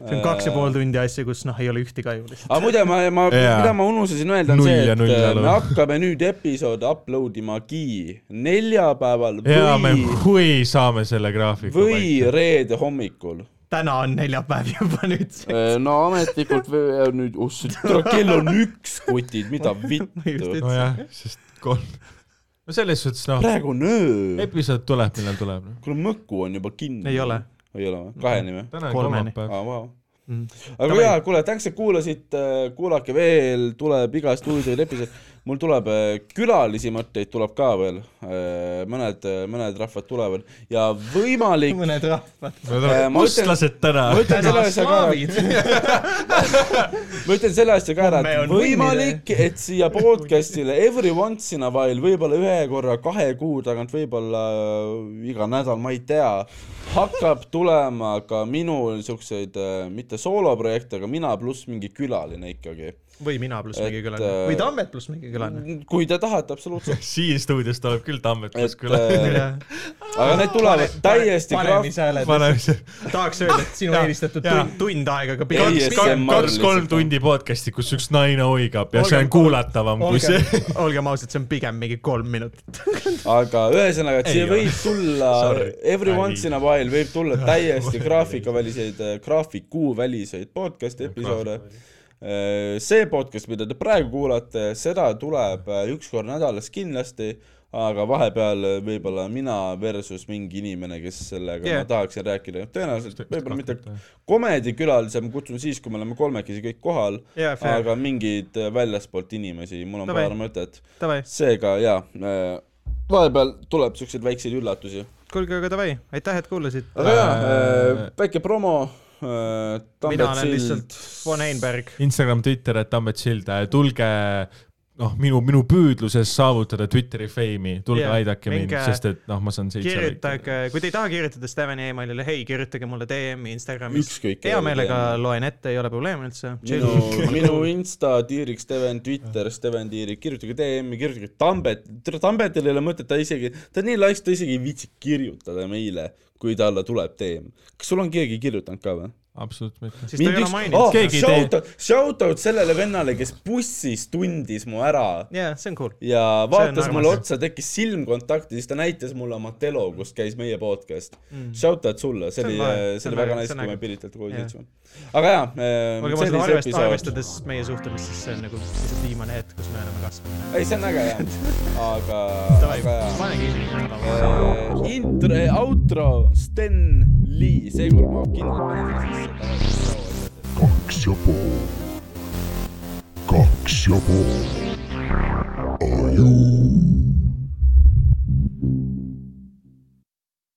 B: see on kaks ja pool . tundi asja , kus noh , ei ole ühtegi aju lihtsalt .
A: aga muide , ma , ma ,
C: Jaa.
A: mida ma unustasin öelda , on
C: Null
A: see ,
C: ja
A: et
C: null
A: äh,
C: alu.
A: me hakkame nüüd episoode upload imagi neljapäeval
C: ja me
A: või ,
C: hui saame selle graafiku
A: või . reede hommikul
B: täna on neljapäev juba nüüd .
A: Äh, no ametlikult või- nüüd , ossa , kell on üks kutid , mida
B: Ma just
A: vittu .
B: ütlesin.
C: nojah , sest kolm . no selles suhtes noh ,
A: praegu on öö .
C: episood tuleb , millal tuleb . noh.
A: kuule , Mõku on juba kinni .
B: Ei ole. .
A: ei ole või ? kaheni või ?
C: täna on
B: Kolmeni.
C: kolmapäev .
A: aa , vau .
B: Mm.
A: aga
B: Davai.
A: jaa , kuule , tänks , et kuulasite , kuulake veel , tuleb igast huvitavaid episoode . mul tuleb äh, külalisi mõtteid tuleb ka veel . mõned , mõned rahvad tulevad ja võimalik ,
B: mõned rahvad .
A: Äh, ma ütlen-
C: mustlased täna
A: ma . ütlen selle
B: täna
A: asja ka ,
B: slaavid .
A: ma ütlen selle asja ka ära , et
B: Homme on
A: võimalik , et siia podcast'ile every once in a while , võib-olla ühe korra kahe kuu tagant , võib-olla äh, iga nädal , ma ei tea , hakkab tulema ka minu niisuguseid , mitte sooloprojekte , aga mina pluss mingi külaline ikkagi .
B: või mina pluss mingi
A: Et,
B: külaline
A: äh,
B: või Tammet pluss mingi külaline .
A: kui te tahate , absoluutselt .
C: siin stuudios tuleb küll Tammet pluss
A: et
C: küla .
A: äh, aga need tulevad täiesti
B: paneme ise hääled .
C: paneme see
B: tahaks öelda , et sinu
C: Jaa,
B: eelistatud
C: jaa.
B: tund , tund aega , aga pigem
A: Ei, see on-
B: pigem-
C: kaks-kolm tundi podcast'i , kus üks naine oigab ja see on kuulatavam kui see .
B: olgem , olgem ausad , see on pigem mingi kolm minutit .
A: aga ühesõnaga , et
C: Ei
A: siia
C: ole.
A: võib tulla
C: Sorry.
A: every
C: Ai.
A: once in a while võib tulla täiesti graafikaväliseid , graafikuu-väliseid podcast'i episoode . see podcast , mida te praegu kuulate , seda tuleb äh, üks kord nädalas kindlasti , aga vahepeal äh, võib-olla mina versus mingi inimene , kes sellega yeah.
B: Yeah.
A: ma tahaksin rääkida , tõenäoliselt võib-olla mitte komedikülalise ma kutsun siis , kui me oleme kolmekesi kõik kohal
B: Jaa, fair.
A: aga mingeid äh, väljaspoolt inimesi , mul on
B: Davai.
A: paar mõtet
B: Davai ,
A: seega jaa , vahepeal tuleb siukseid väikseid üllatusi .
B: kuulge aga davai , aitäh , et kuulasite .
A: aga jaa
C: Äh, ,
A: väike promo . äh,
B: mina
A: mina
B: olen lihtsalt Von Einberg .
C: Instagram , Twitter , et Tammet Sild , tulge noh , minu , minu püüdluses saavutada Twitteri fame'i , tulge
B: Jah,
C: yeah, aidake mind
B: minge- ,
C: sest et noh , ma saan seitse .
B: kirjutage , kui te ei taha kirjutada Steveni emailile , hei , kirjutage mulle DM-i Instagramis .
A: ükskõik .
B: hea meelega . loen ette , ei ole probleemi üldse .
A: minu , minu Insta , Tiirik Steven , Twitter , Steven Tiirik , kirjutage DM-i , kirjutage Tambet , tere Tambetil ei ole mõtet , ta isegi , ta on nii laisk , ta isegi ei viitsi kirjutada meile , kui talle tuleb DM . kas sul on keegi kirjutanud ka või ?
C: absoluutselt mitte .
B: siis ta ei ole maininud
A: oh,
B: oh. .
C: Keegi ei tee.
A: shout out , shout out sellele vennale , kes bussis tundis mu ära
B: jaa , see on cool .
A: ja
B: See
A: vaatas
B: on
A: mulle
B: armas.
A: otsa , tekkis silmkontakti , siis ta näitas mulle oma telo , kus käis meie podcast mm. . Shout out sulle , see
B: See on
A: oli ,
B: lahe, see
A: see
B: on
A: oli väga
B: äge, see
A: nice ,
B: on
A: kui me
B: äge.
A: Piritilt koos
B: Jah.
A: leidsime . aga jaa ,
B: aga ma
A: see oli
B: seda
A: see
B: arvest- ,
A: episood .
B: arvestades meie suhtemist , siis see on nagu lihtsalt viimane hetk , kus me oleme kasvanud .
A: ei , see on äge jah , aga ,
B: Davai
A: aga jaa .
B: pane kinni .
A: intro , outro , Sten Lee , seekord ma kindlalt panen selle sisse .
D: kaks ja pool . kaks ja pool . Are you